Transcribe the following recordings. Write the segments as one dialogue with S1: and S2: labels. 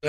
S1: Hé,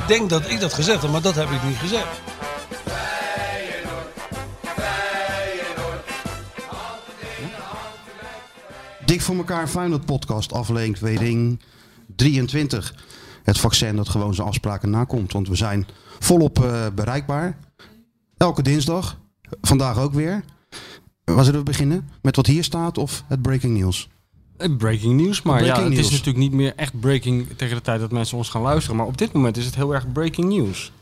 S1: Ik denk dat ik dat gezegd heb, maar dat heb ik niet gezegd.
S2: Dik voor elkaar Feyenoord podcast aflevering 23. Het vaccin dat gewoon zijn afspraken nakomt. Want we zijn volop eh, bereikbaar. Elke dinsdag. Vandaag ook weer. Waar zullen we beginnen? Met wat hier staat of het breaking news?
S3: Eh, Breaking news, maar
S2: Breaking
S3: ja, het
S2: news.
S3: is natuurlijk niet meer echt breaking tegen de tijd dat mensen ons gaan luisteren. Maar op dit moment is het heel erg breaking news.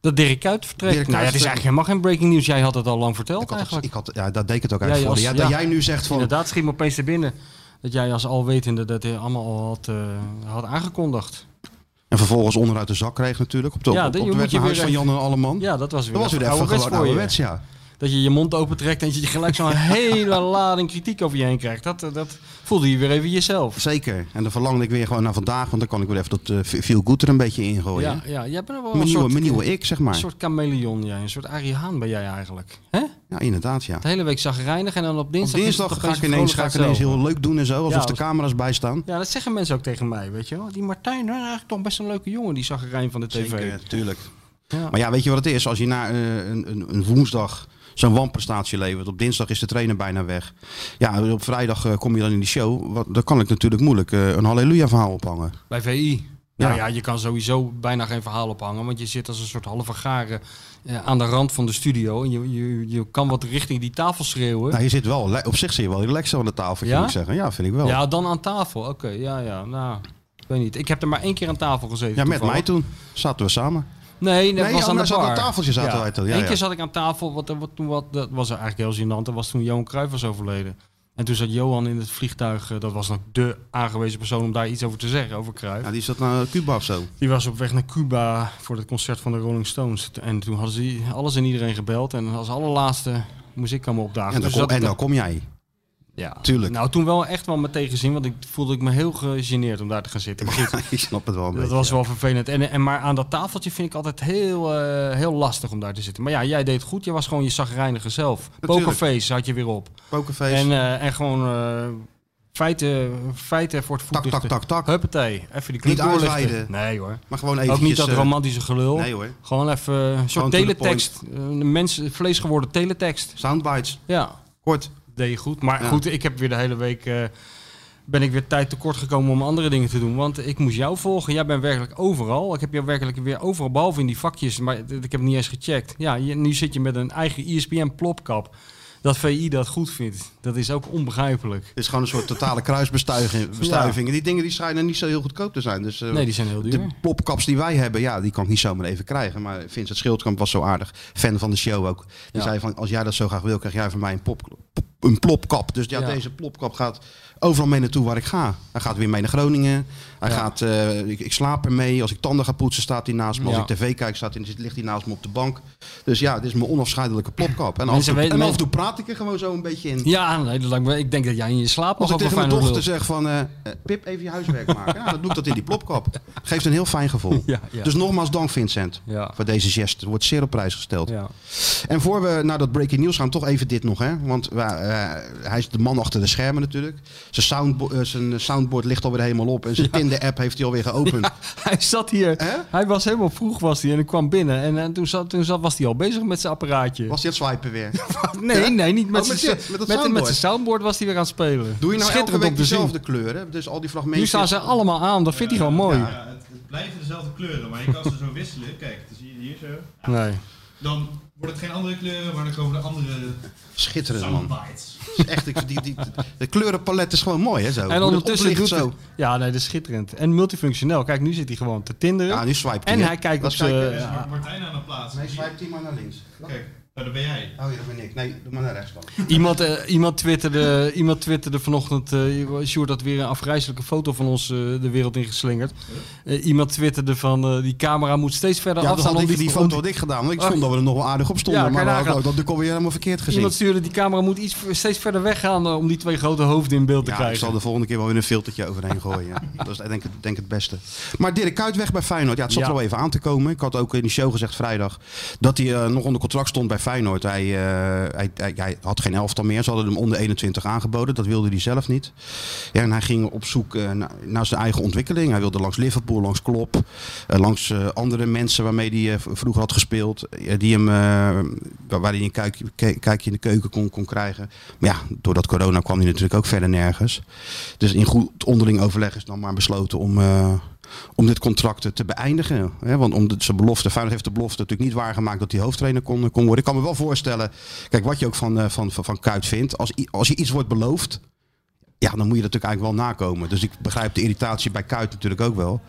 S3: Dat Dirk Kuyt vertrekt.
S2: Dirk
S3: nou ja,
S2: Kuyt
S3: het is
S2: vertrekt.
S3: eigenlijk helemaal geen breaking news. Jij had het al lang verteld
S2: Ik had,
S3: eigenlijk.
S2: ik had, ja, dat deed ik het ook eigenlijk
S3: Jij
S2: voor.
S3: als-
S2: Ja, dat
S3: ja.
S2: jij nu zegt van...
S3: Inderdaad, schiet me opeens er binnen. Dat jij als alwetende dat hij allemaal al had, eh, had aangekondigd.
S2: En vervolgens onderuit de zak kreeg natuurlijk. Op de,
S3: Ja,
S2: op,
S3: dan
S2: op de
S3: moet
S2: weg
S3: je
S2: naar huis
S3: weer
S2: van
S3: even-
S2: Jan en Alleman.
S3: Ja, dat was weer,
S2: dat was weer even
S3: ouderwets
S2: gewoon
S3: voor je.
S2: ouderwets, ja.
S3: Dat je je mond opentrekt en dat je gelijk zo'n hele lading kritiek over je heen krijgt. Dat, eh, dat voelde je weer even jezelf.
S2: Zeker. En dan verlangde ik weer gewoon naar vandaag. Want dan kan ik weer even dat eh, feel good er een beetje in gooien.
S3: Ja, ja, jij bent wel een
S2: Mijn nieuwe,
S3: soort,
S2: mijn nieuwe ik, zeg maar.
S3: Een soort chameleon, jij. Een soort Arie Haan ben jij eigenlijk. hè?
S2: Ja, inderdaad, ja.
S3: De hele week zag reinig en dan op
S2: Op
S3: dinsdag... is het
S2: dinsdag ga
S3: opeens
S2: ik ineens, ga ik
S3: vrolijkheid
S2: ineens
S3: zelf.
S2: heel leuk doen en zo. Alsof
S3: Ja,
S2: de
S3: als-
S2: camera's bij staan.
S3: Ja, dat zeggen mensen ook tegen mij, weet je wel. Die Martijn, nou, eigenlijk toch best een leuke jongen, die zag van de tv.
S2: tuurlijk.
S3: Ja.
S2: Maar ja, weet je wat het is? Als je na eh, een, een, een woensdag zo'n wanprestatie levert. Op dinsdag is de trainer bijna weg. Ja, op vrijdag eh, kom je dan in die show. Wat, dan kan ik natuurlijk moeilijk eh, een halleluja verhaal ophangen.
S3: Bij VI.
S2: Ja.
S3: Ja. Nou ja, je kan sowieso bijna geen verhaal ophangen, want je zit als een soort halve garen eh, aan de rand van de studio. En je, je, je kan wat richting die tafel schreeuwen.
S2: Nou, je zit wel, le- op zich zit je wel relaxed aan de tafel,
S3: Ja?
S2: kan ik zeggen. Ja, vind ik wel. Ja,
S3: ja, dan aan tafel. Oké, ja, ja, nou... Ik weet niet. Ik heb er maar één keer aan tafel gezeten.
S2: met
S3: toevallig.
S2: mij toen. Zaten we samen.
S3: Nee, dat
S2: Nee,
S3: was
S2: oh,
S3: aan
S2: daar
S3: de
S2: zaten
S3: bar.
S2: aan tafeltjes zaten wij toen, ja,
S3: Eén
S2: ja.
S3: keer zat ik aan tafel, wat, wat, toen wat, dat was eigenlijk heel gênant. Dat was toen Johan Cruijff was overleden. En toen zat Johan in het vliegtuig. eh, Dat was dan de aangewezen persoon om daar iets over te zeggen, over Cruijff.
S2: Ja, die zat naar Cuba of zo.
S3: Die was op weg naar Cuba voor het concert van de Rolling Stones. En toen hadden ze alles en iedereen gebeld. En als allerlaatste moest ik komen opdagen.
S2: En dan,
S3: Dus
S2: kom,
S3: dat-
S2: en dan kom jij.
S3: ja.
S2: tuurlijk.
S3: Nou, toen wel echt wel met tegenzin, want ik voelde ik me heel gegeneerd om daar te gaan zitten. Maar goed,
S2: ik snap het wel een
S3: Dat
S2: beetje,
S3: was
S2: ja.
S3: wel vervelend. En, en, maar aan dat tafeltje vind ik altijd heel, eh, heel lastig om daar te zitten. Maar ja, jij deed het goed. Je was gewoon je zagrijnige zelf.
S2: Natuurlijk.
S3: Pokerface had je weer op.
S2: Pokerface.
S3: En, eh, en gewoon eh, feiten, feiten voor het
S2: tak,
S3: voetlicht.
S2: tak, tak, tak.
S3: Huppatee. Even die
S2: Niet
S3: club doorlichten.
S2: uitweiden.
S3: Nee hoor.
S2: Maar gewoon eh, even.
S3: Ook niet dat romantische gelul.
S2: Nee hoor.
S3: Gewoon even een soort
S2: Gewoon to the
S3: teletext. Een mens, vlees geworden teletext.
S2: Soundbites.
S3: Ja,
S2: Kort.
S3: deed je goed. Maar
S2: Ja.
S3: goed, ik heb weer de hele week... eh, ben ik weer tijd tekort gekomen om andere dingen te doen. Want ik moest jou volgen. Jij bent werkelijk overal. Ik heb jou werkelijk weer overal, behalve in die vakjes. Maar d- ik heb het niet eens gecheckt. Ja, je- nu zit je met een eigen E ESPN-plopkap. Dat VI dat goed vindt, dat is ook onbegrijpelijk.
S2: Het is gewoon een soort totale kruisbestuiving. bestuiving. En Die dingen die schijnen niet zo heel goedkoop te zijn. Dus, eh,
S3: Nee, die zijn heel duur.
S2: De plopkaps die wij hebben, ja, die kan ik niet zomaar even krijgen. Maar Vincent Schildkamp was zo aardig. Fan van de show ook. Die
S3: Ja.
S2: zei van, als jij dat zo graag wil, krijg jij van mij een, pop, pop- een plopkap. Dus ja,
S3: Ja.
S2: deze plopkap gaat overal mee naartoe waar ik ga. Hij gaat weer mee naar Groningen. Hij
S3: Ja.
S2: gaat, eh, ik, ik slaap ermee. Als ik tanden ga poetsen, staat hij naast me. Als
S3: Ja.
S2: ik tv kijk, staat hij, ligt hij naast me op de bank. Dus ja, dit is mijn onafscheidelijke plopkap. En, af, en
S3: Mensen
S2: toe,
S3: weten-
S2: en af en
S3: men-
S2: toe praat ik er gewoon zo een beetje in.
S3: Ja, nee, dat lijkt me- ik denk dat jij in je slaap
S2: Als
S3: nog
S2: ik
S3: over
S2: tegen mijn
S3: Feyenoord
S2: dochter
S3: lult.
S2: zeg van, eh, eh, Pip, even je huiswerk maken. Ja, dan doe ik dat in die plopkap. Geeft een heel fijn gevoel.
S3: Ja, ja.
S2: Dus nogmaals dank Vincent
S3: Ja.
S2: voor deze gest. Er wordt zeer op prijs gesteld.
S3: Ja.
S2: En voor we naar dat breaking news gaan, toch even dit nog. Hè? Want we, eh, hij is de man achter de schermen natuurlijk. Zijn, soundbo eh, zijn soundboard ligt alweer helemaal op. En zijn Tinder-app heeft hij alweer geopend.
S3: Hij zat hier.
S2: Hè?
S3: Hij was helemaal vroeg was hij en ik kwam binnen. En, eh, toen, zat, toen zat, was hij al bezig met zijn apparaatje.
S2: Was hij aan het swipen weer?
S3: nee, nee, niet met
S2: Oh, met
S3: zijn
S2: dit, met dat
S3: met-
S2: soundboard.
S3: met zijn soundboard was hij weer aan het spelen.
S2: Doe je nou elke
S3: Schitterend
S2: week
S3: om te zien.
S2: dezelfde kleur? Hè? Dus al die
S3: Nu
S2: fragmentjes.
S3: staan ze allemaal aan, dat vindt hij gewoon mooi.
S4: Ja, het, het blijven dezelfde kleuren, maar je kan ze zo wisselen. Kijk, dan zie je hier zo.
S3: Nee.
S4: Dan wordt het geen andere kleuren, maar dan komen de andere
S2: Schitterend man.
S4: soundbites.
S2: Het is Echt, ik- die, die, de kleurenpalet is gewoon mooi hè zo. Hoe
S3: En
S2: dat
S3: ondertussen doet
S2: oplicht
S3: zo. Ja, nee, dat is schitterend. En multifunctioneel. Kijk, nu zit hij gewoon te tinderen.
S2: Ja, nu swipe
S3: en hij kijkt
S2: kijken.
S3: op zijn...
S4: Er is Martijn aan de plaats.
S2: Nee, swipe die maar naar links.
S4: Kijk, Maar dat ben jij.
S2: Oh ja, dat ben ik. Nee, doe maar naar rechts dan.
S3: Iemand, eh, iemand, twitterde, iemand twitterde vanochtend, eh Sjoerd had weer een afgrijzelijke foto van ons eh, de wereld ingeslingerd. Eh, iemand twitterde van, eh, die camera moet steeds verder
S2: Ja, dat
S3: afstaan.
S2: had
S3: om
S2: ik die,
S3: om
S2: foto had ik gedaan. Want ik vond dat we er nog wel aardig op stonden.
S3: Ah. Ja, kan
S2: maar
S3: je
S2: we hadden
S3: nagaan.
S2: ook dat de kom weer helemaal verkeerd gezien.
S3: Iemand stuurde, die camera moet iets, steeds verder weggaan eh, om die twee grote hoofden in beeld te
S2: Ja, ik
S3: krijgen.
S2: zal de volgende keer wel weer een filtertje overheen gooien. ja. Dat is denk ik denk ik het beste. Maar Dirk Kuyt weg bij Feyenoord. Ja, het zat
S3: Ja.
S2: er wel even aan te komen. Ik had ook in die show gezegd vrijdag dat hij eh, nog onder contract stond bij Feyenoord. Hij, eh, hij, hij, hij had geen elftal meer. Ze hadden hem onder 21 aangeboden. Dat wilde hij zelf niet. Ja, en hij ging op zoek eh, na- naar zijn eigen ontwikkeling. Hij wilde langs Liverpool, langs Klopp, eh, langs eh, andere mensen waarmee hij eh, v- vroeger had gespeeld. eh, die hem, eh, waar waar hij een kuikje- ke- kijkje in de keuken kon, kon krijgen. Maar ja, doordat corona kwam hij natuurlijk ook verder nergens. Dus in goed onderling overleg is dan maar besloten om, eh, om dit contract te- te beëindigen. Hè? Want om de, zijn belofte, Feyenoord heeft de belofte natuurlijk niet waargemaakt dat hij hoofdtrainer kon, kon worden. Ik kan me wel voorstellen, kijk wat je ook van, eh, van, van, van Kuit vindt. Als, i- als je iets wordt beloofd, ja, dan moet je dat natuurlijk eigenlijk wel nakomen. Dus ik begrijp de irritatie bij Kuit natuurlijk ook wel.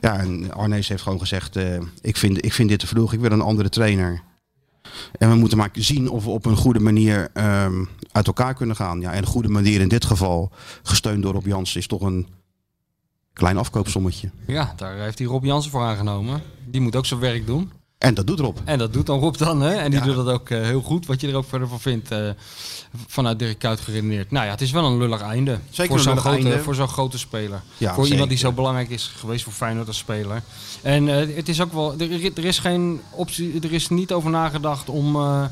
S2: Ja, en Arnees heeft gewoon gezegd, eh, ik, vind, ik vind dit te vroeg, ik wil een andere trainer. En we moeten maar zien of we op een goede manier ehm, uit elkaar kunnen gaan. Ja, en een goede manier in dit geval, gesteund door Rob Jansen, is toch een klein afkoopsommetje.
S3: Ja, daar heeft hij Rob Jansen voor aangenomen. Die moet ook zijn werk doen.
S2: En dat doet Rob.
S3: En dat doet dan Rob dan, hè? En die
S2: Ja.
S3: doet dat ook eh, heel goed, wat je er ook verder van vindt, eh, vanuit Dirk Kuyt geredeneerd. Nou ja, het is wel een lullig einde.
S2: Zeker
S3: voor
S2: een
S3: zo'n
S2: lullig
S3: grote,
S2: einde.
S3: Voor zo'n grote speler.
S2: Ja,
S3: voor
S2: zeker.
S3: iemand die zo belangrijk is geweest voor Feyenoord als speler. En eh, het is ook wel, er, er is geen optie, er is niet over nagedacht om, eh,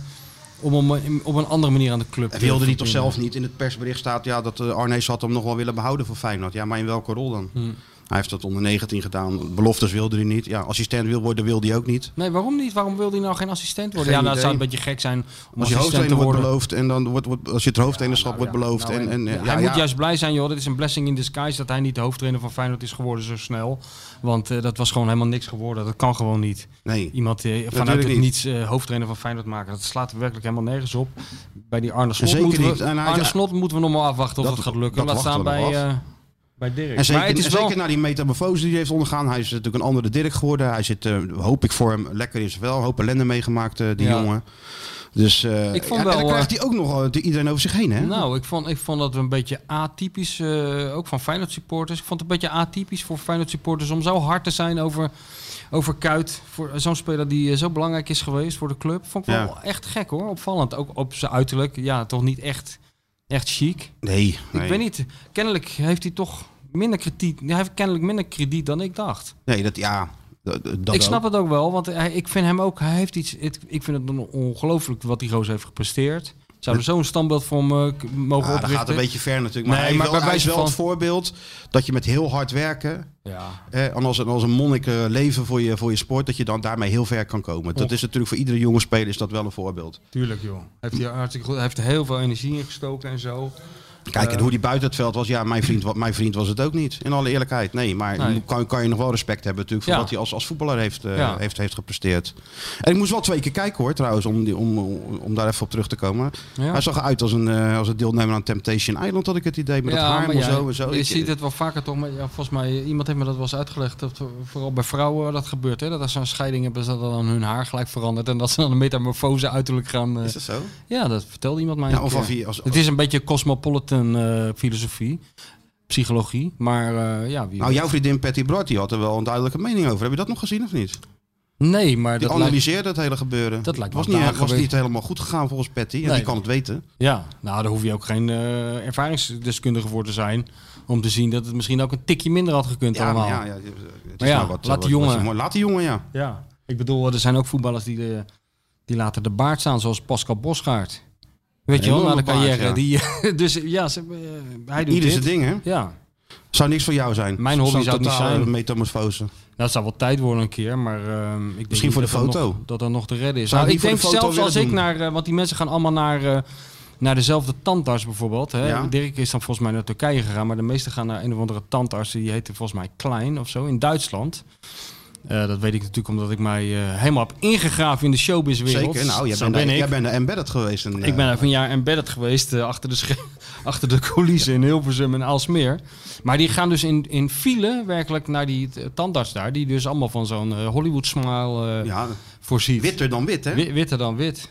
S3: om, om, om op een andere manier aan de club
S2: En wilde
S3: die
S2: niet of zelf niet. In het persbericht staat ja, dat eh, Arnees had hem nog wel willen behouden voor Feyenoord. Ja, maar in welke rol dan?
S3: Hmm.
S2: Hij heeft dat onder 19 gedaan. Beloftes wilde hij niet. Ja, assistent wil worden wilde hij ook niet.
S3: Nee, waarom niet? Waarom wilde hij nou geen assistent worden?
S2: Geen
S3: ja, dat
S2: idee.
S3: zou een beetje gek zijn om
S2: Als je
S3: assistent
S2: hoofdtrainer
S3: te
S2: wordt
S3: worden.
S2: beloofd en dan wordt, wordt als je het hoofdtrainerschap
S3: Nou,
S2: wordt
S3: ja.
S2: beloofd.
S3: Nou,
S2: en, en, ja,
S3: hij
S2: ja,
S3: moet juist blij zijn, joh. Dit is een blessing in disguise dat hij niet de hoofdtrainer van Feyenoord is geworden zo snel. Want eh, dat was gewoon helemaal niks geworden. Dat kan gewoon niet.
S2: Nee.
S3: Iemand eh, vanuit
S2: Natuurlijk
S3: het
S2: niet.
S3: niets eh, hoofdtrainer van Feyenoord maken. Dat slaat werkelijk helemaal nergens op. Bij die Arne Slot,
S2: Zeker
S3: moeten
S2: niet.
S3: we,
S2: En hij-
S3: Arne Slot moeten we nog maar afwachten of
S2: Dat-
S3: dat, gaat
S2: dat
S3: lukken. Laat staan
S2: wachten we
S3: bij,
S2: nog af.
S3: eh, bij Dirk.
S2: En zeker,
S3: maar het is
S2: en
S3: wel...
S2: zeker na die metamorfose die hij heeft ondergaan. Hij is natuurlijk een andere Dirk geworden. Hij zit, eh, hoop ik voor hem, lekker in zijn wel. Een hoop ellende meegemaakt, eh, die
S3: Ja.
S2: jongen. Dus eh,
S3: Ik vond
S2: ja, en
S3: wel,
S2: dan
S3: eh,
S2: krijgt hij ook nog eh, iedereen over zich heen. Hè?
S3: Nou, ik vond, ik vond dat een beetje atypisch, eh, ook van Feyenoord supporters. Ik vond het een beetje atypisch voor Feyenoord supporters om zo hard te zijn over, over Kuit. Voor zo'n speler die eh, zo belangrijk is geweest voor de club. Vond ik
S2: Ja.
S3: wel echt gek hoor, opvallend. Ook op zijn uiterlijk, ja, toch niet echt, echt chic.
S2: nee, nee.
S3: Ik weet niet, kennelijk heeft hij toch minder krediet. Hij heeft kennelijk minder krediet dan ik dacht
S2: Nee, dat ja. Dat, dat
S3: ik
S2: ook.
S3: snap het ook wel, want hij, ik vind hem ook, hij heeft iets, het- ik vind het on- ongelooflijk wat die Roos heeft gepresteerd. Zou er zo'n standbeeld voor hem eh, k- mogen
S2: Ja, Ah, dat
S3: oprichten?
S2: gaat een beetje ver natuurlijk. Maar,
S3: Nee,
S2: hij,
S3: maar
S2: wel,
S3: bij
S2: hij is
S3: wijze
S2: wel
S3: van-
S2: het voorbeeld dat je met heel hard werken.
S3: Ja.
S2: Hè, en als, en als een monnik eh, leven voor je, voor je sport, dat je dan daarmee heel ver kan komen. Dat
S3: Och.
S2: is natuurlijk voor iedere jonge speler is dat wel een voorbeeld.
S3: Tuurlijk, joh. Heeft hij hartstikke goed. Hij heeft er heel veel energie in gestoken en zo.
S2: Kijk, en
S3: Eh.
S2: hoe die buiten het veld was, ja, mijn vriend, wa- mijn vriend was het ook niet. In alle eerlijkheid, nee. Maar
S3: Nee.
S2: je kan, kan je nog wel respect hebben natuurlijk voor
S3: Ja.
S2: wat hij als, als voetballer heeft, eh,
S3: Ja.
S2: heeft, heeft gepresteerd. En ik moest wel twee keer kijken hoor, trouwens, om, die, om, om daar even op terug te komen.
S3: Ja.
S2: Hij zag eruit als een, eh, als een deelnemer aan Temptation Island, had ik het idee. Met dat haar en
S3: maar ja,
S2: zo en zo.
S3: Je
S2: Ik-
S3: ziet het wel vaker toch. Maar ja, volgens mij, iemand heeft me dat wel eens uitgelegd. Dat vooral bij vrouwen dat gebeurt. Hè? Dat als ze een scheiding hebben, dat dan hun haar gelijk verandert. En dat ze dan een metamorfose uiterlijk gaan. eh,
S2: Is dat zo?
S3: Ja, dat vertelde iemand mij.
S2: Ja,
S3: een
S2: of
S3: keer.
S2: als hij- als-
S3: Het is een beetje cosmopolitan eh, filosofie. Psychologie. Maar eh, ja, wie
S2: Nou, jouw vriendin Patty Bart, die had er wel een duidelijke mening over. Heb je dat nog gezien of niet?
S3: Nee, maar
S2: Die
S3: dat lijkt...
S2: analyseerde het hele gebeuren.
S3: dat lijkt me
S2: was
S3: op de
S2: niet,
S3: haak
S2: was
S3: geweest.
S2: niet helemaal goed gegaan volgens Patty. En
S3: Nee.
S2: die kan het weten.
S3: Ja, nou, daar hoef je ook geen eh, ervaringsdeskundige voor te zijn. Om te zien dat het misschien ook een tikje minder had gekund
S2: Ja,
S3: allemaal.
S2: maar ja, ja, het is
S3: Maar ja,
S2: nou wat,
S3: laat
S2: wat-
S3: die
S2: wat-
S3: jongen.
S2: wat- laat die jongen, ja.
S3: Ja, ik bedoel, er zijn ook voetballers die, eh, die laten de baard staan, zoals Pascal Bosgaard. Weet je wel, na
S2: Enorme
S3: de
S2: baard,
S3: carrière.
S2: ja.
S3: die, dus ja, ze, eh, hij doet
S2: Ieder
S3: dit.
S2: zijn ding, hè?
S3: Ja, nou,
S2: Zou niks voor jou zijn.
S3: Mijn hobby
S2: Zo'n
S3: zou het niet
S2: totale
S3: zijn.
S2: metamorfose.
S3: Nou, het zou wel tijd worden een keer, maar ehm, ik denk
S2: Misschien voor
S3: niet
S2: de
S3: dat
S2: foto.
S3: Dat nog, dat dat nog te redden is.
S2: Zou
S3: Nou,
S2: je
S3: ik
S2: die voor
S3: denk
S2: de foto
S3: zelfs als
S2: willen
S3: ik
S2: doen?
S3: naar, eh, want die mensen gaan allemaal naar, eh, naar dezelfde tandarts bijvoorbeeld. Hè.
S2: Ja.
S3: Dirk is dan volgens mij naar Turkije gegaan, maar de meesten gaan naar een of andere tandarts. Die heette volgens mij Klein of zo in Duitsland. Eh, dat weet ik natuurlijk omdat ik mij eh, helemaal heb ingegraven in de showbizwereld.
S2: Zeker. Nou, jij
S3: Zo
S2: bent,
S3: ben
S2: daar-
S3: ik.
S2: jij bent naar embedded geweest. eh, En,
S3: Ik ben even een jaar embedded geweest eh, achter, de sche- achter de coulissen in Hilversum en Aalsmeer. Maar die gaan dus in, in file werkelijk naar die eh, tandarts daar. Die dus allemaal van zo'n eh, Hollywood smile eh
S2: ja,
S3: voorziet.
S2: witter dan wit, hè?
S3: Wi- witter dan wit.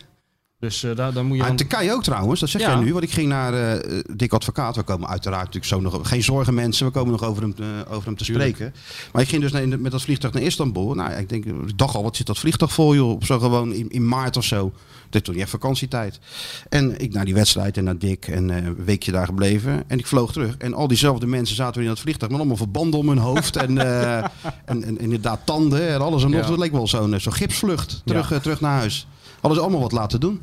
S3: Dus eh, daar, daar moet je
S2: Maar in
S3: aan...
S2: Turkije ook trouwens, dat zeg
S3: Ja.
S2: jij nu. Want ik ging naar eh Dick Advocaat. We komen uiteraard natuurlijk zo nog... Geen zorgen mensen, we komen nog over hem, eh, over hem te
S3: Tuurlijk.
S2: spreken. Maar ik ging dus naar- met dat vliegtuig naar Istanbul. Nou, ik, denk, ik dacht al, wat zit dat vliegtuig vol joh? Op zo gewoon in, in maart of zo. Dit is toen niet echt vakantietijd. En ik naar die wedstrijd en naar Dick. En eh, een weekje daar gebleven. En ik vloog terug. En al diezelfde mensen zaten weer in dat vliegtuig. Met allemaal verbanden om hun hoofd. en, eh, en, en, inderdaad tanden en alles en nog.
S3: Ja.
S2: Dat leek wel zo'n eh, zo'n gipsvlucht. Terug,
S3: Ja.
S2: eh, terug naar huis. Hadden ze allemaal wat laten doen.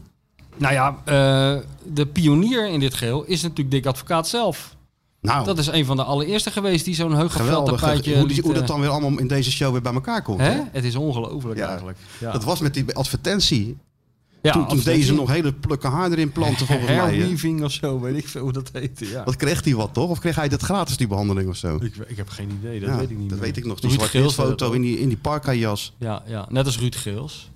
S3: Nou ja, eh, de pionier in dit geheel is natuurlijk Dick Advocaat zelf.
S2: Nou,
S3: Dat is een van de allereerste geweest die zo'n heugeveld
S2: Geweldig
S3: tapijtje
S2: hoe, die-
S3: liet,
S2: hoe dat
S3: eh,
S2: dan weer allemaal in deze show weer bij elkaar komt.
S3: Hè?
S2: hè?
S3: Het is ongelooflijk
S2: Ja.
S3: eigenlijk. Ja.
S2: Dat was met die advertentie.
S3: Ja,
S2: toen, toen
S3: advertentie.
S2: deze nog hele plukken haar erin planten volgens mij. hè?
S3: Hairweaving of zo, weet ik veel hoe dat heette. Ja.
S2: Wat kreeg hij wat toch? Of kreeg hij dat gratis die behandeling of zo?
S3: Ik, ik heb geen idee, dat
S2: Ja,
S3: weet ik niet
S2: dat
S3: meer.
S2: weet ik nog. Die
S3: Ruud Geels
S2: zwart-wit-foto
S3: deed
S2: in
S3: dat
S2: die, in die parka-jas.
S3: ook. Ja, ja, net als Ruud Geels.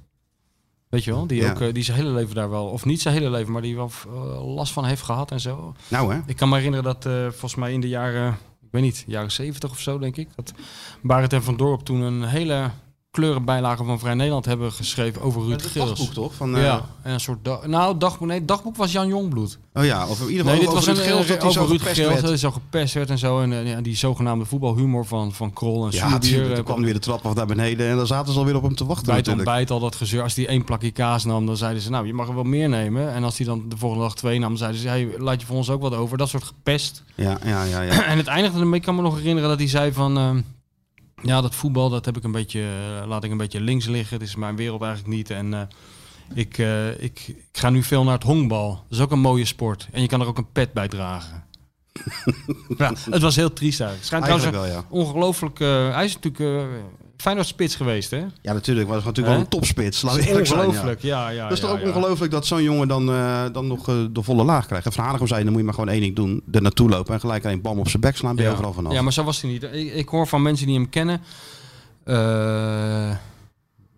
S3: Weet je wel, die,
S2: Ja.
S3: ook, eh, die zijn hele leven daar wel, of niet zijn hele leven, maar die wel eh, last van heeft gehad en zo.
S2: Nou hè?
S3: Ik kan me herinneren dat eh, volgens mij in de jaren, ik weet niet, jaren 70 of zo denk ik, dat Barend en Van Dorp toen een hele kleurenbijlage van Vrij Nederland hebben geschreven over Ruud
S2: Het
S3: Geels.
S2: dagboek toch? Van, eh,
S3: Ja, en een soort da- nou, dagboek, nee, dagboek was Jan Jongbloed.
S2: Oh ja, of in ieder geval
S3: Nee, dit
S2: over
S3: was een, eh,
S2: Ruud Geels dat hij zo
S3: over Ruud
S2: gepest
S3: Geels,
S2: werd.
S3: dat hij zo gepest werd en zo. En eh, ja, die zogenaamde voetbalhumor van, van Krol en
S2: Ja,
S3: Zuurbier.
S2: tuurlijk. Toen
S3: eh,
S2: kwam hij weer de trap af naar beneden en dan zaten ze alweer op hem te wachten
S3: bij het
S2: natuurlijk.
S3: ontbijt al dat gezeur. Als die één plakje kaas nam, dan zeiden ze, nou, je mag er wel meer nemen. En als die dan de volgende dag twee nam, zeiden ze, hey, laat je voor ons ook wat over. Dat soort gepest.
S2: Ja, ja, ja. ja.
S3: En het eindigde ermee, ik kan me nog herinneren dat hij zei van... ehm, ja, dat voetbal, dat heb ik een beetje, eh, laat ik een beetje links liggen. Het is mijn wereld eigenlijk niet. En eh, ik, eh, ik, ik ga nu veel naar het honkbal. Dat is ook een mooie sport. En je kan er ook een pet bij dragen. ja, het was heel triest eigenlijk. Het Schijnt trouwens
S2: Eigenlijk
S3: een
S2: wel, ja.
S3: ongelooflijk... eh, hij is natuurlijk eh Feyenoord spits geweest, hè?
S2: Ja, natuurlijk. Maar dat is natuurlijk wel
S3: Hè?
S2: een topspits. Laten we eerlijk zijn, ja.
S3: Oh, Ongelooflijk, ja, ja.
S2: Dat is
S3: ja,
S2: toch ook
S3: ja.
S2: ongelooflijk dat zo'n jongen dan, eh, dan nog eh, de volle laag krijgt. En Van Hanegem zei, dan moet je maar gewoon één ding doen. Er naartoe lopen en gelijk alleen bam op zijn bek slaan. Ben je overal vanaf.
S3: Ja, maar zo was hij niet. Ik, ik hoor van mensen die hem kennen. eh,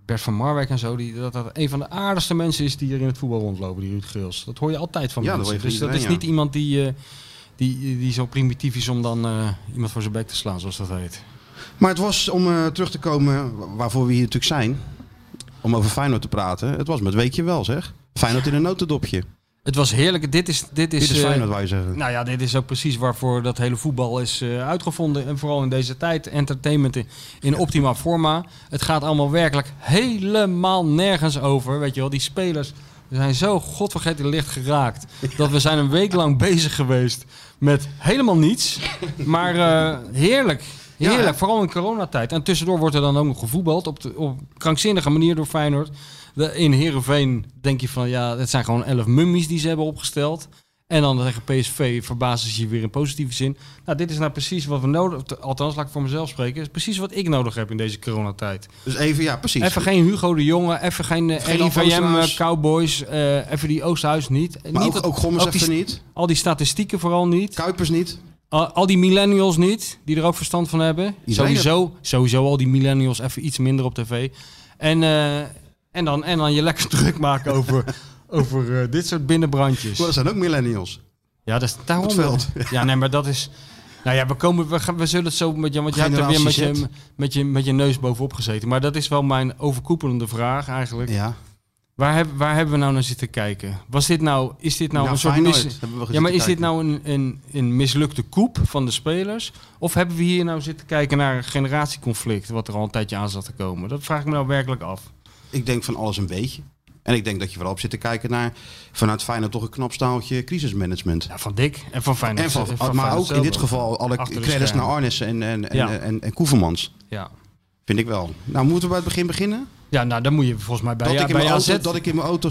S3: Bert van Marwijk en zo. Die, dat dat een van de aardigste mensen is die hier in het voetbal rondlopen, die Ruud Geels. Dat hoor je altijd van
S2: Ja, dat
S3: mensen.
S2: hoor je van
S3: dus dat is
S2: iedereen,
S3: niet iemand die, eh, die, die zo primitief is om dan eh, iemand voor zijn bek te slaan, zoals dat heet.
S2: Maar het was, om eh, terug te komen wa- waarvoor we hier natuurlijk zijn. Om over Feyenoord te praten. Het was met weekje wel zeg. Feyenoord in een notendopje.
S3: Het was heerlijk. Dit is, dit is,
S2: Dit is
S3: eh,
S2: Feyenoord wou je zeggen.
S3: Nou ja, dit is ook precies waarvoor dat hele voetbal is eh, uitgevonden. En vooral in deze tijd. Entertainment in, in optima forma. Het gaat allemaal werkelijk helemaal nergens over. Weet je wel, die spelers zijn zo godvergeten licht geraakt. Dat we zijn een week lang bezig geweest met helemaal niets. Maar eh, heerlijk.
S2: Ja,
S3: Heerlijk,
S2: hè?
S3: vooral in coronatijd. En tussendoor wordt er dan ook nog gevoetbald. Op, de, op krankzinnige manier door Feyenoord. De- in Heerenveen denk je van ja, het zijn gewoon elf mummies die ze hebben opgesteld. En dan tegen PSV verbazen ze je weer in positieve zin. Nou, dit is nou precies wat we nodig Althans, laat ik voor mezelf spreken. Is precies wat ik nodig heb in deze coronatijd.
S2: Dus even, ja precies.
S3: Even geen Hugo de Jonge, even geen eh,
S2: Geen Alf
S3: RIVM, eh,
S2: Oosterhuis.
S3: Cowboys, eh, even die Oosterhuis niet.
S2: maar
S3: niet
S2: ook, ook Gommers
S3: die,
S2: even niet.
S3: Al die statistieken vooral niet.
S2: Kuipers niet.
S3: Al, al die millennials niet, die er ook verstand van hebben.
S2: Iedereen
S3: sowieso, sowieso al die millennials even iets minder op tv. En, eh, en, dan, en dan je lekker druk maken over, over eh, dit soort binnenbrandjes.
S2: Maar dat zijn ook millennials.
S3: Ja, dat is daarom.
S2: Het veld.
S3: Ja, nee, maar dat is. Nou ja, we, komen, we, gaan, we zullen het zo met je. Want jij hebt er weer met
S2: Generatie
S3: je, met, je, met je neus bovenop gezeten. Maar dat is wel mijn overkoepelende vraag eigenlijk.
S2: Ja.
S3: Waar, heb, waar hebben we nou naar zitten kijken? Was dit nou, is dit nou,
S2: Ja,
S3: een soort.
S2: Feyenoord
S3: Mis,
S2: hebben we gezeten
S3: ja, maar is dit
S2: kijken.
S3: nou een, een, een mislukte koep van de spelers? Of hebben we hier nou zitten kijken naar een generatieconflict. wat er al een tijdje aan zat te komen? Dat vraag ik me nou werkelijk af.
S2: Ik denk van alles een beetje. En ik denk dat je vooral op zit te kijken naar vanuit Feyenoord toch een knap staaltje crisismanagement.
S3: Ja, van Dick en van Feyenoord.
S2: En van,
S3: eh,
S2: maar
S3: Feyenoord
S2: ook in dit
S3: zelf.
S2: geval alle
S3: Achter de
S2: credits naar
S3: schermen.
S2: Arnissen en, en, en,
S3: Ja.
S2: en, en, Koevermans.
S3: Ja.
S2: Vind ik wel. Nou, moeten we bij het begin beginnen?
S3: ja, nou dan moet je volgens mij bij,
S2: dat,
S3: ja,
S2: ik in
S3: bij
S2: mijn
S3: AZ.
S2: auto, dat ik in mijn auto...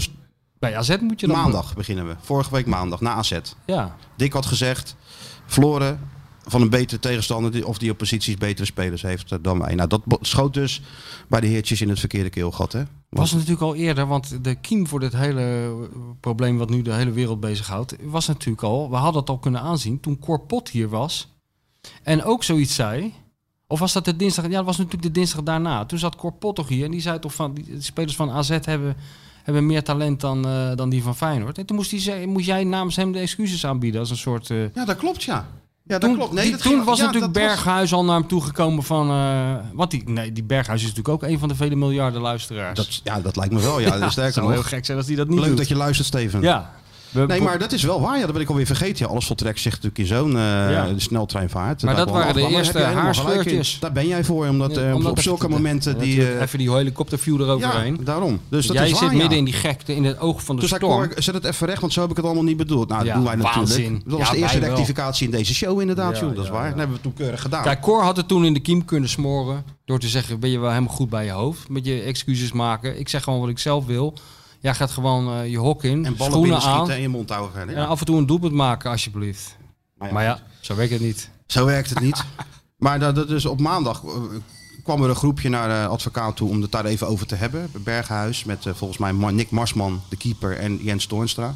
S3: Bij AZ moet je dan
S2: Maandag beginnen we. Vorige week maandag, na AZ.
S3: Ja,
S2: Dick had gezegd, verloren van een betere tegenstander... die- of die op posities betere spelers heeft eh, dan wij. Nou, dat bo- schoot dus bij de heertjes in het verkeerde keelgat, hè?
S3: was natuurlijk al eerder, want de kiem voor dit hele eh, probleem wat nu de hele wereld bezighoudt, was natuurlijk al, we hadden het al kunnen aanzien toen Corpot hier was en ook zoiets zei. Of was dat de dinsdag? Ja, dat was natuurlijk de dinsdag daarna. Toen zat Corpot toch hier en die zei toch van, die de spelers van AZ hebben, hebben meer talent dan, eh, dan die van Feyenoord. En toen moest, die, ze- moest jij namens hem de excuses aanbieden als een soort... eh,
S2: Ja, dat klopt, ja. Ja, dat
S3: Toen,
S2: klopt. Nee,
S3: die-
S2: dat
S3: toen
S2: ging-
S3: was
S2: ja,
S3: natuurlijk
S2: dat was-
S3: Berghuis al naar hem toegekomen van... eh, wat die, nee, die Berghuis is natuurlijk ook een van de vele miljarden luisteraars.
S2: Dat, ja, dat lijkt me wel. Ja,
S3: Ja, het
S2: sterker
S3: zou heel
S2: nog.
S3: gek zijn als die dat niet
S2: Leuk
S3: doet.
S2: dat je luistert, Steven.
S3: Ja. We-
S2: Nee, maar dat is wel waar. Ja, dat ben ik alweer vergeten. Ja, alles voltrekt zich natuurlijk in zo'n eh,
S3: Ja.
S2: de sneltreinvaart.
S3: Maar
S2: Daar
S3: dat
S2: kwam
S3: waren de
S2: af. Maar daar heb
S3: eerste
S2: je helemaal gelijk in.
S3: haarscheurtjes.
S2: Daar ben jij voor, omdat,
S3: Ja,
S2: eh,
S3: omdat
S2: op
S3: dat-
S2: zulke
S3: dat-
S2: momenten die...
S3: natuurlijk,
S2: eh,
S3: even die helikopterview
S2: ja,
S3: eroverheen.
S2: daarom. Dus dat
S3: Jij
S2: is
S3: zit
S2: waar, ja.
S3: midden in die gekte, in het oog van de
S2: Dus hij
S3: storm.
S2: kon- zet het even recht, want zo heb ik het allemaal niet bedoeld. Nou, dat
S3: Ja,
S2: doen wij natuurlijk.
S3: waanzin.
S2: Dat was
S3: Ja,
S2: de eerste
S3: wij wel.
S2: rectificatie in deze show inderdaad,
S3: Ja,
S2: joh. Dat is
S3: ja,
S2: waar.
S3: ja.
S2: Dat hebben we toen keurig gedaan.
S3: Kijk, Cor had het toen in de kiem kunnen smoren. Door te zeggen, ben je wel helemaal goed bij je hoofd. Met je excuses maken. Ik zeg gewoon wat ik zelf wil. Jij gaat gewoon eh, je hok in,
S2: en ballen
S3: schoenen
S2: binnen
S3: aan.
S2: schieten en je mond houden. Ja.
S3: En af en toe een doelpunt maken, alsjeblieft.
S2: Maar ja,
S3: Maar ja, zo werkt het niet.
S2: Zo werkt het niet. maar dat, dat dus op maandag eh, kwam er een groepje naar de advocaat toe om het daar even over te hebben. Berghuis met eh, volgens mij Ma- Nick Marsman, de keeper, en Jens Toornstra.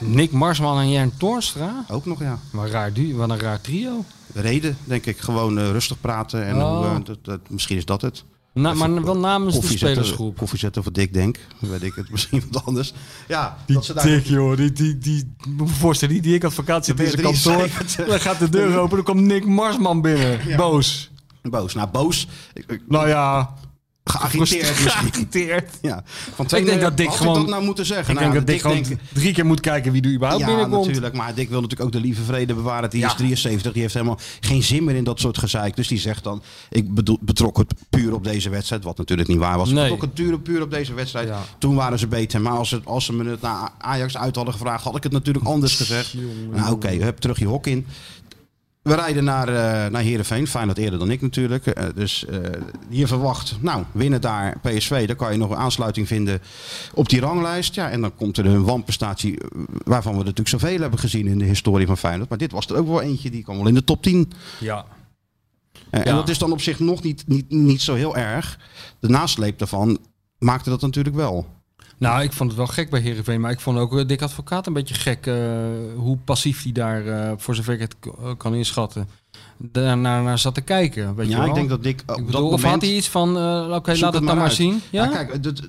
S3: Nick Marsman en Jan Torstra?
S2: Ook nog, ja.
S3: Wat, raar du- wat een raar trio.
S2: Reden, denk ik. Gewoon eh, rustig praten. En
S3: Oh.
S2: hoe, eh, dat, dat, misschien is dat het.
S3: Na,
S2: Even
S3: maar wel namens de
S2: koffie zetten,
S3: spelersgroep.
S2: koffie zetten voor Dick, denk. Weet ik het, misschien wat anders. Ja, dat ze daar...
S3: joh. Die, die, die, moet me voorstellen, die, die ik advocaat zit
S2: Dan ben je 73.
S3: Dan gaat de deur open, dan komt Nick Marsman binnen. Boos.
S2: Boos. Nou, boos. Ik- ik-
S3: Nou ja,
S2: Geagiteerd misschien.
S3: geagiteerd.
S2: Ja. Van
S3: denk
S2: trainer,
S3: dat Dick
S2: had
S3: gewoon-
S2: ik dat nou moeten zeggen?
S3: Ik
S2: Nou,
S3: denk dat Dick gewoon
S2: denkt-
S3: drie keer moet kijken wie er überhaupt
S2: Ja,
S3: binnenkomt.
S2: natuurlijk. Maar Dick wil natuurlijk ook de lieve vrede bewaren. Die
S3: Ja.
S2: is 73. Die heeft helemaal geen zin meer in dat soort gezeik. Dus die zegt dan, ik bedoel, betrok het puur op deze wedstrijd. Wat natuurlijk niet waar was. Ik
S3: Nee.
S2: betrok het puur, puur op deze wedstrijd.
S3: Ja.
S2: Toen waren ze beter. Maar als, het, als ze me het naar Ajax uit hadden gevraagd, had ik het natuurlijk anders gezegd. Nou oké, heb terug je hok in. We rijden naar, eh naar Heerenveen. Feyenoord eerder dan ik natuurlijk. Eh, dus eh, hier verwacht, nou, winnen daar PSV. Dan kan je nog een aansluiting vinden op die ranglijst. Ja, en dan komt er een wanprestatie eh, waarvan we er natuurlijk zoveel hebben gezien in de historie van Feyenoord. Maar dit was er ook wel eentje, die kwam wel in de top 10.
S3: Ja.
S2: Eh, En
S3: Ja.
S2: dat is dan op zich nog niet, niet, niet zo heel erg. De nasleep daarvan maakte dat natuurlijk wel.
S3: Nou, ik vond het wel gek bij Heerenveen. Maar ik vond ook eh, Dick Advocaat een beetje gek. eh, hoe passief hij daar, eh, voor zover ik het k- eh, kan inschatten, daarnaar naar zat te kijken. Weet je
S2: Ja,
S3: wel?
S2: ik denk dat Dick eh, op
S3: Ik
S2: dat
S3: bedoel, of
S2: moment-
S3: had hij iets van, eh, oké,
S2: Zoek
S3: laat het dan maar
S2: uit.
S3: zien. Ja?
S2: kijk, dat-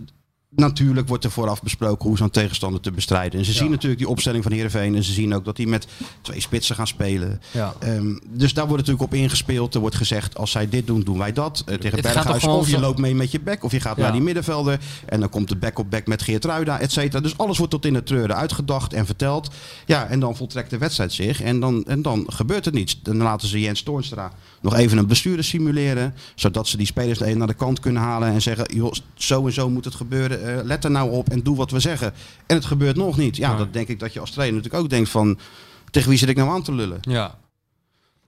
S2: natuurlijk wordt er vooraf besproken hoe zo'n tegenstander te bestrijden. En ze zien natuurlijk die opstelling van Heerenveen. En ze zien ook dat die met twee spitsen gaan spelen.
S3: Ja.
S2: Ehm, dus daar wordt natuurlijk op ingespeeld. Er wordt gezegd, als zij dit doen, doen wij dat. Eh, tegen
S3: Het gaat toch
S2: Berghuis,
S3: gewoon
S2: of je
S3: zo-
S2: loopt mee met je bek. Of je gaat
S3: Ja.
S2: naar die middenvelder. En dan komt de back-op-back met Geert Ruida, et cetera. Dus alles wordt tot in de treuren uitgedacht en verteld. Ja, en dan voltrekt de wedstrijd zich. En dan, en dan gebeurt er niets. Dan laten ze Jens Toornstra nog even een blessure simuleren. Zodat ze die spelers de een naar de kant kunnen halen. En zeggen, joh, zo en zo moet het gebeuren. Eh, let er nou op en doe wat we zeggen. En het gebeurt nog niet. Ja,
S3: Nee.
S2: dat denk ik dat je als trainer natuurlijk ook denkt van... Tegen wie zit ik nou aan te lullen?
S3: ja.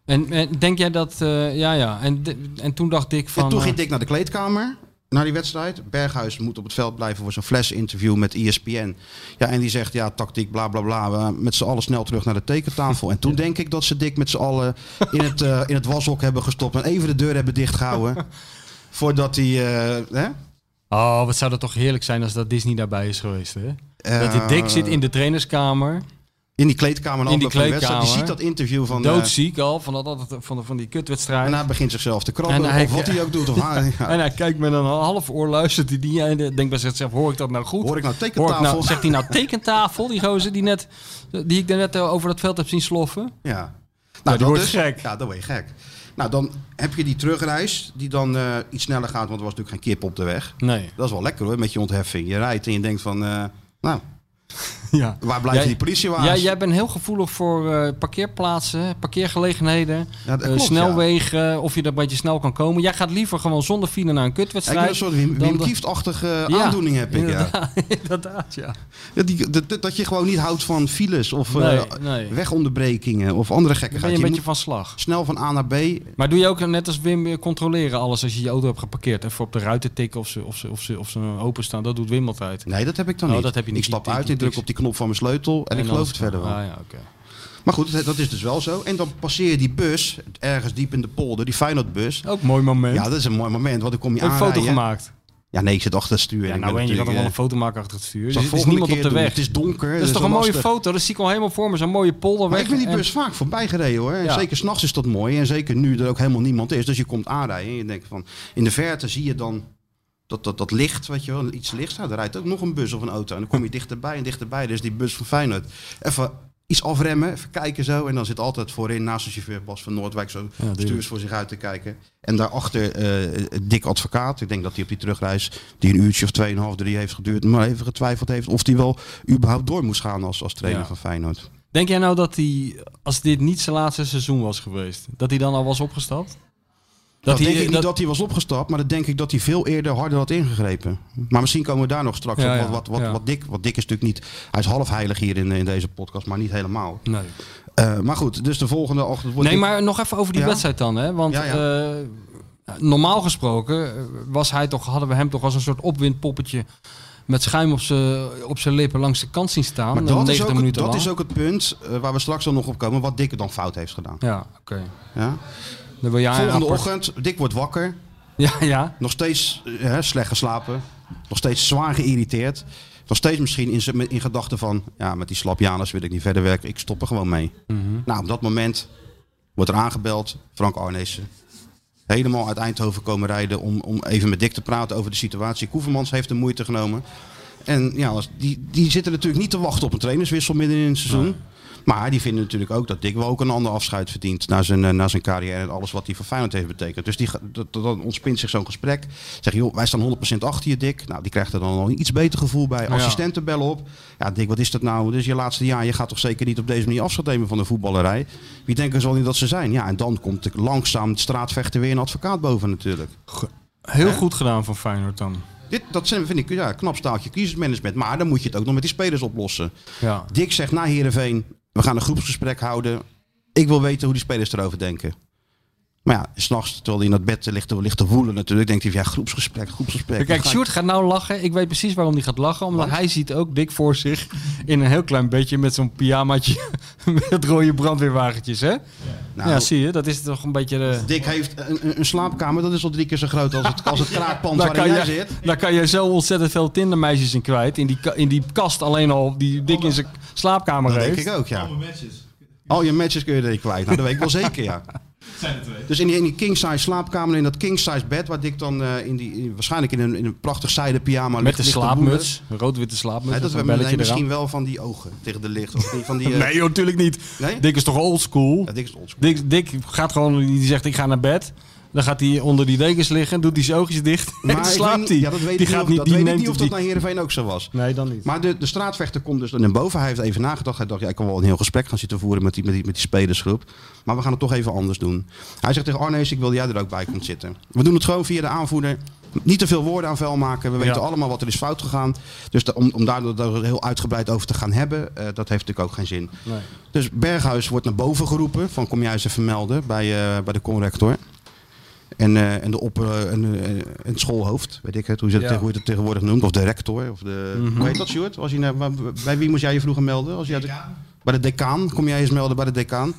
S3: En, en denk jij dat, eh, ja, ja. En, de- en toen dacht ik van...
S2: en toen
S3: eh,
S2: ging Dick naar de kleedkamer. Naar die wedstrijd. Berghuis moet op het veld blijven voor zijn flash-interview met E ESPN. Ja, en die zegt, ja, tactiek, bla bla bla. We met z'n allen snel terug naar de tekentafel. En toen denk ik dat ze Dick met z'n allen in het, eh, in het washok hebben gestopt. En even de deur hebben dichtgehouden. Voordat hij... eh, hè?
S3: Oh, wat zou dat toch heerlijk zijn als dat Disney daarbij is geweest, hè? dat die
S2: Eh,
S3: Dick zit in de trainerskamer,
S2: in die kleedkamer. en
S3: in die
S2: afloop van de wedstrijd. Die ziet
S3: kleedkamer.
S2: dat interview van... eh,
S3: doodziek al, van, dat, dat- van, van die kutwedstrijd.
S2: en hij begint zichzelf te krabben.
S3: En hij-
S2: of wat hij ook doet. Of hij- ja.
S3: En hij kijkt met een half oor, luistert hij die en denkt bij zichzelf, hoor ik dat nou goed?
S2: Hoor ik nou
S3: Hoor ik
S2: tekentafel?
S3: nou, zegt hij nou tekentafel, die gozer die, net, die ik net over dat veld heb zien sloffen?
S2: Ja. Nou,
S3: die
S2: dat
S3: wordt gek.
S2: Ja, dan word je gek. Nou, dan heb je die terugreis die dan eh, iets sneller gaat, want er was natuurlijk geen kip op de weg.
S3: Nee.
S2: Dat is wel lekker hoor, met je ontheffing. Je rijdt en je denkt van, eh, nou,
S3: Ja.
S2: waar blijven
S3: Jij-
S2: die politiewagens?
S3: Ja, jij bent heel gevoelig voor eh, parkeerplaatsen, parkeergelegenheden,
S2: Ja, dat
S3: eh,
S2: klopt, ja.
S3: snelwegen, of je er een beetje snel kan komen. Jij gaat liever gewoon zonder file naar een
S2: Ja, ik ben
S3: kutwedstrijd.
S2: een soort Wim,
S3: dan
S2: Wim
S3: dat-
S2: Kieft-achtige
S3: Ja,
S2: aandoening heb ik. Ja.
S3: Inderdaad, inderdaad, ja.
S2: Ja, die, dat, dat je gewoon niet houdt van files of eh,
S3: Nee, nee.
S2: wegonderbrekingen of andere
S3: Dan ben
S2: gekkigheid.
S3: je een beetje
S2: moet
S3: van slag.
S2: snel van A naar B.
S3: Maar doe je ook net als Wim eh, controleren alles als je je auto hebt geparkeerd? Even op de ruiten tikken of ze, of ze, of ze, of ze openstaan. Dat doet Wim altijd.
S2: Nee, dat heb ik dan
S3: Oh,
S2: niet.
S3: dat heb je niet.
S2: Ik stap
S3: Die- die-
S2: uit, ik
S3: die-
S2: druk op die knop van mijn sleutel en, ik
S3: dan-
S2: geloof het verder wel.
S3: Ah, ja, oké.
S2: Maar goed, dat- dat is dus wel zo. En dan passeer je die bus, ergens diep in de polder, die Feyenoordbus.
S3: Ook een mooi moment.
S2: Ja, dat is een mooi moment, want dan kom je
S3: een
S2: aanrijden.
S3: foto gemaakt.
S2: Ja, nee, ik zit achter het stuur.
S3: Ja,
S2: Ik
S3: nou
S2: ben
S3: en je gaat
S2: natuurlijk,
S3: er wel
S2: eh,
S3: een foto maken achter het
S2: zal
S3: stuur.
S2: ik
S3: Er is- is
S2: volgende
S3: niemand op
S2: keer
S3: de
S2: doen.
S3: weg.
S2: Het is donker.
S3: Dat is toch een mooie
S2: lastig.
S3: foto? Dat zie ik al helemaal voor me. Zo'n mooie polderweg.
S2: Maar ik ben die
S3: En-
S2: bus vaak voorbij gereden hoor. En Zeker s'nachts is dat mooi. En zeker nu er ook helemaal niemand is. Dus je komt aanrijden en je denkt van... In de verte zie je dan dat, dat, dat licht, weet je wel. Iets lichts. Nou, er rijdt ook nog een bus of een auto. En dan kom je dichterbij en dichterbij. Dus die bus van Feyenoord. Even iets afremmen, even kijken zo. En dan zit altijd voorin naast de chauffeur Bas van Noordwijk zo
S3: tuurlijk.
S2: stuurs voor zich uit te kijken. En daarachter eh Dick Advocaat. Ik denk dat hij op die terugreis, die een uurtje of tweeënhalf, drie heeft geduurd, maar even getwijfeld heeft of hij wel überhaupt door moest gaan als, als trainer
S3: Ja.
S2: van Feyenoord.
S3: Denk jij nou dat hij, als dit niet zijn laatste seizoen was geweest, dat hij dan al was opgestapt?
S2: Dat,
S3: hij,
S2: Nou, denk ik niet
S3: dat-
S2: dat hij was opgestapt, maar dat denk ik dat hij veel eerder harder had ingegrepen. Maar misschien komen we daar nog straks
S3: Ja,
S2: op. Wat,
S3: ja,
S2: wat, wat,
S3: ja.
S2: wat, Dick, wat Dick is natuurlijk niet... Hij is half heilig hier in, in deze podcast, maar niet helemaal.
S3: Nee.
S2: Eh, maar goed, dus de volgende... och, dat wordt
S3: nee,
S2: ik-
S3: maar nog even over die
S2: Ja.
S3: wedstrijd dan. Hè? Want
S2: Ja,
S3: eh, normaal gesproken eh, was hij toch, hadden we hem toch als een soort opwindpoppetje met schuim op zijn op zijn lippen langs de kant zien staan.
S2: Maar
S3: eh,
S2: dat,
S3: 90
S2: is ook, het-
S3: minuten
S2: dat
S3: lang.
S2: is ook het punt eh, waar we straks dan nog op komen, wat Dick dan fout heeft gedaan.
S3: Ja, oké.
S2: Ja?
S3: Ah, Dan wil jij een
S2: Volgende
S3: rapport-
S2: ochtend, Dick wordt wakker,
S3: Ja, ja.
S2: nog steeds eh, hè, slecht geslapen, nog steeds zwaar geïrriteerd. Nog steeds misschien in, z'n- in gedachten van, ja, met die slap Janus wil ik niet verder werken, ik stop er gewoon mee. Nou, op dat moment wordt er aangebeld, Frank Arnezen. Helemaal uit Eindhoven komen rijden om, om even met Dick te praten over de situatie. Koevermans heeft de moeite genomen. En ja, als- die, die zitten natuurlijk niet te wachten op een trainerswissel midden in het seizoen. Maar die vinden natuurlijk ook dat Dick wel ook een ander afscheid verdient na zijn, eh, na zijn carrière en alles wat hij voor Feyenoord heeft betekend. Dus die, ga- dat, dat- dan ontspint zich zo'n gesprek. Zeg joh, wij staan 100% achter je Dick. Nou, die krijgt er dan al een iets beter gevoel bij. Assistenten bellen op. Ja Dick, wat is dat nou? Dus je laatste jaar, je gaat toch zeker niet op deze manier afscheid nemen van de voetballerij. Wie denken ze al niet dat ze zijn? Ja, en dan komt de- langzaam het straatvechten weer een advocaat boven natuurlijk.
S3: Heel goed gedaan van Feyenoord dan.
S2: Dit, dat zijn, vind ik ja, knap staaltje crisismanagement. Maar dan moet je het ook nog met die spelers oplossen.
S3: Ja.
S2: Dick zegt na Heerenveen, we gaan een groepsgesprek houden. Ik wil weten hoe die spelers erover denken. Maar ja, s'nachts, terwijl hij in dat bed ligt, te- ligt te woelen natuurlijk, denkt hij van ja, groepsgesprek, groepsgesprek.
S3: Kijk,
S2: Wat ga
S3: Sjoerd gaat nou lachen. Ik weet precies waarom hij gaat lachen. Omdat hij ziet ook dik voor zich in een heel klein beetje met zo'n pyjamaatje met rode brandweerwagentjes, hè?
S2: ik- Nou,
S3: ja, zie je. Dat is toch een beetje de...
S2: Dick heeft een, een- een slaapkamer, dat is al drie keer zo groot als het, als het kraakpand
S3: Daar
S2: waarin
S3: Nou, kan,
S2: jij
S3: je,
S2: zit.
S3: daar kan je zo ontzettend veel Tindermeisjes in kwijt. In die, ka- in die kast alleen al die dik in zijn slaapkamer
S2: Dat denk
S3: heeft.
S2: ik ook, ja.
S4: Allemaal matches.
S2: Al je matches kun je er kwijt. Nou, dat weet ik wel zeker, ja.
S4: Het zijn er twee.
S2: Dus in die, in die king-size slaapkamer, in dat king-size bed, waar Dick dan eh, in die, in- waarschijnlijk in een, in een prachtig zijde pyjama
S3: Met
S2: ligt,
S3: een
S2: ligt te
S3: slaapmuts. Een rood-witte
S2: woelen.
S3: slaapmuts.
S2: Hè,
S3: met
S2: dat
S3: een
S2: we nee,
S3: belletje
S2: misschien
S3: eraan.
S2: wel van die ogen tegen de licht. Of die, van die, eh,
S3: Nee, joh, natuurlijk niet.
S2: Nee?
S3: Dick is toch oldschool?
S2: Ja, Dick is oldschool.
S3: Dick, Dick gaat gewoon, die zegt ik ga naar bed. Dan gaat hij onder die dekens liggen, doet hij zijn oogjes dicht en
S2: ik
S3: slaapt
S2: weet
S3: hij.
S2: niet- Ja, dat weet,
S3: die
S2: ik, niet
S3: gaat
S2: of, dat weet ik niet of dat
S3: die-
S2: naar Heerenveen ook zo was.
S3: Nee, dan niet.
S2: Maar de, de straatvechter komt dus naar boven. Hij heeft even nagedacht. Hij dacht, ja, ik kan wel een heel gesprek gaan zitten voeren met die, met die, met die spelersgroep. Maar we gaan het toch even anders doen. Hij zegt tegen Arnees, ik wil dat jij er ook bij komt zitten. We doen het gewoon via de aanvoerder. Niet te veel woorden aan vuil maken. We weten allemaal wat er is fout gegaan. Dus da- om, om daar daar heel uitgebreid over te gaan hebben, eh, dat heeft natuurlijk ook geen zin. Dus Berghuis wordt naar boven geroepen. Van kom jij eens even melden bij, eh, bij de conrector. En, eh, en de op, eh, en, eh, en het schoolhoofd, weet ik het, hoe je dat,
S3: Ja.
S2: tegen- hoe je dat tegenwoordig noemt. Of de rector. Of de, Hoe heet dat, Sjoerd? Als je, naar- waar- bij wie moest jij je vroeger melden? Als je uit de- bij de decaan. Kom jij eens melden bij de decaan?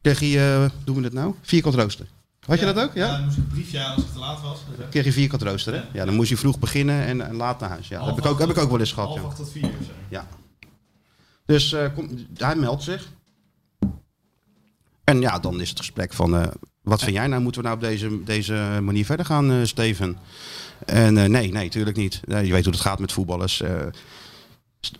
S2: Kreeg je, eh, doen we dat nou? Vierkant rooster. Had je dat ook?
S4: Ja,
S2: Ja?
S4: dan moest ik een briefje aan als ik te laat was. Dus, hè.
S2: Kreeg je vierkant rooster, hè? Ja, dan moest je vroeg beginnen en, en laat naar huis. Ja, dat heb ik ook, heb ik ook wel eens gehad,
S4: Half
S2: ja.
S4: acht tot vier of zo.
S2: Ja. Dus eh, kom, hij meldt zich. En ja, dan is het gesprek van... eh, wat vind jij nou? Moeten we nou op deze, deze manier verder gaan, eh, Steven? En eh, nee, nee, tuurlijk niet. Nee, je weet hoe het gaat met voetballers. eh.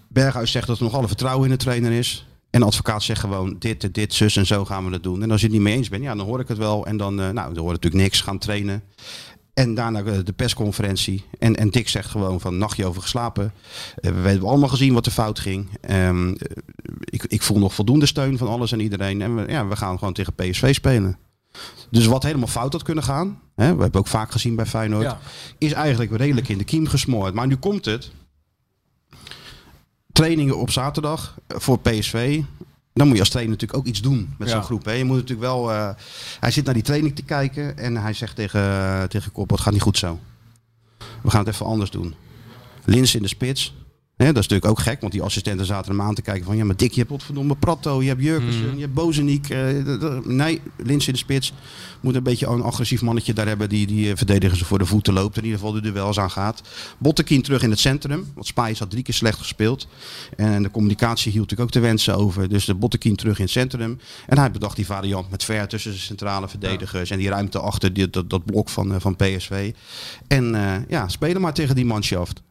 S2: Berghuis zegt dat er nog alle vertrouwen in de trainer is. En de advocaat zegt gewoon dit, eh, dit, dit, zus en zo gaan we dat doen. En als je het niet mee eens bent, ja, dan hoor ik het wel. En dan, eh, nou, dan hoor ik natuurlijk niks. Gaan trainen. En daarna eh, de persconferentie. En, en Dick zegt gewoon van nachtje over geslapen. Eh, we hebben allemaal gezien wat er fout ging. Ehm, eh, ik, ik voel nog voldoende steun van alles en iedereen. En we, ja, we gaan gewoon tegen PSV spelen. Dus wat helemaal fout had kunnen gaan. Hè, we hebben ook vaak gezien bij Feyenoord
S3: Ja.
S2: is eigenlijk redelijk in de kiem gesmoord. Maar nu komt het. Trainingen op zaterdag eh, voor PSV. Dan moet je als trainer natuurlijk ook iets doen met
S3: Ja.
S2: zo'n groep. Hè. Je moet natuurlijk wel. eh, hij zit naar die training te kijken en hij zegt tegen, tegen Kop, het gaat niet goed zo. We gaan het even anders doen. Lins in de spits. Hè, dat is natuurlijk ook gek, want die assistenten zaten hem aan te kijken van ja, maar Dick, je hebt potverdomme Pratto, je hebt Jurkensen, je hebt Bozeniek. eh, d- d- nee, Lins in de spits moet een beetje een agressief mannetje daar hebben die, die eh, verdedigers voor de voeten loopt. In ieder geval de duels aangaat. Bottekien terug in het centrum, want Spijs had drie keer slecht gespeeld. En de communicatie hield natuurlijk ook te wensen over. Dus de Bottekien terug in het centrum. En hij bedacht die variant met ver tussen de centrale verdedigers en die ruimte achter die, dat, dat blok van, eh, van PSV. En eh, ja, spelen maar tegen die manschaft.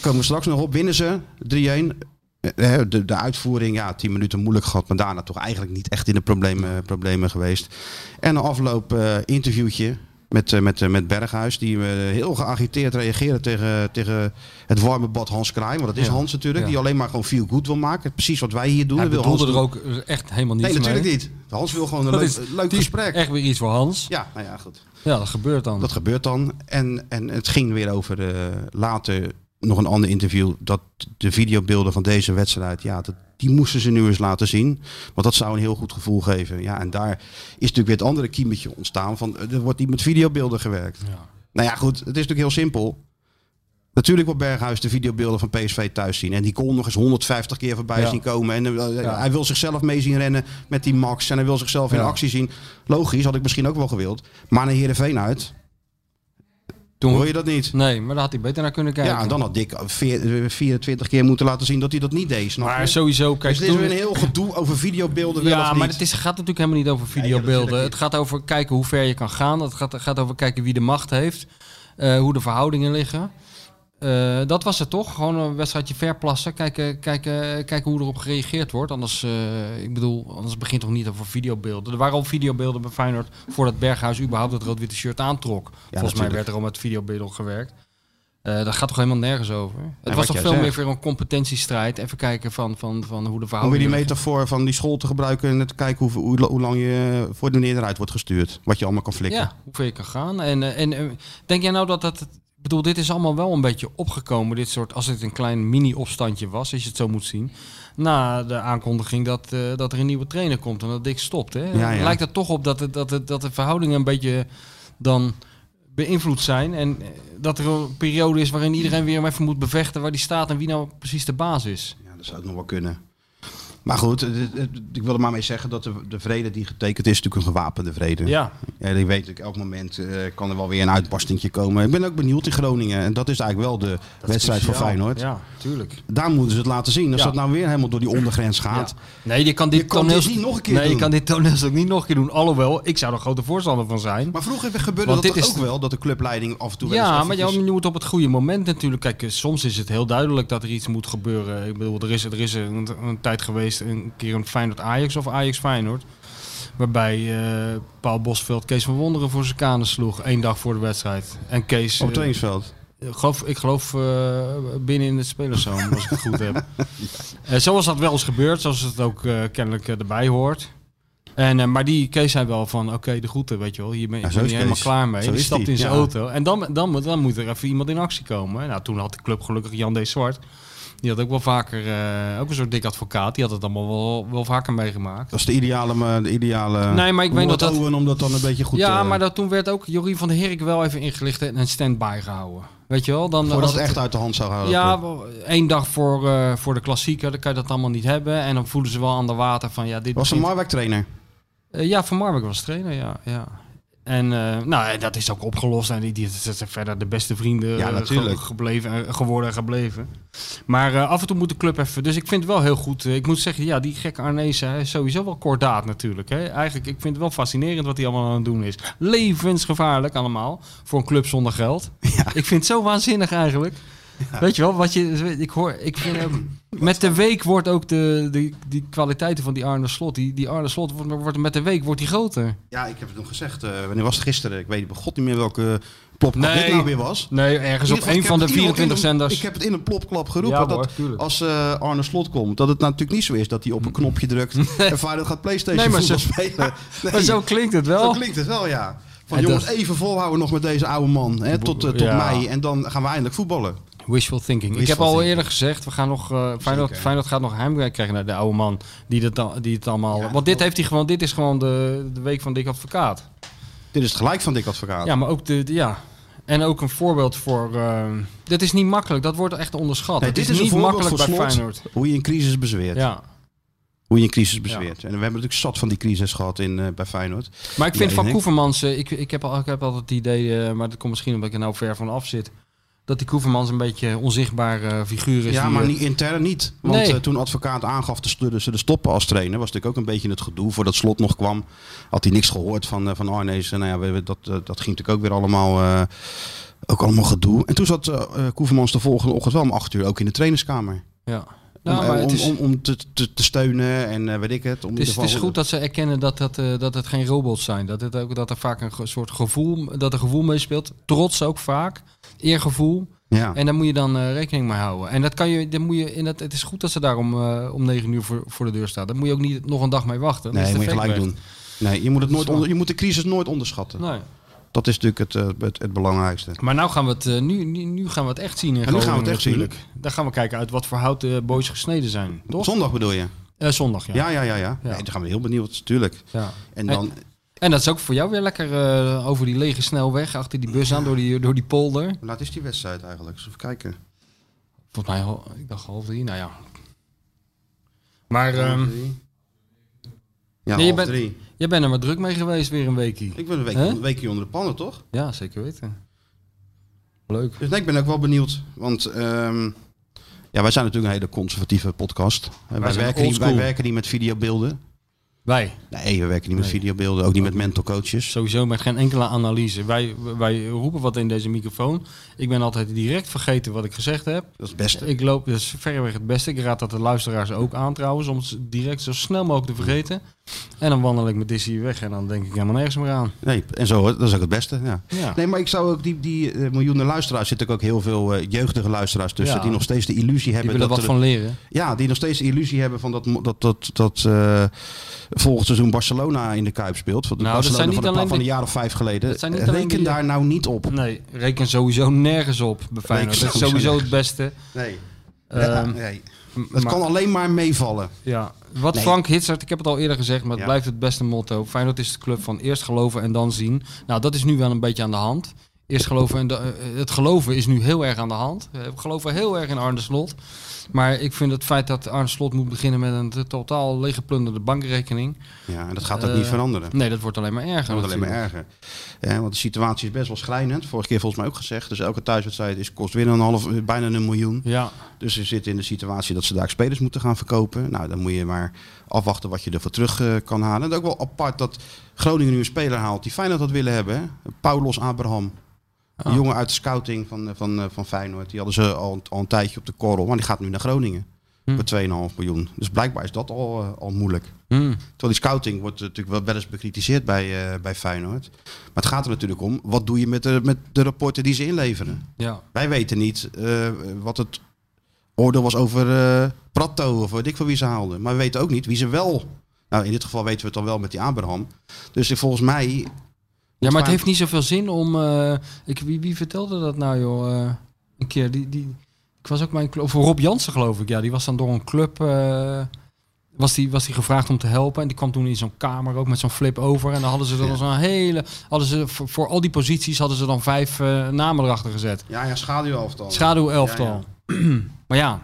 S2: Komen we straks nog op, winnen ze 3-1. eh, de, de uitvoering, ja, 10 minuten moeilijk gehad, maar daarna toch eigenlijk niet echt in de problemen, eh, problemen geweest. En een afloop eh, interviewtje met, eh, met, eh, met Berghuis, die eh, heel geagiteerd reageerde tegen, tegen het warme bad Hans Kraai. Want dat is
S3: Ja,
S2: Hans natuurlijk,
S3: ja.
S2: die alleen maar gewoon veel goed wil maken. Precies wat wij hier doen.
S3: Hij
S2: dat wil
S3: bedoelde
S2: Hans
S3: er
S2: doen.
S3: ook echt helemaal niets
S2: Nee,
S3: mee.
S2: natuurlijk niet. Hans wil gewoon een
S3: Dat
S2: leuk,
S3: is-
S2: leuk
S3: die is
S2: gesprek.
S3: Echt weer iets voor Hans.
S2: Ja, nou ja, goed.
S3: Ja, dat gebeurt dan.
S2: Dat gebeurt dan. En, en het ging weer over eh, later nog een ander interview. Dat de videobeelden van deze wedstrijd, ja, dat, die moesten ze nu eens laten zien. Want dat zou een heel goed gevoel geven. Ja, en daar is natuurlijk weer het andere kiemetje ontstaan. Van, eh, er wordt niet met videobeelden gewerkt.
S3: Ja.
S2: Nou ja, goed, het is natuurlijk heel simpel. Natuurlijk wil Berghuis de videobeelden van PSV thuis zien. En die kon nog eens 150 keer voorbij
S3: Ja.
S2: zien komen. En eh,
S3: Ja.
S2: hij wil zichzelf mee zien rennen met die Max. En hij wil zichzelf in
S3: Ja.
S2: actie zien. Logisch, had ik misschien ook wel gewild. Maar naar Heerenveen uit,
S3: Toen-
S2: hoor je dat niet?
S3: Nee, maar daar had hij beter naar kunnen kijken.
S2: Ja, en dan had Dick veer- eh, 24 keer moeten laten zien dat hij dat niet deed. Snap je?
S3: Maar sowieso, kijk,
S2: dus dit is
S3: toen-
S2: weer een heel gedoe over videobeelden wel
S3: Ja,
S2: of
S3: maar
S2: niet.
S3: het is, gaat natuurlijk helemaal niet over videobeelden.
S2: natuurlijk
S3: het gaat over kijken hoe ver je kan gaan. Het gaat, gaat over kijken wie de macht heeft. eh, hoe de verhoudingen liggen. Eh, dat was het toch? Gewoon een wedstrijdje verplassen. Kijken, kijken, kijken hoe erop gereageerd wordt. Anders, eh, ik bedoel, anders begint het toch niet over videobeelden. Er waren al videobeelden bij Feyenoord voordat Berghuis überhaupt dat rood-witte shirt aantrok. Volgens mij
S2: natuurlijk.
S3: werd er al met videobeelden gewerkt. Eh dat gaat toch helemaal nergens over? Het
S2: wat
S3: was toch
S2: jij
S3: veel meer
S2: zegt.
S3: voor een competentiestrijd. Even kijken van, van, van hoe de
S2: Om weer
S3: verhoudingen...
S2: die metafoor van die school te gebruiken en te kijken hoe, hoe, hoe lang je eh, voor de meneer eruit wordt gestuurd. Wat je allemaal kan flikken.
S3: Ja, hoe ver je kan gaan. En, eh, en eh, denk jij nou dat dat... Ik bedoel, dit is allemaal wel een beetje opgekomen. Dit soort, als het een klein mini-opstandje was, als je het zo moet zien. Na de aankondiging dat, eh, dat er een nieuwe trainer komt en dat Dick stopt. Hè?
S2: Ja, ja.
S3: Lijkt het toch op dat, het, dat, het, dat de verhoudingen een beetje dan beïnvloed zijn. En eh, dat er een periode is waarin iedereen weer hem even moet bevechten waar die staat en wie nou precies de baas is.
S2: Ja, dat zou ook nog wel kunnen. Maar goed, het- het- het- ik wil er maar mee zeggen dat de, de vrede die getekend is, is natuurlijk een gewapende vrede.
S3: Ja,
S2: Ja, ik weet ik, elk moment eh, kan er wel weer een uitbarstingje komen. Ik ben ook benieuwd in Groningen. En dat is eigenlijk wel de wedstrijd van Feyenoord.
S3: ja, tuurlijk.
S2: Daar moeten ze het laten zien. Als
S3: Ja.
S2: dat nou weer helemaal door die ondergrens gaat.
S3: Nee, je kan dit,
S2: Je kan dit
S3: toneelstuk-
S2: niet nog een keer
S3: nee, je
S2: doen.
S3: kan dit toneelstuk niet nog een keer doen. Alhoewel, ik zou er grote voorstander van zijn.
S2: Maar vroeger gebeurde
S3: Want
S2: dat
S3: dit
S2: toch
S3: is-
S2: ook wel, dat de clubleiding af en toe wel
S3: ja,
S2: eens
S3: maar
S2: eventjes-
S3: je, je moet op het goede moment natuurlijk. Kijk, eh, soms is het heel duidelijk dat er iets moet gebeuren. Ik bedoel, er is, er is een, een tijd geweest, een keer een Feyenoord-Ajax of Ajax-Feyenoord. Waarbij eh, Paul Bosveld Kees van Wonderen voor zijn kanen sloeg. één dag voor de wedstrijd. En Kees...
S2: op
S3: eh,
S2: het trainingsveld.
S3: ik geloof, ik geloof eh, binnen in het spelerszoon, als ik het goed heb. Eh, zoals dat wel eens gebeurt, zoals het ook eh, kennelijk eh, erbij hoort. En, eh, maar die Kees zei wel van, oké, de groeten, weet je wel. Hier ben, ik
S2: Ja, zo
S3: ben
S2: is
S3: niet helemaal
S2: Kees.
S3: klaar mee.
S2: Zo
S3: die
S2: is
S3: stapt
S2: die,
S3: in zijn
S2: ja.
S3: auto. En dan, dan, moet- dan moet er even iemand in actie komen. Nou, toen had de club gelukkig Jan D. Zwart. Die had ook wel vaker, eh, ook een soort dik advocaat. Die had het allemaal wel, wel vaker meegemaakt.
S2: Dat is de ideale... eh, De ideale
S3: Nee, maar ik weet
S2: Robert
S3: dat dat-
S2: Owen, om dat dan een beetje goed
S3: ja,
S2: eh,
S3: maar dat, toen werd ook Jorie van der Herik wel even ingelicht en een stand-by gehouden. Weet je wel? Dan,
S2: Voordat
S3: als
S2: het echt uit de hand zou houden.
S3: Ja, wel, één dag voor, eh, voor de klassieker, dan kan je dat allemaal niet hebben. En dan voelen ze wel aan de water van ja, dit
S2: was een
S3: begint-
S2: Marwijk trainer.
S3: Eh, ja, Van Marwijk was trainer, ja. ja. En eh, nou, eh, dat is ook opgelost. En die, die die zijn verder de beste vrienden
S2: Ja,
S3: eh,
S2: natuurlijk.
S3: ge- gebleven, eh, geworden en gebleven. Maar eh, af en toe moet de club even... Dus ik vind het wel heel goed. eh, ik moet zeggen, ja, die gekke Arnezen hij is sowieso wel kordaat natuurlijk. Hè. Eigenlijk, ik vind het wel fascinerend wat hij allemaal aan het doen is. Levensgevaarlijk allemaal. Voor een club zonder geld. Ik vind het zo waanzinnig eigenlijk. Weet je wel, wat je, ik hoor, ik vind, eh, met de week wordt ook de, de die kwaliteiten van die Arne Slot, die, die Arne Slot wordt, wordt met de week wordt die groter.
S2: Ja, ik heb het nog gezegd. eh, wanneer was het gisteren? Ik weet bij god niet meer welke plopkap
S3: Nee.
S2: dit nou weer was.
S3: Nee, ergens op
S2: In ieder
S3: een
S2: geval,
S3: van de
S2: ik heb het in
S3: 24
S2: een-
S3: zenders.
S2: Ik heb het in een plopklap geroepen.
S3: Ja,
S2: dat
S3: hoor, tuurlijk.
S2: als eh, Arne Slot komt, dat het nou natuurlijk niet zo is dat hij op een knopje drukt en Feyenoord gaat Playstation
S3: Nee, maar
S2: voetbal
S3: zo-
S2: spelen. Nee,
S3: Maar zo klinkt het wel.
S2: zo klinkt het wel, ja. Van
S3: En
S2: jongens,
S3: dat-
S2: even volhouden nog met deze oude man hè, tot, eh, tot
S3: Ja.
S2: mei en dan gaan we eindelijk voetballen.
S3: Wishful thinking. ik heb
S2: Wishful
S3: al
S2: thinking.
S3: eerder gezegd, we gaan nog, eh Feyenoord,
S2: Zeker.
S3: Feyenoord gaat nog heimwerk krijgen naar de oude man die, dat, dan- die het allemaal... want dit, heeft hij gewoon, dit is gewoon de, de week van Dick Advocaat.
S2: Dit is het gelijk van Dick Advocaat.
S3: Ja, maar ook de, de- ja. En ook een voorbeeld voor. eh, dit is niet makkelijk. Dat wordt echt onderschat.
S2: Nee,
S3: Het is, niet
S2: voorbeeld
S3: makkelijk bij
S2: voor Slot,
S3: Feyenoord.
S2: Hoe je een crisis bezweert.
S3: Ja.
S2: Hoe je een crisis bezweert. En we hebben natuurlijk zat van die crisis gehad in, eh, bij Feyenoord.
S3: Maar ik vind
S2: Ja,
S3: van
S2: ik-
S3: Koevermans. eh, ik, ik, heb al, ik heb altijd het idee, eh, maar dat komt misschien omdat ik er nou ver van af zit. Dat die Koevermans een beetje een onzichtbare eh, figuur is.
S2: Ja,
S3: die,
S2: maar
S3: eh,
S2: niet, intern niet. Want
S3: Nee.
S2: eh, toen advocaat aangaf te stu- ze te stoppen als trainer, was natuurlijk ook een beetje het gedoe. Voordat Slot nog kwam, had hij niks gehoord van, eh, van Arnees. En nou ja, we- we- dat, eh, dat ging natuurlijk ook weer allemaal, eh, ook allemaal gedoe. En toen zat eh eh, Koevermans de volgende ochtend wel om acht uur ook in de trainingskamer.
S3: Ja. Nou,
S2: om,
S3: maar
S2: eh,
S3: het
S2: om,
S3: is-
S2: om, om te, te, te steunen en eh, weet ik het. Om in
S3: Het is,
S2: ieder
S3: het is
S2: geval-
S3: goed dat ze erkennen dat, dat, eh, dat het geen robots zijn. Dat, het ook, dat er vaak een ge- soort gevoel, dat er gevoel meespeelt. Trots ook vaak. Eergevoel.
S2: Ja.
S3: En daar moet je dan eh, rekening mee houden. En dat kan je, dat moet je in dat, het is goed dat ze daarom eh, om 9 uur voor, voor de deur staat. Daar moet je ook niet nog een dag mee wachten.
S2: nee,
S3: Dan is de
S2: moet je
S3: effect
S2: gelijk
S3: weg.
S2: doen. Nee, je moet, het nooit
S3: Zo.
S2: onder, je moet de crisis nooit onderschatten.
S3: Nee.
S2: Dat is natuurlijk het, eh, het, het belangrijkste.
S3: Maar nou gaan we het, eh, nu, nu, nu gaan we het echt zien. in
S2: En nu gaan we het
S3: Groningen
S2: echt zien.
S3: natuurlijk. Dan gaan we kijken uit wat voor hout de boys gesneden zijn. Toch?
S2: Zondag bedoel je?
S3: Eh, zondag, ja.
S2: Ja, ja, ja. ja,
S3: Ja.
S2: Nee, dan gaan we heel benieuwd, tuurlijk.
S3: Ja.
S2: En dan,
S3: En dat is ook voor jou weer lekker eh, over die lege snelweg, achter die bus aan, door die, door die polder.
S2: hoe laat is die wedstrijd eigenlijk? Eens Even kijken.
S3: Volgens mij, hal- ik dacht half drie, nou ja. Maar ehm,
S2: ja,
S3: nee, je
S2: half
S3: bent-
S2: drie.
S3: jij bent er maar druk mee geweest weer een weekie.
S2: Ik ben een weekje,
S3: Hè?
S2: een weekje onder de pannen, toch?
S3: Ja, zeker weten. Leuk.
S2: Dus nee, ik ben ook wel benieuwd. Want ehm, ja, wij zijn natuurlijk een hele conservatieve podcast. Wij,
S3: zijn
S2: werken niet, wij
S3: oldschool.
S2: werken niet met videobeelden.
S3: Wij,
S2: Nee, we werken niet met
S3: Nee.
S2: videobeelden. Ook niet met mental coaches.
S3: sowieso met geen enkele analyse. Wij, wij roepen wat in deze microfoon. Ik ben altijd direct vergeten wat ik gezegd heb.
S2: Dat is het beste.
S3: Ik loop, dat is verreweg het beste. Ik raad dat de luisteraars ook aan trouwens, om het direct zo snel mogelijk te vergeten. En dan wandel ik met Dizzy hier weg en dan denk ik helemaal nergens meer aan.
S2: Nee, en zo, dat is ook het beste. Ja.
S3: Ja.
S2: Nee, maar ik zou ook die, die eh, miljoenen luisteraars, zitten ook heel veel eh, jeugdige luisteraars tussen,
S3: Ja.
S2: die nog steeds de illusie
S3: Die
S2: hebben
S3: willen wat
S2: er-
S3: van leren.
S2: Ja, die nog steeds de illusie hebben van dat, mo- dat, dat, dat eh, volgend seizoen Barcelona in de Kuip speelt. Van de
S3: Nou, dat
S2: Barcelona
S3: zijn niet
S2: van, een paar,
S3: alleen
S2: van een
S3: die-
S2: jaar of vijf geleden.
S3: dat zijn niet alleen
S2: Reken
S3: die-
S2: daar nou niet op.
S3: Nee, reken sowieso nergens op bij Feyenoord. Dat is
S2: sowieso
S3: sowieso het beste.
S2: Nee.
S3: Ehm,
S2: nee.
S3: m-
S2: Dat
S3: maar-
S2: kan alleen maar meevallen.
S3: Ja, wat
S2: Nee.
S3: Frank Hitsert, ik heb het al eerder gezegd, maar het
S2: Ja.
S3: blijft het beste motto. Feyenoord is de club van eerst geloven en dan zien. Nou, dat is nu wel een beetje aan de hand. Eerst geloven en da- eh, het geloven is nu heel erg aan de hand. Eh, We geloven heel erg in Arne Slot. Maar ik vind het feit dat Arne Slot moet beginnen met een t- totaal leeggeplunderde bankrekening.
S2: Ja, en dat gaat ook niet
S3: Eh,
S2: veranderen.
S3: Nee, dat wordt alleen maar erger.
S2: Dat wordt alleen maar
S3: natuurlijk.
S2: erger. Ja, want de situatie is best wel schrijnend. Vorige keer volgens mij ook gezegd. Dus elke thuiswedstrijd is, kost weer een half, eh, bijna een miljoen.
S3: Ja,
S2: Dus ze zitten in de situatie dat ze daar spelers moeten gaan verkopen. Nou, dan moet je maar afwachten wat je ervoor terug eh, kan halen. En ook wel apart dat Groningen nu een speler haalt die Feyenoord had willen hebben. hè. Paulos Abraham. Een
S3: Ah.
S2: jongen uit de scouting van, eh, van, eh, van Feyenoord. Die hadden ze al, een- al een tijdje op de korrel. Maar die gaat nu naar Groningen.
S3: Hm.
S2: Voor 2,5 miljoen. Dus blijkbaar is dat al, eh, al moeilijk.
S3: Hm.
S2: Terwijl die scouting wordt eh, natuurlijk wel, wel eens bekritiseerd bij, eh, bij Feyenoord. Maar het gaat er natuurlijk om, wat doe je met de, met de rapporten die ze inleveren?
S3: ja.
S2: Wij weten niet eh, wat het oordeel was over eh Pratto of weet ik van wie ze haalden. Maar we weten ook niet wie ze wel... Nou, in dit geval weten we het dan wel met die Abraham. Dus eh, volgens mij...
S3: ja, maar
S2: Feyenoord-
S3: het heeft niet zoveel zin om... eh, ik, wie, wie vertelde dat nou, joh? eh, een keer, die, die, ik was ook mijn club... Of Rob Jansen, geloof ik. Ja, die was dan door een club... eh, was die, was die gevraagd om te helpen. En die kwam toen in zo'n kamer ook met zo'n flip over. En dan hadden ze dan
S2: Ja.
S3: zo'n hele... Hadden ze, voor, voor al die posities hadden ze dan vijf eh, namen erachter gezet.
S2: Ja, ja, schaduwelftal.
S3: Schaduw-elftal.
S2: Ja,
S3: maar ja,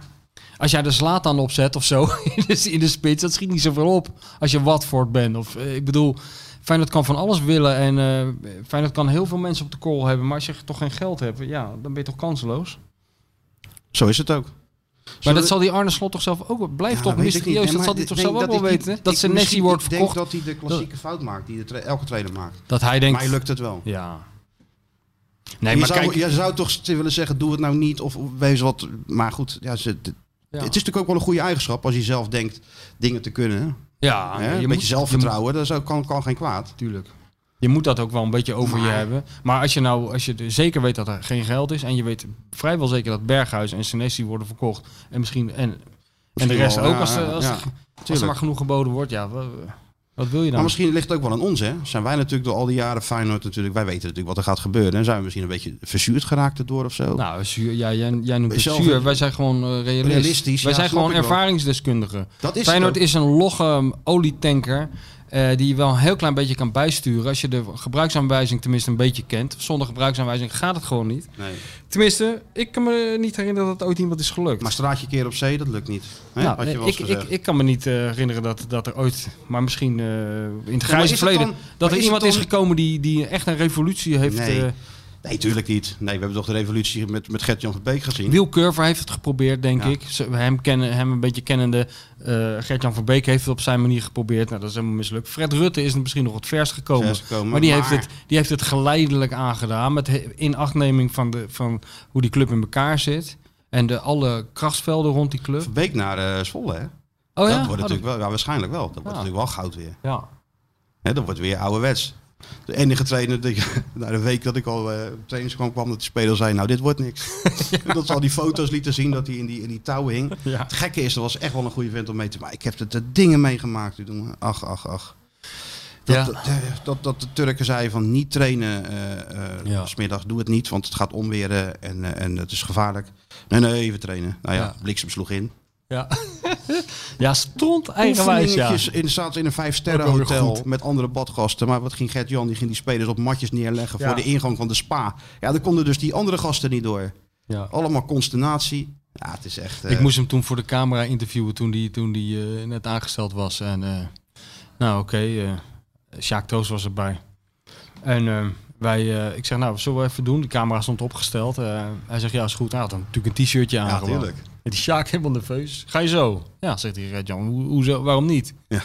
S3: als jij de slaat dan opzet of zo in de, in de spits, dat schiet niet zoveel op als je Watford bent. Of, eh, ik bedoel, Feyenoord kan van alles willen en eh Feyenoord kan heel veel mensen op de call hebben. Maar als je toch geen geld hebt, ja, dan ben je toch kanseloos.
S2: Zo is het ook.
S3: Maar
S2: Zullen
S3: dat
S2: we-
S3: zal die Arne Slot toch zelf ook... Blijft
S2: Ja,
S3: toch
S2: weet ik niet.
S3: mysterieus,
S2: Nee,
S3: dat
S2: maar
S3: zal hij
S2: ik
S3: toch
S2: denk
S3: zelf ook wel
S2: hij-
S3: weten.
S2: ik-
S3: Dat zijn
S2: misschien-
S3: Nessie wordt
S2: Ik denk
S3: verkocht. Dat,
S2: dat hij de klassieke fout maakt die de tra- elke trainer maakt.
S3: hij denkt...
S2: Mij lukt het wel.
S3: Ja. Nee,
S2: je,
S3: maar
S2: zou,
S3: kijk...
S2: je zou toch willen zeggen, doe het nou niet of wees wat... Maar goed, ja, ze, het
S3: ja.
S2: is natuurlijk ook wel een goede eigenschap als je zelf denkt dingen te kunnen.
S3: Ja,
S2: hè?
S3: je
S2: Een beetje
S3: moet- je moet-
S2: zelfvertrouwen, dat is ook- kan, kan geen kwaad.
S3: Tuurlijk. Je moet dat ook wel een beetje over je hebben. Maar als je nou, als je de- zeker weet dat er geen geld is en je weet vrijwel zeker dat Berghuis en Senesi worden verkocht en misschien en, en de
S2: Misschien
S3: rest
S2: wel,
S3: ook
S2: ja,
S3: als, er- als, er-
S2: ja,
S3: als er
S2: tuurlijk.
S3: maar genoeg geboden wordt, ja, wa- wat wil je dan?
S2: Maar misschien ligt het ook wel aan ons, hè? Zijn wij natuurlijk door al die jaren Feyenoord natuurlijk... Wij weten natuurlijk wat er gaat gebeuren. En zijn we misschien een beetje verzuurd geraakt erdoor of zo.
S3: nou, zuur, ja, jij, jij noemt het
S2: Zelf-
S3: zuur. Wij zijn gewoon eh, realist.
S2: Realistisch,
S3: Wij
S2: ja, snap
S3: zijn gewoon
S2: ik wel.
S3: ervaringsdeskundigen.
S2: dat is
S3: Feyenoord
S2: het ook.
S3: is een logge um, olietanker eh, die je wel een heel klein beetje kan bijsturen. Als je de gebruiksaanwijzing tenminste een beetje kent. Zonder gebruiksaanwijzing gaat het gewoon niet.
S2: Nee.
S3: Tenminste, ik kan me niet herinneren dat het ooit iemand is gelukt.
S2: Maar straatje keer op zee, dat lukt niet. Hè?
S3: Nou,
S2: Had je
S3: nee,
S2: wel eens
S3: ik,
S2: gezegd.
S3: ik, ik kan me niet eh, herinneren dat, dat er ooit, maar misschien eh, in het
S2: maar is
S3: grijze
S2: het
S3: verleden,
S2: dan- maar
S3: dat
S2: is
S3: er
S2: het
S3: iemand
S2: dan-
S3: is gekomen die, die echt een revolutie heeft.
S2: Nee.
S3: eh,
S2: Nee, tuurlijk niet. Nee, we hebben toch de revolutie met, met Gert-Jan van Beek gezien.
S3: Wiel Curver heeft het geprobeerd, denk
S2: Ja.
S3: ik. Ze- Hem, kennen, hem een beetje kennende. eh Gert-Jan van Beek heeft het op zijn manier geprobeerd. Nou, dat is helemaal mislukt. Fred Rutte is misschien nog het verst gekomen.
S2: Verst gekomen,
S3: maar die,
S2: maar-
S3: Heeft het, die heeft het geleidelijk aangedaan. Met he- inachtneming van, de, van hoe die club in elkaar zit. En de, alle krachtsvelden rond die club.
S2: Van Beek naar eh, Zwolle, hè?
S3: Oh Ah.
S2: dat
S3: ja?
S2: wordt
S3: Oh,
S2: natuurlijk wel, ja, waarschijnlijk wel. Dat wordt
S3: Ja.
S2: natuurlijk wel goud weer.
S3: Ja.
S2: Hè, dat wordt weer ouderwets. De enige trainer, die, na de week dat ik al eh, op trainingskamp kwam, dat de speler zei, nou dit wordt niks. Dat ze al die foto's lieten zien, dat hij in die, in die touw hing.
S3: Ja.
S2: Het gekke is, dat was echt wel een goede vent om mee te maken. Ik heb er de dingen meegemaakt. die doen. Ach, ach, ach. Dat,
S3: Ja.
S2: dat, eh, dat, dat de Turken zeiden van niet trainen eh, eh,
S3: Ja.
S2: smiddag, doe het niet, want het gaat onweren en, eh, en het is gevaarlijk. Nee, nee, we trainen. Nou ja,
S3: Ja.
S2: bliksem sloeg in.
S3: Ja, ja stront eigenwijs, ja.
S2: Oefeningetjes in, zaten in een vijfsterren
S3: Ook wel weer
S2: hotel
S3: goed.
S2: met andere badgasten. Maar wat ging Gert-Jan? Die ging die spelers op matjes neerleggen
S3: Ja.
S2: voor de ingang van de spa. Ja, dan konden dus die andere gasten niet door.
S3: ja.
S2: Allemaal consternatie. Ja, het is echt... eh,
S3: Ik moest hem toen voor de camera interviewen toen die, toen die eh, net aangesteld was. En eh, nou oké, eh Sjaak Toos was erbij. En eh, wij, eh, ik zeg nou, zullen we even doen? De camera stond opgesteld. Eh, hij zegt ja, is goed. Hij had dan natuurlijk een t-shirtje aan.
S2: ja,
S3: gewoon.
S2: natuurlijk.
S3: En Die Sjaak helemaal nerveus. Ga je zo? Ja, zegt hij, Red Jan, hoe- hoezo, waarom niet?
S2: Ja.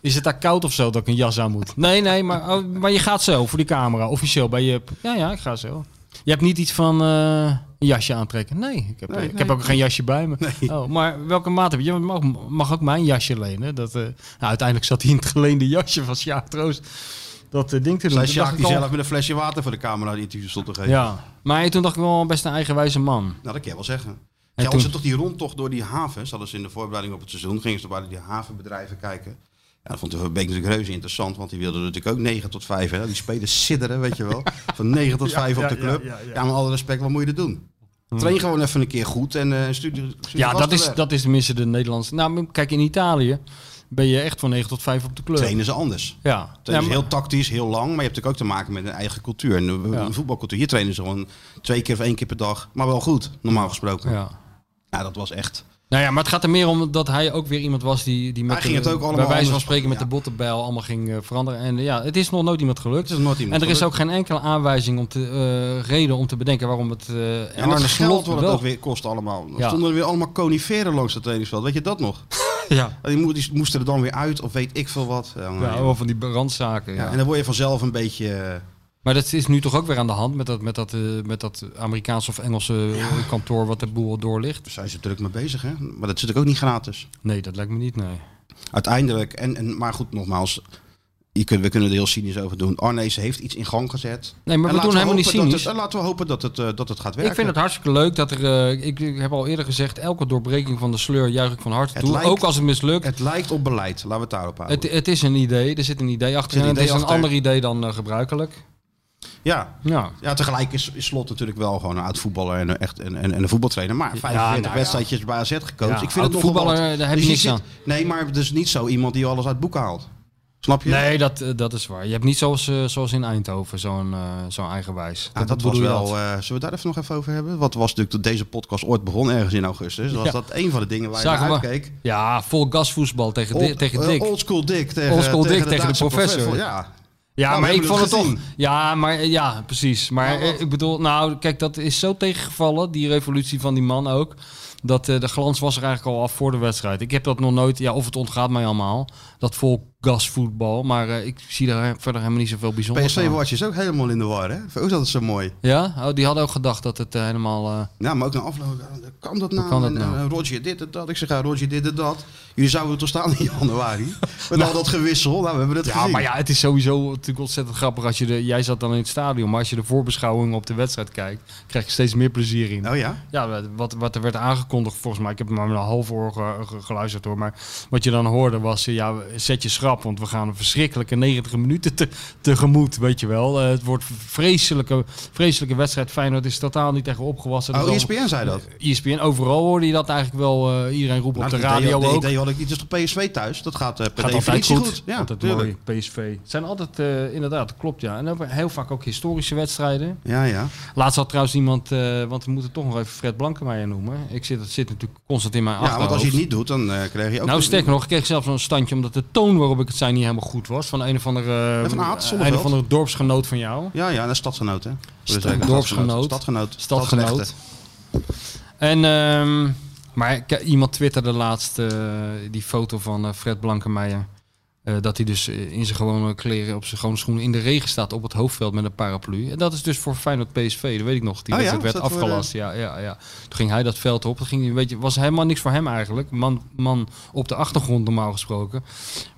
S3: Is het daar koud of zo dat ik een jas aan moet? Nee, nee, maar, oh, maar je gaat zo voor die camera, officieel bij je. Ja, ja, ik ga zo. Je hebt niet iets van eh, een jasje aantrekken. Nee, ik heb,
S2: Nee,
S3: ik
S2: nee.
S3: heb ook geen jasje bij me. Oh, maar welke maat heb je? Je mag, mag ook mijn jasje lenen. Dat, eh, nou, uiteindelijk zat hij in het geleende jasje van Sjaak Troost. Dat eh, ding te doen.
S2: Zij
S3: Toen dacht
S2: Sjaak
S3: ik
S2: die
S3: al-
S2: zelf met een flesje water voor de camera die interview stond te geven.
S3: Ja, maar toen dacht ik wel best een eigenwijze man.
S2: Nou, dat kan je wel zeggen.
S3: En
S2: Ja, als ze
S3: toen-
S2: toch die rondtocht door die havens, hadden ze in de voorbereiding op het seizoen, gingen ze bij die havenbedrijven kijken. Ja, dat vond de Verbeek natuurlijk reuze interessant, want die wilden er natuurlijk ook 9 tot 5. Hè? Die spelers sidderen, weet je wel. Van 9 tot 5 op de club. Ja, maar alle respect, wat moet je er doen? Train gewoon even een keer goed en eh studie, studie
S3: Hmm. Ja, dat
S2: gasten
S3: is,
S2: weg.
S3: dat is tenminste de Nederlandse. Nou, maar kijk, in Italië ben je echt van 9 tot 5 op de club.
S2: Trainen ze anders.
S3: Ja.
S2: Trainen
S3: Ja,
S2: ze
S3: maar-
S2: heel tactisch, heel lang, maar je hebt natuurlijk ook te maken met een eigen cultuur. En eh, een
S3: Ja.
S2: voetbalcultuur. Hier trainen ze gewoon twee keer of één keer per dag, maar wel goed, normaal gesproken. Ja,
S3: ja.
S2: dat was echt.
S3: Nou ja, maar het gaat er meer om dat hij ook weer iemand was die, die met
S2: Hij ging
S3: de-
S2: het ook allemaal
S3: bij wijze van
S2: anders-
S3: spreken met
S2: ja.
S3: de bottenbijl allemaal ging eh, veranderen. En eh, ja, het is nog nooit iemand gelukt.
S2: Het is nooit
S3: en
S2: iemand
S3: er is
S2: gelukt.
S3: ook geen enkele aanwijzing om te, eh, reden om te bedenken waarom het eh
S2: En
S3: Arne
S2: het geld
S3: Slot
S2: wat het ook
S3: wel...
S2: weer kost allemaal. Er
S3: Ja.
S2: stonden er weer allemaal coniferen langs het trainingsveld. Weet je dat nog?
S3: Ja.
S2: Die mo- die moesten er dan weer uit of weet ik veel wat. Ja, nou,
S3: Ja,
S2: Oh, joh.
S3: wel van die brandzaken.
S2: Ja,
S3: Ja.
S2: en dan word je vanzelf een beetje... eh,
S3: Maar dat is nu toch ook weer aan de hand met dat, met dat, eh, met dat Amerikaanse of Engelse eh, kantoor wat de boel door ligt?
S2: Daar zijn ze druk mee bezig, hè? Maar dat zit ook niet gratis.
S3: Nee, dat lijkt me niet, nee.
S2: Uiteindelijk, en, en, maar goed, nogmaals... Je kunt, we kunnen er heel cynisch over doen. Arnees heeft iets in gang gezet.
S3: Nee, maar
S2: En
S3: we
S2: laten
S3: doen helemaal niet
S2: hopen dat
S3: cynisch.
S2: het- en laten we hopen dat het, eh, dat het gaat werken.
S3: Ik vind het hartstikke leuk dat er. eh, ik, ik heb al eerder gezegd, elke doorbreking van de sleur juich ik van harte
S2: Het
S3: toe.
S2: lijkt-
S3: ook als het mislukt. Het,
S2: Het lijkt op beleid. Laten we het daarop houden.
S3: het, is een idee. Er zit een idee achter.
S2: Er zit
S3: en
S2: een
S3: het is
S2: idee
S3: een
S2: achter.
S3: ander idee dan eh, gebruikelijk.
S2: ja.
S3: Ja.
S2: Ja, tegelijk is, is Slot natuurlijk wel gewoon een oud voetballer en een, echt, en, en, en een voetbaltrainer. Maar 45
S3: nou ja.
S2: wedstrijdjes bij AZ gecoacht.
S3: Ja,
S2: ik vind het
S3: oud
S2: nogal
S3: voetballer,
S2: wat. Dus
S3: daar heb je niks
S2: zit-
S3: aan.
S2: Nee, maar dus niet zo iemand die alles uit boeken haalt. Snap je?
S3: Nee, dat, eh, dat is waar. Je hebt niet zoals, eh, zoals in Eindhoven zo'n eh, zo'n eigenwijs.
S2: Ja, dat, was
S3: bedoel je
S2: wel.
S3: dat?
S2: eh, zullen we daar even nog even over hebben? Wat was natuurlijk toen deze podcast ooit begon, ergens in augustus. Was
S3: Ja.
S2: dat een van de dingen waar je
S3: Zagen
S2: naar
S3: we-
S2: uitkeek?
S3: Ja, vol gasvoetbal tegen, Di-
S2: Old-
S3: tegen
S2: eh,
S3: Dick.
S2: Oldschool Dick tegen,
S3: Oldschool Dick tegen de
S2: Duitse
S3: professor.
S2: Ja.
S3: ja,
S2: nou,
S3: maar
S2: we
S3: ik
S2: hebben
S3: vond het
S2: het
S3: toch.
S2: gezien.
S3: Ja, maar eh, ja, precies. Maar
S2: Nou, wat?
S3: eh, ik bedoel, nou, kijk, dat is zo tegengevallen, die revolutie van die man ook. Dat eh, de glans was er eigenlijk al af voor de wedstrijd. Ik heb dat nog nooit, ja, of het ontgaat mij allemaal, dat vol gasvoetbal. Maar eh, ik zie daar verder helemaal niet zoveel bijzonders
S2: PSV
S3: aan.
S2: was is ook helemaal in de war, hè? Voor ons dat zo mooi.
S3: Ja, oh, die hadden ook gedacht dat het eh, helemaal. eh,
S2: Ja, maar ook naar afloop. Kan dat nou?
S3: kan dat
S2: En,
S3: nou?
S2: eh, Roger dit en dat. Ik zeg, ja, Roger dit en dat. Jullie zouden toch staan in januari? Met al dat gewissel. Nou, we hebben het
S3: Ja,
S2: gezien.
S3: maar ja, het is sowieso natuurlijk ontzettend grappig als je de. Jij zat dan in het stadion, maar als je de voorbeschouwing op de wedstrijd kijkt, krijg je steeds meer plezier in.
S2: Oh ja?
S3: Ja, wat, wat er werd aangekondigd, volgens mij, ik heb er maar een half oor ge- ge- geluisterd hoor. Maar wat je dan hoorde was, eh, ja, zet je schrap, want we gaan een verschrikkelijke 90 minuten te, tegemoet, weet je wel. Eh, het wordt een vreselijke, vreselijke wedstrijd. Feyenoord is totaal niet tegen opgewassen.
S2: Oh,
S3: Dat is
S2: ESPN zei dat. Nou,
S3: allemaal- E ESPN, overal hoorde je dat eigenlijk wel eh, iedereen roepen op de radio
S2: idee,
S3: ook.
S2: idee had ik niet. Het is toch PSV thuis? Dat gaat eh, per
S3: Gaat altijd
S2: definitie
S3: goed.
S2: goed. Ja,
S3: altijd
S2: tuurlijk.
S3: mooi, PSV. Het zijn altijd, eh, inderdaad, dat klopt ja. En ook heel vaak ook historische wedstrijden.
S2: Ja, ja.
S3: Laatst had trouwens iemand, eh, want we moeten toch nog even Fred Blankenmeijer noemen. Ik zit, dat zit natuurlijk constant in mijn
S2: ja,
S3: achterhoofd.
S2: want als je het niet doet, dan eh krijg je ook...
S3: nou, sterker nog, ik kreeg zelfs een standje omdat de toon waarop ik het zei niet helemaal goed was. Van een of andere,
S2: Ja, van Aad
S3: eh, een
S2: Zonneveld.
S3: of andere dorpsgenoot van jou.
S2: Ja, ja, en een stadsgenoot, hè?
S3: Stad-
S2: Dus, eh,
S3: dorpsgenoot.
S2: Stadgenoot.
S3: Stadgenoot.
S2: Stadsrechter.
S3: En, ehm, maar ik- iemand twitterde laatst eh, die foto van eh, Fred Blankenmeijer. eh, dat hij dus eh, in zijn gewone kleren, op zijn gewone schoenen in de regen staat op het hoofdveld met een paraplu. En dat is dus voor Feyenoord PSV, dat weet ik nog. Die
S2: Oh ja,
S3: wedstrijd
S2: was
S3: werd
S2: dat voor,
S3: afgelast. Ja, ja, ja. Toen ging hij dat veld op. Dat ging, hij een beetje, was helemaal niks voor hem eigenlijk. Man, man op de achtergrond normaal gesproken.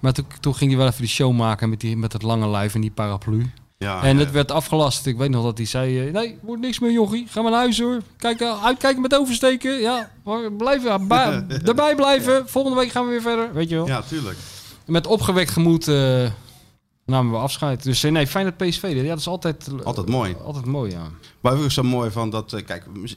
S3: Maar toen, toen ging hij wel even die show maken met, die, met dat lange lijf en die paraplu.
S2: Ah, Ja,
S3: En het werd afgelast. Ik weet nog dat hij zei: eh, Nee, wordt niks meer, jochie. Ga maar naar huis hoor. Kijk, eh, uitkijken met oversteken. Ja, maar blijf er- ba- erbij blijven. Volgende week gaan we weer verder. Weet je wel.
S2: ja, tuurlijk.
S3: Met opgewekt gemoed eh, namen we afscheid. Dus eh, nee, fijn dat PSV deed. Ja, dat is altijd, eh,
S2: Altijd mooi.
S3: altijd mooi, ja.
S2: Maar ook zo mooi van dat, eh, kijk, mis-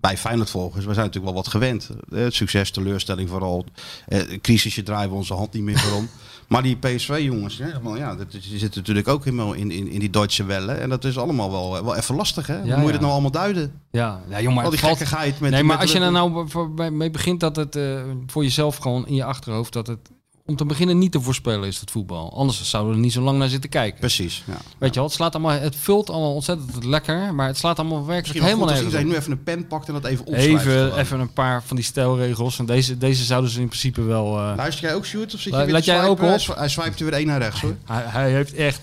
S2: bij Feyenoord-volgers, we zijn natuurlijk wel wat gewend. Eh, succes, teleurstelling vooral. Eh crisisje draaien we onze hand niet meer voor om. Maar die PSV-jongens, hè, wel, ja, dat is- die zitten natuurlijk ook helemaal in, in, in die Duitse wellen. En dat is allemaal wel, eh, wel even lastig, hè? Hoe moet je
S3: ja.
S2: dat nou allemaal duiden?
S3: Ja, ja jongen, maar
S2: Al die
S3: het valt-
S2: gekkigheid met...
S3: nee, maar
S2: met-
S3: als je er nou be- voor- bij- mee begint dat het eh, voor jezelf gewoon in je achterhoofd dat het om te beginnen niet te voorspellen is dat voetbal. Anders zouden we er niet zo lang naar zitten kijken.
S2: Precies, ja.
S3: Weet je wel, het slaat allemaal, het vult allemaal ontzettend lekker, maar het slaat allemaal
S2: Misschien
S3: werkelijk
S2: wel
S3: helemaal
S2: goed als
S3: nergens
S2: iedereen
S3: op.
S2: nu even een pen pakt en dat even opschrijft.
S3: Even,
S2: gewoon.
S3: even een paar van die stijlregels. En deze, deze zouden ze in principe wel. eh,
S2: Luister jij ook, Sjoerd? Of zit je
S3: La-
S2: weer
S3: laat
S2: te
S3: jij
S2: swipen?
S3: ook op?
S2: Hij swi- Hij swipt er weer één naar rechts, hoor.
S3: hij, hij heeft echt.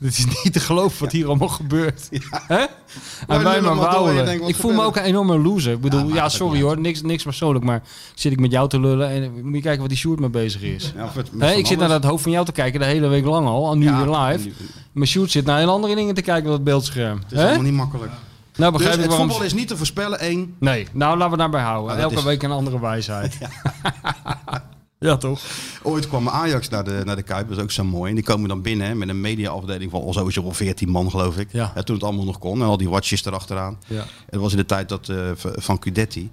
S3: Dit is niet te geloven wat hier allemaal gebeurt. Hè? En wij
S2: lullen maar
S3: maar
S2: door en je
S3: wauwelen.
S2: denkt, wat
S3: Ik voel me
S2: gebeurt
S3: ook een enorme loser. Ik bedoel, ja, sorry hoor, niks, niks persoonlijk. Maar zit ik met jou te lullen en eh, moet je kijken wat die Sjoerd mee bezig is.
S2: Ja, of het-
S3: Hè,
S2: van
S3: ik zit naar
S2: alles.
S3: dat hoofd van jou te kijken de hele week lang al, al nu
S2: Ja,
S3: weer live. Maar Sjoerd zit naar heel andere dingen te kijken op dat beeldscherm.
S2: Het is
S3: Hè?
S2: helemaal niet makkelijk.
S3: Nou
S2: Dus
S3: begrijp
S2: het
S3: ik waarom...
S2: voetbal is niet te voorspellen, één.
S3: Nee, nou laten we daarbij houden.
S2: Nou, dat
S3: Elke
S2: is-
S3: week een andere wijsheid. Ja, toch?
S2: Ooit kwam Ajax naar de, naar de Kuip, dat is ook zo mooi. En die komen dan binnen hè, met een mediaafdeling van al sowieso wel 14 man, geloof ik.
S3: Ja.
S2: Hè, toen het allemaal nog kon en al die watjes erachteraan.
S3: Ja.
S2: Het was in de tijd dat, eh, v- van Cudetti.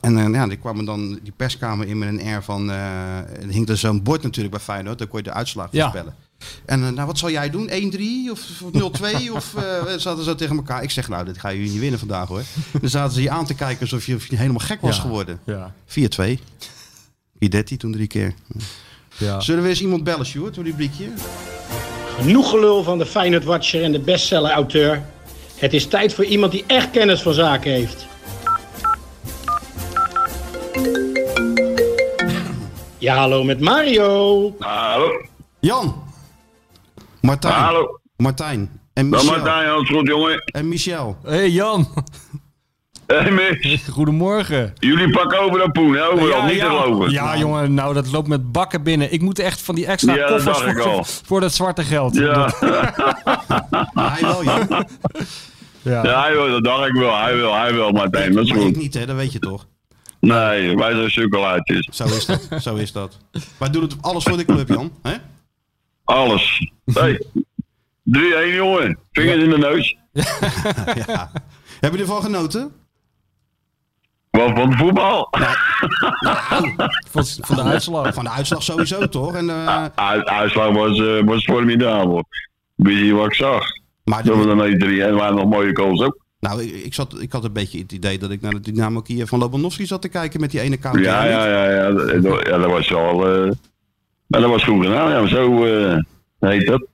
S2: En eh, ja, die kwamen dan die perskamer in met een R van... eh, er hing er zo'n bord natuurlijk bij Feyenoord, daar kon je de uitslag
S3: Ja.
S2: voorspellen. En eh, nou, wat zal jij doen? 1-3 of, of 0-2? of eh, we zaten zo tegen elkaar. Ik zeg, nou, dit ga je niet winnen vandaag hoor. Dan zaten ze je aan te kijken alsof je, of je helemaal gek was
S3: Ja.
S2: geworden.
S3: Ja.
S2: 4-2. Cudetti toen drie keer.
S3: ja.
S2: Zullen we eens iemand bellen, Sjoerd, door die briekje?
S5: Genoeg gelul van de Feyenoord Watcher en de bestseller auteur. Het is tijd voor iemand die echt kennis van zaken heeft. Ja, hallo met Mario.
S6: Hallo.
S2: Jan. Martijn.
S6: Hallo.
S2: Martijn. En Michel.
S6: Dan Martijn, alles goed, jongen.
S2: En Michel.
S3: hey Jan,
S6: Hey, mis.
S3: goedemorgen.
S6: Jullie pakken over dat poen, hè, overal. niet te geloven.
S3: Ja, jongen, nou dat loopt met bakken binnen. Ik moet echt van die extra
S6: Ja, dat
S3: koffers
S6: dacht ik
S3: voor,
S6: al.
S3: voor dat zwarte geld.
S6: Ja,
S2: Hij wel, Jan.
S3: Ja.
S6: ja, hij wil, dat dacht ik wel. Hij wil, hij wil, Martijn. Dat is
S2: Maar ik
S6: goed.
S2: niet, hè? Dat weet je toch?
S6: Nee, wij zijn sukkelaartjes.
S2: Zo is dat. Zo is dat. Wij doen het alles voor de club, Jan. hè?
S6: Alles. Hey. 3-1, jongen. Vingers in de neus.
S2: Ja. Hebben jullie ervan genoten?
S6: Wat van voetbal?
S3: Van, van de uitslag.
S2: Van de uitslag sowieso, toch? En, eh,
S6: Uit, uitslag was, eh, was formidabel. Wist je wat ik zag?
S2: maar
S6: Dat was
S2: de-
S6: dan 1-3 en er waren nog mooie goals ook.
S2: nou, ik, ik, zat, ik had een beetje het idee dat ik naar de Dynamo Kiev van Lobanovski zat te kijken met die ene counter.
S6: Ja, ja, ja, ja. Dat, dat- ja, dat was al. eh, maar dat was goed gedaan. Ja, zo eh, heet dat.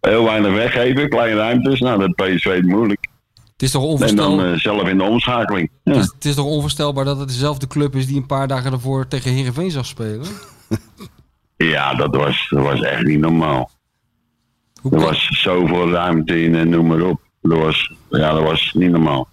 S6: Heel weinig weggeven, kleine ruimtes. Nou, dat PSV het moeilijk.
S3: Het is, toch
S6: En dan
S3: onvoorstelbaar,
S6: eh, zelf in de omschakeling. Ja.
S3: het,
S1: Dus
S3: is, het is toch onvoorstelbaar dat het dezelfde club is die een paar dagen daarvoor tegen Heerenveen zag spelen?
S6: ja, dat was, dat was echt niet normaal.
S3: Hoe
S6: Er
S3: kan-
S6: was zoveel ruimte in en noem maar op. Dat was, ja, dat was niet normaal.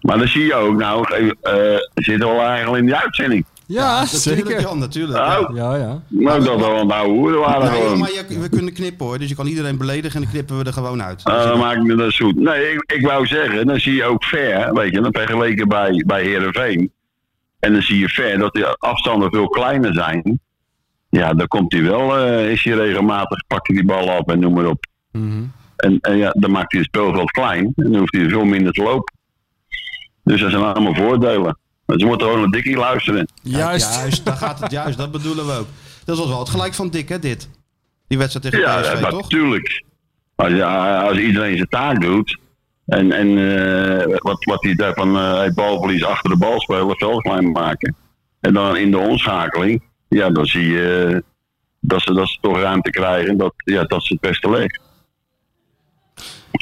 S6: Maar dat zie je ook. Nou, eh, zitten we al eigenlijk in die uitzending.
S3: ja,
S2: Natuurlijk,
S3: zeker.
S2: Jan, natuurlijk.
S6: Oh,
S2: ja.
S3: Ja, ja.
S6: Nou, dat we al een oude hoeren waren.
S2: Nou, Jan,
S6: gewoon.
S2: maar je- we kunnen knippen hoor, dus je kan iedereen beledigen en dan knippen we er gewoon uit.
S6: Ah, dan maak ik me dat zoet. Nee, ik, ik wou zeggen, dan zie je ook ver, weet je, dan vergeleken bij, bij Heerenveen. En dan zie je ver dat die afstanden veel kleiner zijn. Ja, dan komt hij wel, eh, is hij regelmatig, pakt hij die bal op en noem maar op. En, en ja, dan maakt hij het speelveld klein en dan hoeft hij veel minder te lopen. Dus dat zijn allemaal voordelen. Dus je moet gewoon naar Dikkie luisteren.
S3: Juist.
S2: Juist, daar gaat het juist, dat bedoelen we ook. Dat was wel het gelijk van Dick, hè, dit? Die wedstrijd tegen
S6: Ja, nou,
S2: PSV,
S6: dat-
S2: toch?
S6: natuurlijk. Als, ja, als iedereen zijn taak doet. En, en eh, wat, wat hij daar van eh, hey, balverlies achter de bal spelen, veld klein maken. En dan in de omschakeling, ja, dan zie je eh, dat, ze, dat ze toch ruimte krijgen. en Dat, ja, dat ze het beste leeg.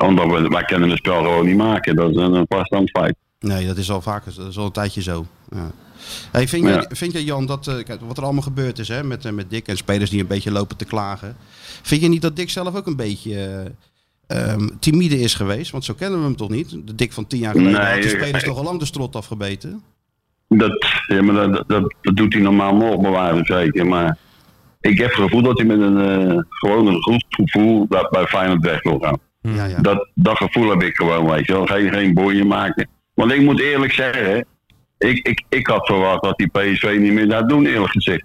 S6: Omdat we, wij kunnen het spel gewoon niet maken. Dat is een, een vaststand feit.
S2: Nee, dat is al vaker, dat is al een tijdje zo. Ja. Hey, vind, jij,
S6: Ja.
S2: vind jij, Jan, dat eh, kijk, wat er allemaal gebeurd is hè, met, eh, met Dick en spelers die een beetje lopen te klagen. Vind je niet dat Dick zelf ook een beetje eh, ehm, timide is geweest? Want zo kennen we hem toch niet? De Dick van tien jaar geleden
S6: Nee,
S2: had de
S6: eh,
S2: spelers
S6: eh.
S2: toch al lang de strot afgebeten?
S6: Dat, ja, maar dat, dat, dat doet hij normaal nog, bij wijze van spreken. Maar ik heb het gevoel dat hij met een eh, gewoon een goed gevoel dat bij Feyenoord weg wil gaan.
S2: Ja, ja.
S6: Dat, dat gevoel heb ik gewoon, weet je wel. Geen, geen boeien maken. Want ik moet eerlijk zeggen, ik, ik, ik had verwacht dat die PSV niet meer gaat doen, eerlijk gezegd.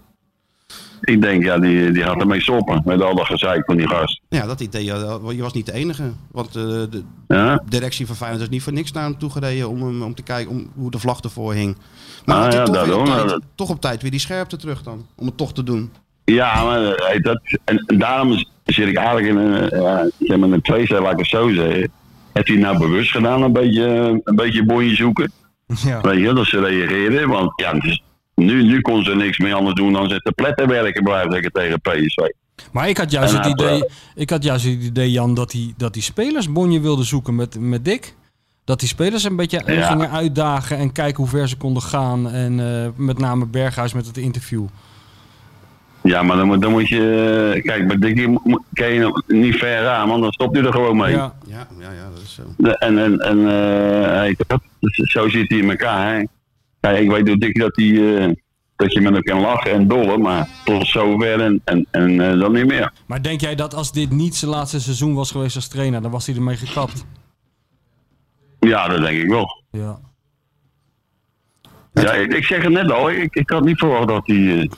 S6: Ik denk, ja, die, die gaat ermee stoppen met al dat gezeik van die gast.
S2: ja, dat idee. eh, Je was niet de enige. Want eh, de
S6: Ja?
S2: directie van Feyenoord is niet voor niks naar hem toe gereden om, hem- om te kijken om, hoe de vlag ervoor hing. Maar
S6: Ah,
S2: had hij
S6: ja,
S2: toch, weer
S6: daarom,
S2: op
S6: ja,
S2: tijd,
S6: dat-
S2: toch op tijd weer die scherpte terug dan. Om het toch te doen.
S6: Ja, maar eh, dat, en, en daarom zit ik eigenlijk in een, eh, ja, ik heb een tweestrijd, laat ik het zo zeggen. Heeft hij nou bewust gedaan een beetje, eh, een beetje bonje zoeken?
S3: Ja.
S6: Weet je, dat ze reageren. Want ja, dus nu, nu kon ze niks meer anders doen dan ze te pletten werken blijven zeggen tegen PSV.
S3: Maar ik had juist
S6: En
S3: het
S6: hij-
S3: idee, ik had juist het idee Jan, dat die, dat die spelers bonje wilden zoeken met, met Dick. Dat die spelers een beetje eh,
S6: Ja.
S3: gingen uitdagen en kijken hoe ver ze konden gaan. En eh, met name Berghuis met het interview.
S6: Ja, maar dan moet, dan moet je... eh, Kijk, bij Dickie mo- mo- kan je niet ver aan, want dan stopt hij er gewoon mee.
S3: Ja,
S2: Ja, ja, ja dat is zo.
S6: De- En, en, en eh, hij- dat- zo zit hij in elkaar. Hè. Kijk, ik weet door Dickie dat, hij, eh, dat je met hem kan lachen en dollen, maar tot zover en, en, en eh, dan niet meer.
S3: maar denk jij dat als dit niet zijn laatste seizoen was geweest als trainer, dan was hij ermee gekapt?
S6: Ja, dat denk ik wel.
S3: Ja.
S6: Ja, ik, ik zeg het net al, ik, ik had niet verwacht dat hij, eh,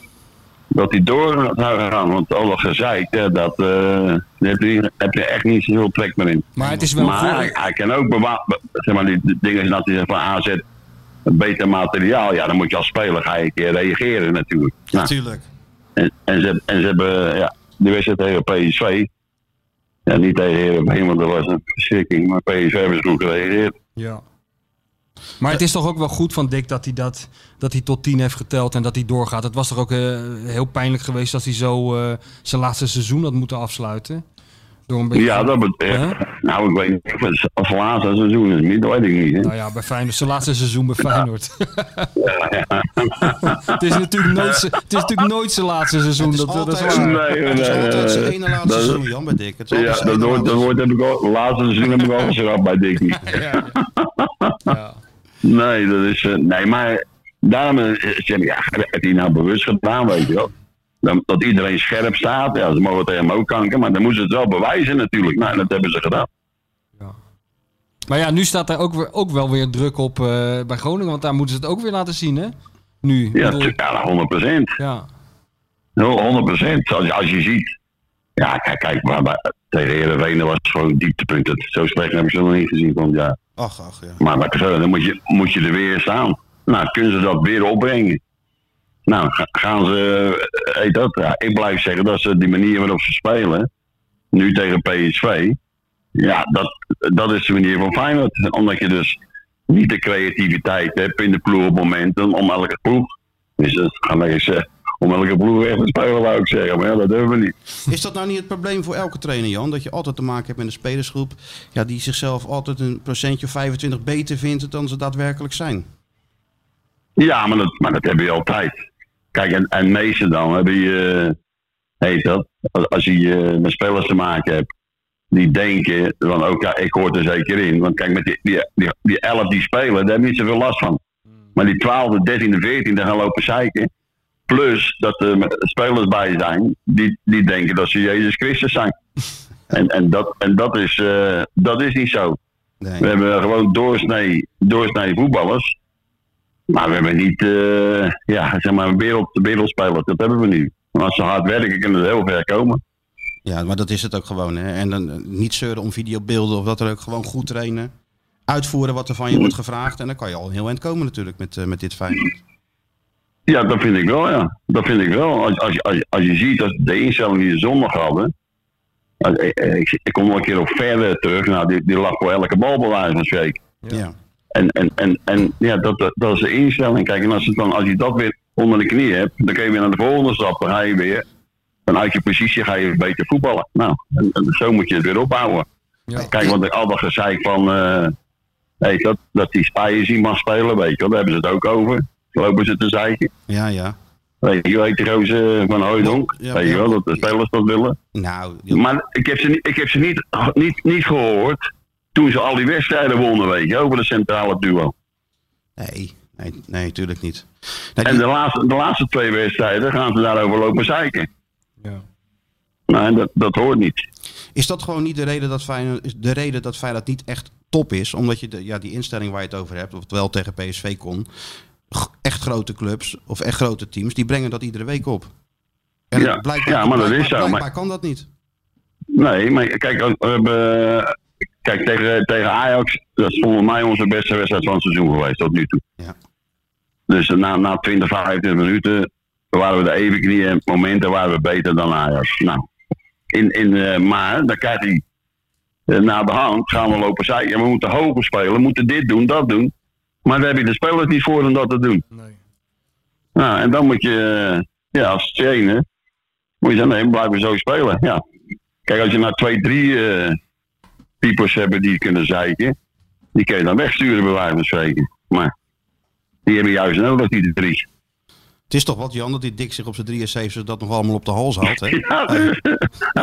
S6: dat hij door zou gaan. Want al dat gezeik, hè, dat, eh, daar heb, je, heb je echt niet zoveel trek meer in.
S3: Maar het is wel
S6: maar
S3: voor-
S6: hij, hij kan ook bewa- be- zeg maar, die die dingen dat hij zegt van AZ beter materiaal. Ja, dan moet je als speler ga je een keer reageren natuurlijk. Nou,
S2: Natuurlijk.
S6: en, en, ze, en ze hebben ja, de wedstrijd tegen PSV. Ja, niet tegen Heerenveen, want dat was een verschrikking. Maar PSV hebben ze goed gereageerd.
S3: Ja. Maar het is toch ook wel goed van Dick dat hij, dat, dat hij tot 10 heeft geteld en dat hij doorgaat. Het was toch ook eh, heel pijnlijk geweest dat hij zo eh, zijn laatste seizoen had moeten afsluiten. Door een beetje...
S6: Ja, dat betreft.
S3: Hè?
S6: Nou, ik weet niet of het als laatste seizoen is. Niet, dat weet ik niet. Hè.
S3: Nou ja, bij Feyenoord. Zijn laatste seizoen bij Feyenoord. het, is natuurlijk nooit, zijn- het is natuurlijk nooit zijn laatste seizoen.
S2: Het is
S3: Dat, dat is
S2: altijd-
S3: waar.
S6: Nee,
S2: Het is
S6: nee,
S2: altijd
S6: nee,
S2: zijn
S6: nee.
S2: ene laatste
S6: Dat-
S2: seizoen, Jan, bij Dick. Het is
S6: Ja,
S2: altijd zijn
S6: dat
S2: ene
S6: woord, dat
S2: laatste-
S6: woord heb ik al, laatste seizoen heb ik al geschrapt bij Dickie.
S3: Ja, ja. Ja.
S6: Nee, dat is. eh, nee, maar daarom eh, zeg ik, ja, heeft hij nou bewust gedaan, weet je wel. Dan, dat iedereen scherp staat. Ja, ze mogen tegen hem ook kanken, maar dan moeten ze het wel bewijzen natuurlijk. Nou, dat hebben ze gedaan.
S3: Maar ja, nu staat er ook, weer, ook wel weer druk op eh, bij Groningen. Want daar moeten ze het ook weer laten zien, hè? Nu. Ik
S6: Ja,
S3: bedoel,
S6: tu- ja 100 procent.
S3: ja.
S6: 100 procent. Als, als je ziet. Ja, kijk, kijk maar, maar tegen Heerenveen dat was het gewoon dieptepunt. Dat- Zo slecht hebben ze nog niet gezien. Want ja,
S2: Ach, ach, ja.
S6: Maar wat ik zeg, dan moet je, moet je er weer staan. Nou, kunnen ze dat weer opbrengen? Nou, ga- gaan ze. eh, Heet dat, ja, ik blijf zeggen dat ze die manier waarop ze spelen, nu tegen PSV, ja, dat, dat is de manier van Feyenoord. Omdat je dus niet de creativiteit hebt in de ploeg op momenten om elke ploeg. Dus dat gaan we eens. eh, Om elke ploeg echt te spelen, wou ik zeggen. Maar ja, dat durven we niet.
S2: Is dat nou niet het probleem voor elke trainer, Jan? Dat je altijd te maken hebt met een spelersgroep ja, die zichzelf altijd een procentje of 25 beter vindt dan ze daadwerkelijk zijn.
S6: Ja, maar dat, maar dat heb je altijd. Kijk, en, en meeste dan hebben je, eh, heet dat, als- als je eh, met spelers te maken hebt, die denken van, oké, ik hoor er zeker in. Want kijk, met die, die, die, die elf die spelen, daar heb je niet zoveel last van. Maar die twaalfde, dertiende, veertiende gaan lopen zeiken. Plus dat er met- spelers bij zijn die, die denken dat ze Jezus Christus zijn. En, en, dat, en dat, is, eh, dat is niet zo.
S2: Nee.
S6: We hebben gewoon doorsnee, doorsnee voetballers. Maar we hebben niet, eh, ja, zeg maar, wereld, wereldspelers. Dat hebben we niet. Maar als ze hard werken, kunnen ze heel ver komen.
S2: Ja, maar dat is het ook gewoon. Hè? En dan eh, niet zeuren om videobeelden of dat er ook. Gewoon goed trainen. Uitvoeren wat er van je wordt gevraagd. En dan kan je al een heel eind komen natuurlijk met, eh, met dit Feyenoord.
S6: Ja, dat vind ik wel, ja. Dat vind ik wel. Als, als, als, als je ziet dat de instelling die ze zondag hadden. als- eh, eh, Ik, ik kom nog een keer op verder terug. Nou, die, die lag voor elke bal bij wijze van spreken.
S2: Ja.
S6: En, en, en, en ja, dat, dat, dat is de instelling. Kijk, en als, het dan, als je dat weer onder de knie hebt, dan kun je weer naar de volgende stap. Dan ga je weer vanuit je positie ga je beter voetballen. Nou, en, en zo moet je het weer opbouwen.
S3: Ja.
S6: Kijk, want al dat gezeik van, eh, Weet je, dat, dat die spijen zien mag spelen, weet je wel. Daar hebben ze het ook over. Lopen ze te zeiken.
S2: Ja, ja.
S6: Weet je wel, heet die gozer van Hooydonk.
S2: Ja,
S6: weet je
S2: ja.
S6: wel, dat de spelers dat willen.
S2: Nou, ja.
S6: Maar ik heb ze, niet- ik heb ze niet, niet, niet gehoord toen ze al die wedstrijden wonnen, weet je, over de centrale duo.
S2: nee, nee, nee, tuurlijk niet. Nee,
S6: En
S2: die-
S6: de laatste, de laatste twee wedstrijden gaan ze daarover lopen zeiken.
S3: Ja.
S6: Nee, dat, dat hoort niet.
S2: eh, Is dat gewoon niet de reden dat Feyenoord, is de reden dat Feyenoord niet echt top is? Omdat je de, ja, die instelling waar je het over hebt, of het wel tegen PSV kon. g- Echt grote clubs of echt grote teams, die brengen dat iedere week op. En
S6: Ja, ja, maar dat is zo, maar-
S2: Blijkbaar kan dat niet.
S6: Nee, maar kijk, we hebben, kijk tegen, tegen Ajax, dat is volgens mij onze beste wedstrijd van het seizoen geweest tot nu toe.
S2: Ja.
S6: Dus na, na 20, 25 minuten waren we de even knieën momenten waren we beter dan Ajax. Nou, in, in, eh, maar dan krijgt hij eh, na de hand, gaan we lopen zeiken. We moeten hoger spelen, we moeten dit doen, dat doen. Maar daar heb je de spelers niet voor om dat te doen.
S3: Nee.
S6: Nou, en dan moet je, eh, ja, als trainer, moet je zeggen, nee, blijven we zo spelen. Ja. Kijk, als je nou twee, drie eh, types hebt die kunnen zeiken, die kun je dan wegsturen, bij wijze van spreken. Maar die hebben juist nodig, die drie.
S2: Het is toch wat, Jan, dat die dik zich op zijn 73 dat nog allemaal op de hals haalt. Hè?
S6: Ja, hij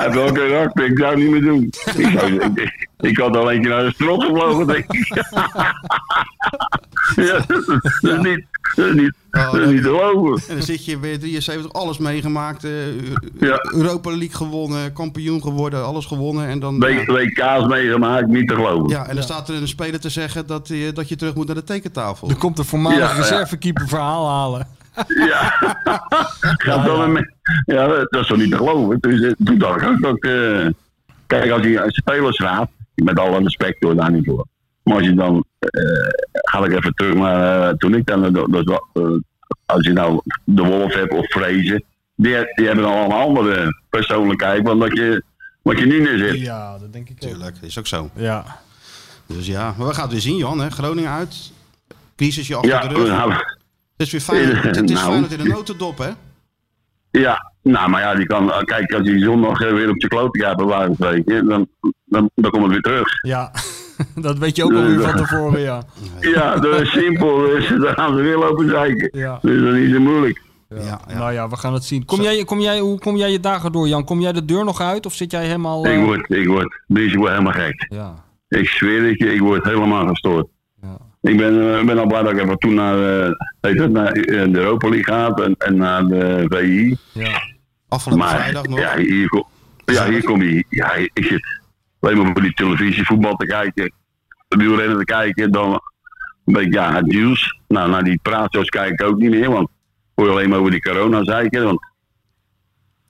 S6: heeft wel karakter, ik zou het niet meer doen. Ik, zou, ik- ik, ik had al eentje naar de strot gevlogen, denk ik. ja, dat is- dat is niet, dat is niet, dat is niet te geloven.
S2: En dan zit je weer 73, alles meegemaakt. eh,
S6: Ja.
S2: Europa League gewonnen, kampioen geworden, alles gewonnen. En dan,
S6: Twee, twee kaas meegemaakt, niet te geloven.
S2: ja, en dan staat er een speler te zeggen dat, je- dat je terug moet naar de tekentafel.
S3: Er komt een voormalig
S6: Ja, ja.
S3: reservekeeper verhaal halen.
S6: Ja. Gaat dan een me- ja, dat is toch niet te geloven. Dus, toen dacht ik ook dat. eh, kijk, als je een spelersraad, met alle respect hoor, daar niet voor. Maar als je dan. eh, ga ik even terug naar eh, toen ik dan. dat was wel, eh, als je nou de Wolf hebt of Vrezen. Die, die hebben dan allemaal andere persoonlijkheid. Want dat je. Wat je niet meer zit.
S3: Ja, dat denk ik
S2: Tuurlijk, is ook zo.
S3: Ja.
S2: Dus ja, maar we gaan het weer zien, Jan. Hè? Groningen uit. Crisisje achter
S6: Ja,
S2: de rug.
S6: we gaan-
S2: Het is weer fijn. Het is
S6: Nou.
S2: fijn dat in de notendop, hè?
S6: Ja, nou, maar ja, die kan, kijk, als die zondag eh, weer op de kloot gaat, bij wijze van spreken, dan, dan, dan komt het weer terug.
S3: Ja, dat weet je ook alweer van tevoren, ja.
S6: Ja, dat is simpel. Dus daar gaan ze weer lopen zeiken.
S3: Ja.
S6: Dus dat is niet zo moeilijk.
S2: Ja. ja,
S3: Nou ja, we gaan het zien. Kom jij, kom jij, hoe kom jij je dagen door, Jan? Kom jij de deur nog uit of zit jij helemaal... eh,
S6: Ik word, ik word, dus ik word helemaal gek.
S3: Ja,
S6: Ik zweer het je, ik word helemaal gestoord.
S3: ja.
S6: Ik ben, eh, ik ben al blij dat ik even toen naar, eh, weet het, naar eh, de Europa League gaat en, en naar de VI.
S3: ja.
S2: Afgelopen
S6: Maar
S2: vrijdag nog.
S6: ja, hier, kom- ja, hier kom je. Ja, ik zit alleen maar voor die televisie voetbal te kijken, wielrennen te kijken. Dan ben ik, ja, het nieuws. Nou, naar die praatjes kijk ik ook niet meer, want hoor je alleen maar over die corona zeiken. Want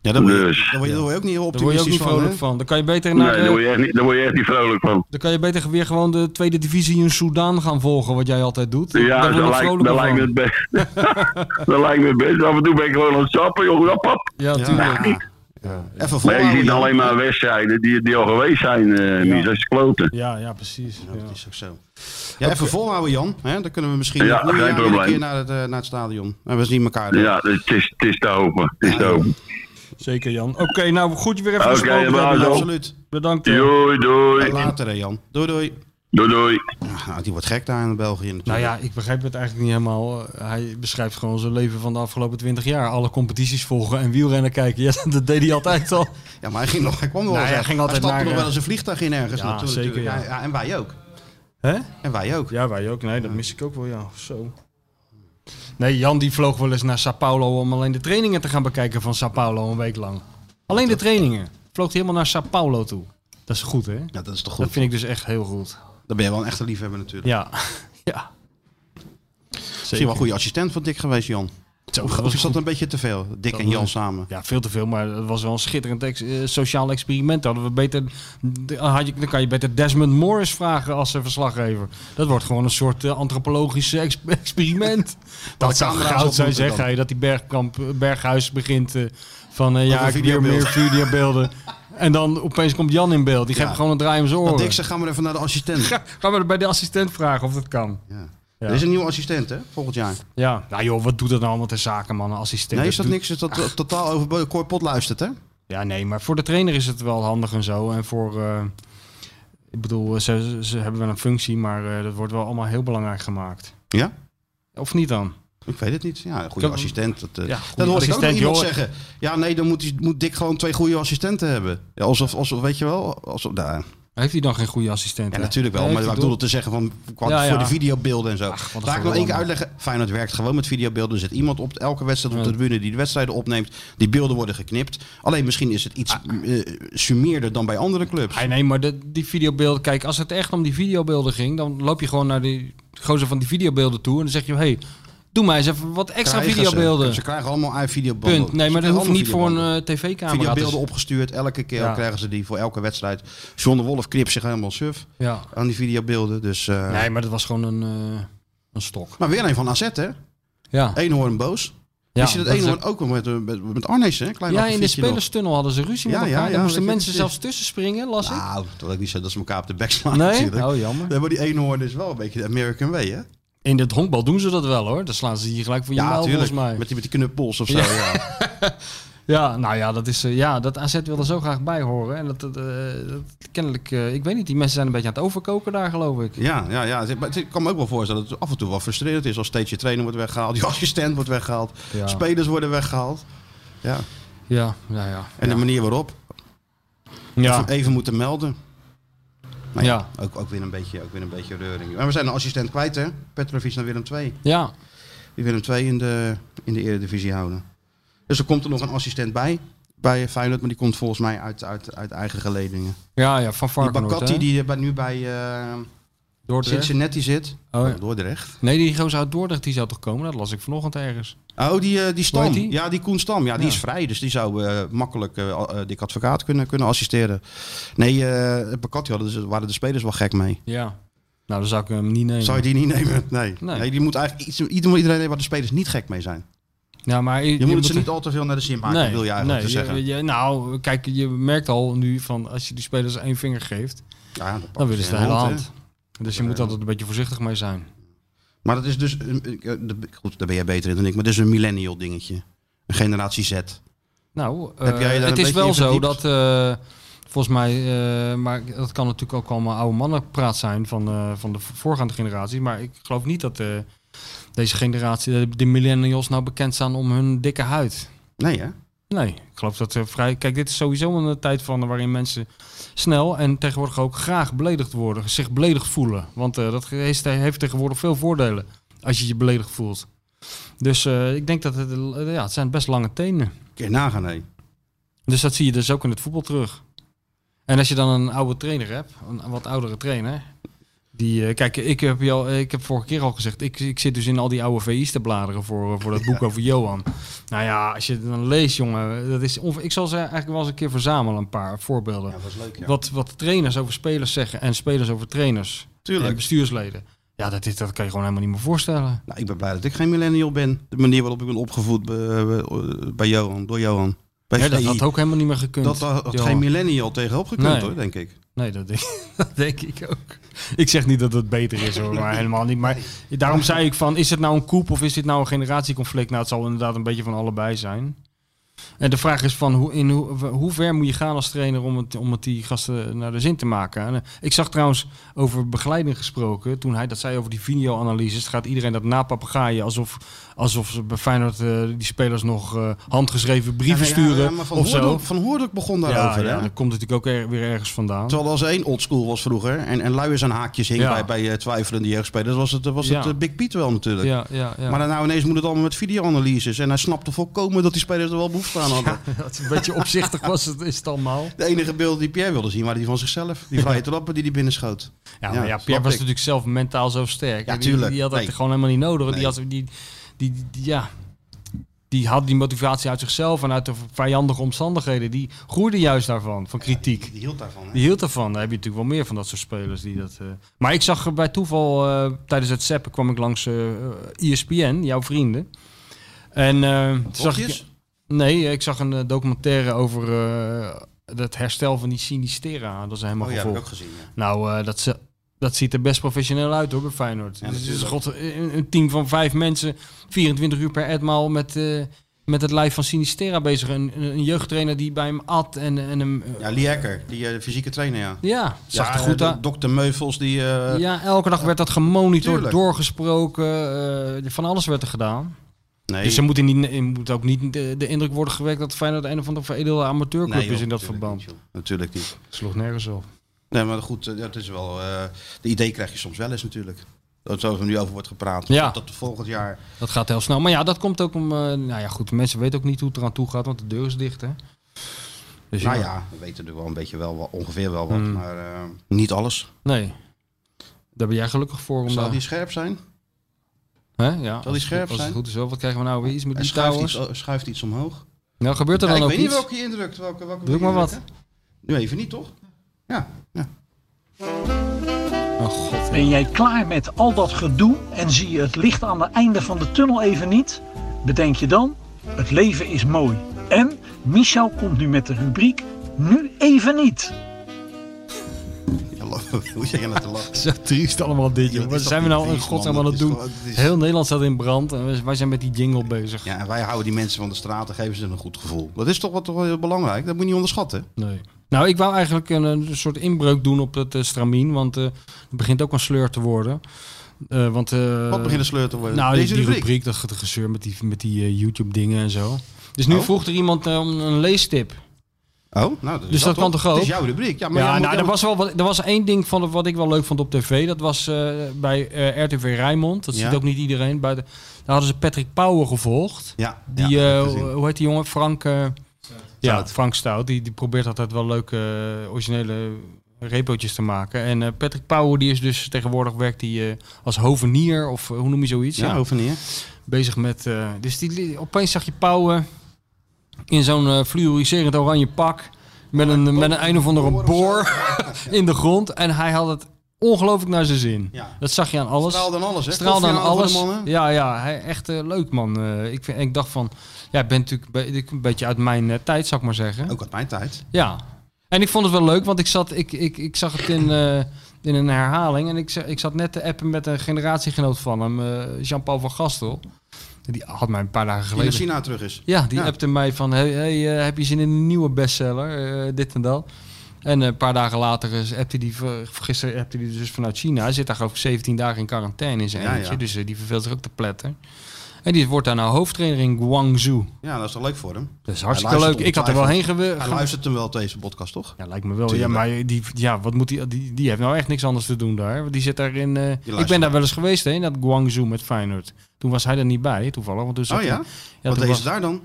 S2: Ja, daar word, je,
S6: Dus.
S2: daar, word je, daar word je ook niet heel
S3: Daar word je ook
S2: optimistisch
S3: niet
S2: van,
S3: vrolijk
S2: hè?
S3: van. Dan kan je beter, naar,
S6: Nee,
S3: eh,
S6: daar word, je echt niet, daar word je echt niet vrolijk van.
S3: dan kan je beter weer gewoon de tweede divisie in Soudaan gaan volgen, wat jij altijd doet.
S6: Ja,
S3: daar word
S6: dat
S3: ik
S6: lijkt,
S3: vrolijker
S6: dat lijkt me
S3: van.
S6: het best. dat lijkt me het best. Af en toe ben ik gewoon aan het sappen, jongen. Hop, hop.
S3: Ja, tuurlijk.
S2: Ja. Even
S6: Maar je
S2: volhouden.
S6: ziet
S2: Jan.
S6: alleen maar wedstrijden die, die al geweest zijn, eh Mies. Dat is kloten.
S3: Ja, ja, precies. Ja.
S2: Dat is ook zo. Ja, even volhouden, Jan. Hè? Dan kunnen we misschien
S6: Ja,
S2: in het nieuwe
S6: geen
S2: jaar weer een
S6: probleem.
S2: keer naar het, eh, naar het stadion. En we zien elkaar dan.
S6: Ja, dus het is, het is te hopen. Het is te hopen.
S3: Zeker, Jan. Oké, nou goed je weer even
S6: Oké,
S3: gesproken te
S6: maar
S3: hebben,
S6: zo.
S3: Jan.
S2: Absoluut.
S3: Bedankt. eh. Jan.
S6: Doei, doei.
S2: Later, hè, Jan. Doei, doei.
S6: Doei, doei.
S2: Nou, die wordt gek daar in België natuurlijk.
S3: Nou ja, ik begrijp het eigenlijk niet helemaal. Eh, Hij beschrijft gewoon zijn leven van de afgelopen 20 jaar. Alle competities volgen en wielrennen kijken. Ja, dat deed hij altijd al.
S2: Ja, maar hij, ging nog, hij kwam nog
S3: Nou,
S2: wel eens
S3: hij
S2: uit.
S3: ging altijd
S2: hij stapte
S3: naar,
S2: nog
S3: eh,
S2: wel eens een vliegtuig in ergens
S3: Ja,
S2: naartoe
S3: zeker,
S2: natuurlijk.
S3: ja.
S2: Ja. ja, en wij ook.
S3: Hè?
S2: En wij ook.
S3: Ja, wij ook. Nee, dat mis ik ook wel, ja. Zo. Nee, Jan die vloog wel eens naar Sao Paulo om alleen de trainingen te gaan bekijken van Sao Paulo een week lang. Alleen de trainingen. Vloog hij helemaal naar Sao Paulo toe. Dat is goed, hè?
S2: Ja, dat is toch goed.
S3: Dat vind ik dus echt heel goed.
S2: Dan ben je wel een echte liefhebber natuurlijk.
S3: Ja. ja.
S2: Misschien wel een goede assistent van Dick geweest, Jan.
S3: Zo,
S2: Of,
S3: dat
S2: of
S3: was
S2: is dat een beetje te veel? Dick en Jan samen.
S3: Ja, veel te veel, maar het was wel een schitterend ex- eh, sociaal experiment. Hadden we beter, d- had je, dan kan je beter Desmond Morris vragen als eh, verslaggever. Dat wordt gewoon een soort eh, antropologisch ex- experiment. dat zou
S2: camera's
S3: goud zijn,
S2: op moeten
S3: zeg hij. Dat die bergkamp, eh, berghuis begint eh, van eh, ja,
S2: een
S3: ik wil meer videobeelden. en dan opeens komt Jan in beeld. Die
S2: Ja.
S3: geeft gewoon een draai om zijn
S2: Dat
S3: oren.
S2: Dick zegt, gaan we even naar de assistent. Ja.
S3: Ga- Gaan we bij de assistent vragen of dat kan.
S2: Er is een nieuwe assistent, hè? Volgend jaar.
S3: Ja, nou joh, wat doet dat nou allemaal ter zaken, man? Een assistent.
S2: Nee, is dat
S3: doet-
S2: niks? Is dat
S3: Ah.
S2: eh, totaal over Cor Pot luistert, hè?
S3: Ja, nee, maar voor de trainer is het wel handig en zo. En voor, eh, Ik bedoel, ze, ze hebben wel een functie, maar eh, dat wordt wel allemaal heel belangrijk gemaakt.
S2: Ja?
S3: Of niet dan?
S2: Ik weet het niet. Ja, een goede
S3: Kan-
S2: assistent. Dat, eh
S3: Ja,
S2: dat
S3: goede
S2: hoorde ik ook nog
S3: assistent,
S2: iemand
S3: joh.
S2: zeggen. Ja, nee, dan moet, die, moet Dick gewoon twee goede assistenten hebben. Ja, alsof, alsof, weet je wel, alsof, nou,
S3: Heeft hij dan geen goede assistent?
S2: ja,
S3: hè?
S2: natuurlijk wel.
S3: Heeft
S2: Maar
S3: hij
S2: ik bedoel te zeggen van, qua,
S3: Ja,
S2: voor
S3: ja.
S2: de videobeelden en zo.
S3: Ach, wat een
S2: Laat ik nog één keer
S3: gelul.
S2: uitleggen. Feyenoord werkt gewoon met videobeelden. Er zit iemand op elke wedstrijd op de
S3: Ja.
S2: tribune die de wedstrijden opneemt. Die beelden worden geknipt. Alleen misschien is het iets eh, summeerder dan bij andere clubs.
S3: Ah, nee, maar de, die videobeelden, kijk, als het echt om die videobeelden ging, dan loop je gewoon naar die gozer van die videobeelden toe en dan zeg je, hé, hey, doe mij eens even wat extra
S2: Krijgen ze.
S3: videobeelden.
S2: Ze krijgen allemaal uit videobanden.
S3: Punt. Nee,
S2: Ze
S3: maar dat
S2: krijgen
S3: hoeft niet voor
S2: allemaal
S3: een
S2: videobanden.
S3: eh, tv-camera. te
S2: Videobeelden opgestuurd. Elke keer
S3: Ja.
S2: krijgen ze die voor elke wedstrijd. John de Wolf knipt zich helemaal suf
S3: Ja.
S2: aan die videobeelden. Dus, eh,
S3: Nee, maar dat was gewoon een, eh, een stok.
S2: Maar weer een van AZ, hè?
S3: Ja.
S2: Eenhoorn boos.
S3: ja,
S2: Is je dat, Ah,
S3: is
S2: Eenhoorn
S3: ook-
S2: ook wel met, eh, met, met Arnezen, hè? Klein
S3: Ja, in de
S2: akkefietje nog.
S3: spelerstunnel hadden ze ruzie
S2: Ja,
S3: met
S2: ja,
S3: elkaar.
S2: ja,
S3: Daar moesten
S2: weet je,
S3: mensen
S2: het
S3: zelfs tussen springen, las ik.
S2: Nou, dat wil ik niet zeggen dat ze elkaar op de bek slaan.
S3: Nee?
S2: natuurlijk.
S3: Oh, jammer.
S2: Nee, maar die Eenhoorn is wel een beetje de American way, hè?
S3: In het honkbal doen ze dat wel, hoor. Dan slaan ze je gelijk voor je mouw, volgens
S2: tuurlijk.
S3: mij.
S2: Met die, met die knuppels of zo.
S3: Ja.
S2: Ja.
S3: Ja, nou ja, dat is eh, ja, dat AZ wil er zo graag bij horen. En dat, dat, eh, dat kennelijk, eh, ik weet niet, die mensen zijn een beetje aan het overkoken daar, geloof ik.
S2: Ja, ja, ja. Het- Maar het- ik kan me ook wel voorstellen dat het af en toe wel frustrerend is als steeds je trainer wordt weggehaald, je assistent wordt weggehaald,
S3: Ja.
S2: spelers worden weggehaald. Ja.
S3: Ja, nou ja.
S2: En de manier waarop.
S3: Ja,
S2: Even, even moeten melden. Maar ja, Ook, ook, weer een beetje, ook weer een beetje reuring. Maar we zijn een assistent kwijt, hè? Petrovic naar Willem II.
S3: ja.
S2: Die Willem II in de, in de Eredivisie houden. Dus er komt er nog een assistent bij. Bij Feyenoord, maar die komt volgens mij uit, uit, uit eigen geledingen.
S3: ja, ja van
S2: Die
S3: Varkenoord,
S2: Bakatti
S3: hè?
S2: die er bij- nu bij eh
S3: Dordrecht.
S2: Cincinnati zit.
S3: Oh, ja.
S2: Dordrecht.
S3: Nee, die gozer uit Dordrecht, die zou toch komen? Dat las ik vanochtend ergens.
S2: Oh, die, eh, die Stam.
S3: Hoe heet die?
S2: Ja, die Koen Stam. Ja, die
S3: Ja.
S2: is vrij. Dus die zou eh, makkelijk eh al- eh, Dick Advocaat kunnen, kunnen assisteren. Nee, eh Bakati hadden, dus- waren de spelers wel gek mee.
S3: Ja. Nou, dan zou ik hem niet nemen.
S2: Zou je die niet nemen? Nee. nee.
S3: Nee.
S2: die moet eigenlijk iets, iedereen nemen waar de spelers niet gek mee zijn.
S3: Ja, maar
S2: Je, moet het ze niet al te veel naar de zin maken, wil je eigenlijk
S3: nee,
S2: te zeggen.
S3: Je, je- nou, kijk, je merkt al nu van als je die spelers één vinger geeft,
S2: ja, dat
S3: dan willen ze de
S2: een
S3: hele
S2: hand,
S3: hand.
S2: hè.
S3: Dus je moet altijd een beetje voorzichtig mee zijn.
S2: Maar dat is dus, een- een- eh, de- goed, daar ben jij beter in dan ik, maar dat is een millennial dingetje. Een generatie Z.
S3: Nou,
S2: Heb
S3: eh,
S2: jij je daar
S3: het
S2: een
S3: is
S2: beetje
S3: wel
S2: in
S3: zo
S2: verdiept?
S3: dat eh, volgens mij, eh, maar dat kan natuurlijk ook allemaal oude mannenpraat zijn van, eh, van de voorgaande generaties. Maar ik geloof niet dat eh, deze generatie, de- de millennials, nou bekend staan om hun dikke huid.
S2: Nee, hè?
S3: Nee, ik geloof dat er vrij. Kijk, dit is sowieso een eh, tijd van waarin mensen snel en tegenwoordig ook graag beledigd worden, zich beledigd voelen. Want eh, dat heeft, heeft tegenwoordig veel voordelen als je je beledigd voelt. Dus eh, ik denk dat het, eh, ja, het zijn best lange tenen.
S2: Kun je nagaan, nee.
S3: Dus dat zie je dus ook in het voetbal terug. En als je dan een oude trainer hebt, een wat oudere trainer. Die, eh, kijk, ik heb, je al, ik heb vorige keer al gezegd, ik, ik zit dus in al die oude VI's te bladeren voor, eh, voor dat boek over Johan. Nou ja, als je het dan leest, jongen, dat is onge- ik zal ze eigenlijk wel eens een keer verzamelen, een paar voorbeelden.
S2: dat is leuk,
S3: Wat, wat trainers over spelers zeggen en spelers over trainers en
S2: Tuurlijk.
S3: bestuursleden. Ja, dat, is, dat kan je gewoon helemaal niet meer voorstellen.
S2: Nou, ik ben blij dat ik geen millennial ben. De manier waarop ik ben opgevoed eh, eh, bij Johan, door Johan. Bij
S3: Ja, dat
S2: VI.
S3: had ook helemaal niet meer gekund.
S2: Dat had had
S3: Johan.
S2: geen millennial tegenop gekund
S3: Nee.
S2: hoor, denk ik.
S3: Nee, dat denk, dat denk ik ook. Ik zeg niet dat het beter is hoor, maar helemaal niet. Maar daarom zei ik van, is het nou een koep of is dit nou een generatieconflict? Nou, het zal inderdaad een beetje van allebei zijn. En de vraag is van, hoe, in hoe, hoe ver moet je gaan als trainer om het, om het die gasten naar de zin te maken? En, eh, ik zag trouwens over begeleiding gesproken, toen hij dat zei over die videoanalyses, gaat iedereen dat napapagaaien alsof, alsof ze bij Feyenoord eh, die spelers nog eh, handgeschreven brieven
S2: Ja, nee, ja,
S3: sturen
S2: ja, maar van
S3: of zo.
S2: Hoordok- Van Hoordok begon
S3: Ja,
S2: daarover.
S3: ja,
S2: hè?
S3: dat komt natuurlijk ook er- weer ergens vandaan.
S2: Terwijl als er één oldschool was vroeger en, en luiers aan haakjes hing
S3: Ja.
S2: bij, bij eh, twijfelende jeugdspelers, was het, was het
S3: Ja.
S2: eh, Big Piet wel natuurlijk.
S3: Ja, ja, ja.
S2: Maar dan nou ineens moet het allemaal met videoanalyses. En hij snapte volkomen dat die spelers er wel behoefte aan hadden.
S3: Dat een beetje opzichtig was, het, is het allemaal.
S2: De enige beelden die Pierre wilde zien waren die van zichzelf. Die vrije trappen die hij binnenschoot.
S3: Ja, maar ja,
S2: snap
S3: Pierre was
S2: ik.
S3: natuurlijk zelf mentaal zo sterk.
S2: Ja,
S3: Die-
S2: tuurlijk.
S3: Die, had dat
S2: Nee.
S3: gewoon helemaal niet nodig.
S2: Nee.
S3: Die, had, die, die, die- die- ja, die had die motivatie uit zichzelf en uit de vijandige omstandigheden. Die groeide juist daarvan, van kritiek.
S2: Die hield daarvan. hè?
S3: Die hield ervan. Daar heb je natuurlijk wel meer van dat soort spelers. Die dat, eh, Maar ik zag er bij toeval, eh, tijdens het zappen kwam ik langs eh ESPN, jouw vrienden. En eh, toen zag ik...
S2: Hokjes?
S3: Nee, eh, ik zag een eh, documentaire over eh, het herstel van die sinistera. Dat is helemaal
S2: Oh ja, heb
S3: gevolg.
S2: ik ook gezien. ja.
S3: Nou, eh, dat, ze- dat ziet er best professioneel uit hoor, bij Feyenoord.
S2: Ja,
S3: Dus het is
S2: natuurlijk.
S3: god, een, een team van vijf mensen, 24 uur per etmaal met, eh, met het lijf van Sinistera bezig. Een, een, een jeugdtrainer die bij hem at en, en hem...
S2: Ja, Lee Hacker, die eh, de fysieke trainer, ja.
S3: ja, zag
S2: ja,
S3: er goed uit.
S2: Dokter Meuvels, die... eh,
S3: Ja, elke dag werd dat gemonitord,
S2: Tuurlijk.
S3: doorgesproken. eh, van alles werd er gedaan.
S2: nee,
S3: Dus er moet, in die, er moet ook niet de, de indruk worden gewekt dat Feyenoord een of andere veredelde amateurclub
S2: nee, joh,
S3: is in dat
S2: natuurlijk
S3: verband.
S2: niet, joh. natuurlijk niet.
S3: sloeg nergens op.
S2: Nee, maar goed, eh, dat is wel... eh, de idee krijg je soms wel eens natuurlijk. Dat zo er nu over wordt gepraat.
S3: Ja.
S2: Dat er volgend jaar...
S3: Dat gaat heel snel. Maar ja, dat komt ook om... eh, nou ja, goed, mensen weten ook niet hoe het eraan toe gaat, want de deur is dicht, hè. Dus
S2: nou ja, we weten er wel een beetje wel, wa- ongeveer wel wat.
S3: Hmm.
S2: Maar eh, niet alles.
S3: Nee. Daar ben jij gelukkig voor. Om eh,
S2: Zal
S3: daar-
S2: die scherp zijn?
S3: hè? Ja, als
S2: die
S3: het-
S2: scherp
S3: Als het
S2: zijn?
S3: goed is, wel. wat krijgen we nou weer iets met
S2: Hij
S3: die
S2: schuift
S3: touwers?
S2: iets, eh, schuift iets omhoog.
S3: Nou, gebeurt er
S2: Ja,
S3: dan
S2: ik
S3: ook
S2: weet niet
S3: iets?
S2: welke je indrukt. Welke, welke
S3: Druk
S2: wil je
S3: maar wat.
S2: indrukken? Nu even niet, toch? Ja. ja.
S3: Oh god.
S7: Ben jij klaar met al dat gedoe en zie je het licht aan het einde van de tunnel even niet? Bedenk je dan, het leven is mooi. En Michel komt nu met de rubriek Nu even niet.
S2: Ja, lachen. Hoe zeg je dat te lachen?
S3: Zo triest allemaal dit,
S2: Ja,
S3: joh.
S2: dat
S3: Wat
S2: is
S3: zijn we
S2: toch
S3: nou in
S2: triest,
S3: godsnaam
S2: man.
S3: aan
S2: Dat
S3: het
S2: is
S3: doen?
S2: toch- dat is-
S3: Heel Nederland staat in brand en wij- wij zijn met die jingle bezig.
S2: Ja, en wij houden die mensen van de straat en geven ze een goed gevoel. Dat is toch wat toch wel heel belangrijk? Dat moet je niet onderschatten.
S3: Nee. Nou, ik wou eigenlijk een, een soort inbreuk doen op het eh, stramien, want eh, het begint ook een sleur te worden. Eh, want, eh,
S2: Wat begint de sleur te worden?
S3: Nou,
S2: Deze
S3: die
S2: rubriek.
S3: rubriek, dat ge- gezeur met die, met die eh, YouTube-dingen en zo. Dus nu
S2: Oh.
S3: vroeg er iemand eh, om een leestip.
S2: Oh, nou,
S3: Dus dat kan toch ook?
S2: Het is jouw rubriek. Ja, maar
S3: ja,
S2: jij moet-
S3: nou,
S2: jij
S3: er
S2: moet-
S3: was, wel, wat- er was één ding van, wat ik wel leuk vond op tv. Dat was eh, bij eh, RTV Rijnmond. Dat
S2: Ja.
S3: ziet ook niet iedereen. Buiten. Daar hadden ze Patrick Pauwen gevolgd.
S2: Ja,
S3: Die,
S2: ja,
S3: eh,
S2: heb ik gezien.
S3: hoe heet die jongen? Frank... eh, ja,
S2: Stout.
S3: Frank Stout. Die, die probeert altijd wel leuke eh, originele repootjes te maken. En eh, Patrick Pauwen die is dus tegenwoordig werkt die eh, als hovenier of eh, hoe noem je zoiets?
S2: ja, hoeven niet.
S3: bezig met. eh, dus die, li- opeens zag je Pauwen in zo'n eh, fluoriserend oranje pak. Met een, met een een of andere boor in de grond. En hij had het ongelooflijk naar zijn zin.
S2: Ja.
S3: Dat zag je aan alles.
S2: Straal dan alles, hè?
S3: Straal dan
S2: Koffie aan voor de
S3: alles.
S2: mannen.
S3: Ja, ja, hij, echt eh, leuk man. Eh, ik, vind, ik dacht van, ja, ik ben natuurlijk be- ik- een beetje uit mijn eh, tijd, zou ik maar zeggen.
S2: Ook uit mijn tijd.
S3: Ja. En ik vond het wel leuk, want ik, zat, ik, ik, ik zag het in, eh, in een herhaling. En ik, za- ik zat net te appen met een generatiegenoot van hem, eh, Jean-Paul van Gastel. Die had mij een paar dagen
S2: Die naar
S3: geleden.
S2: China terug is.
S3: Ja, die
S2: Ja.
S3: appte mij van, hey, hey, eh, heb je zin in een nieuwe bestseller? Eh, dit en dat. En een paar dagen later is- appte die, ver- gisteren appte die dus vanuit China. Hij zit daar geloof ik 17 dagen in quarantaine in zijn
S2: Ja,
S3: eentje.
S2: ja.
S3: Dus eh, die verveelt zich ook te pletten. En die wordt daar nou hoofdtrainer in Guangzhou.
S2: Ja, dat is toch leuk voor hem?
S3: Dat is
S2: Hij
S3: hartstikke
S2: luistert
S3: leuk. Ik had er wel heen
S2: ongetwijfeld.
S3: gewe-
S2: Hij
S3: ge-
S2: luistert hem wel deze podcast, toch?
S3: ja, lijkt me wel. Ja,
S2: Tuurlijk.
S3: maar die, ja, wat moet die, die, die heeft nou echt niks anders te doen daar. Want die zit daar in... eh, ik ben
S2: luistert.
S3: daar wel eens geweest, hè, in dat Guangzhou met Feyenoord. Toen was hij er niet bij, toevallig. Want toen zat
S2: Oh ja?
S3: hij-
S2: Wat
S3: toen
S2: deed
S3: was,
S2: ze daar dan?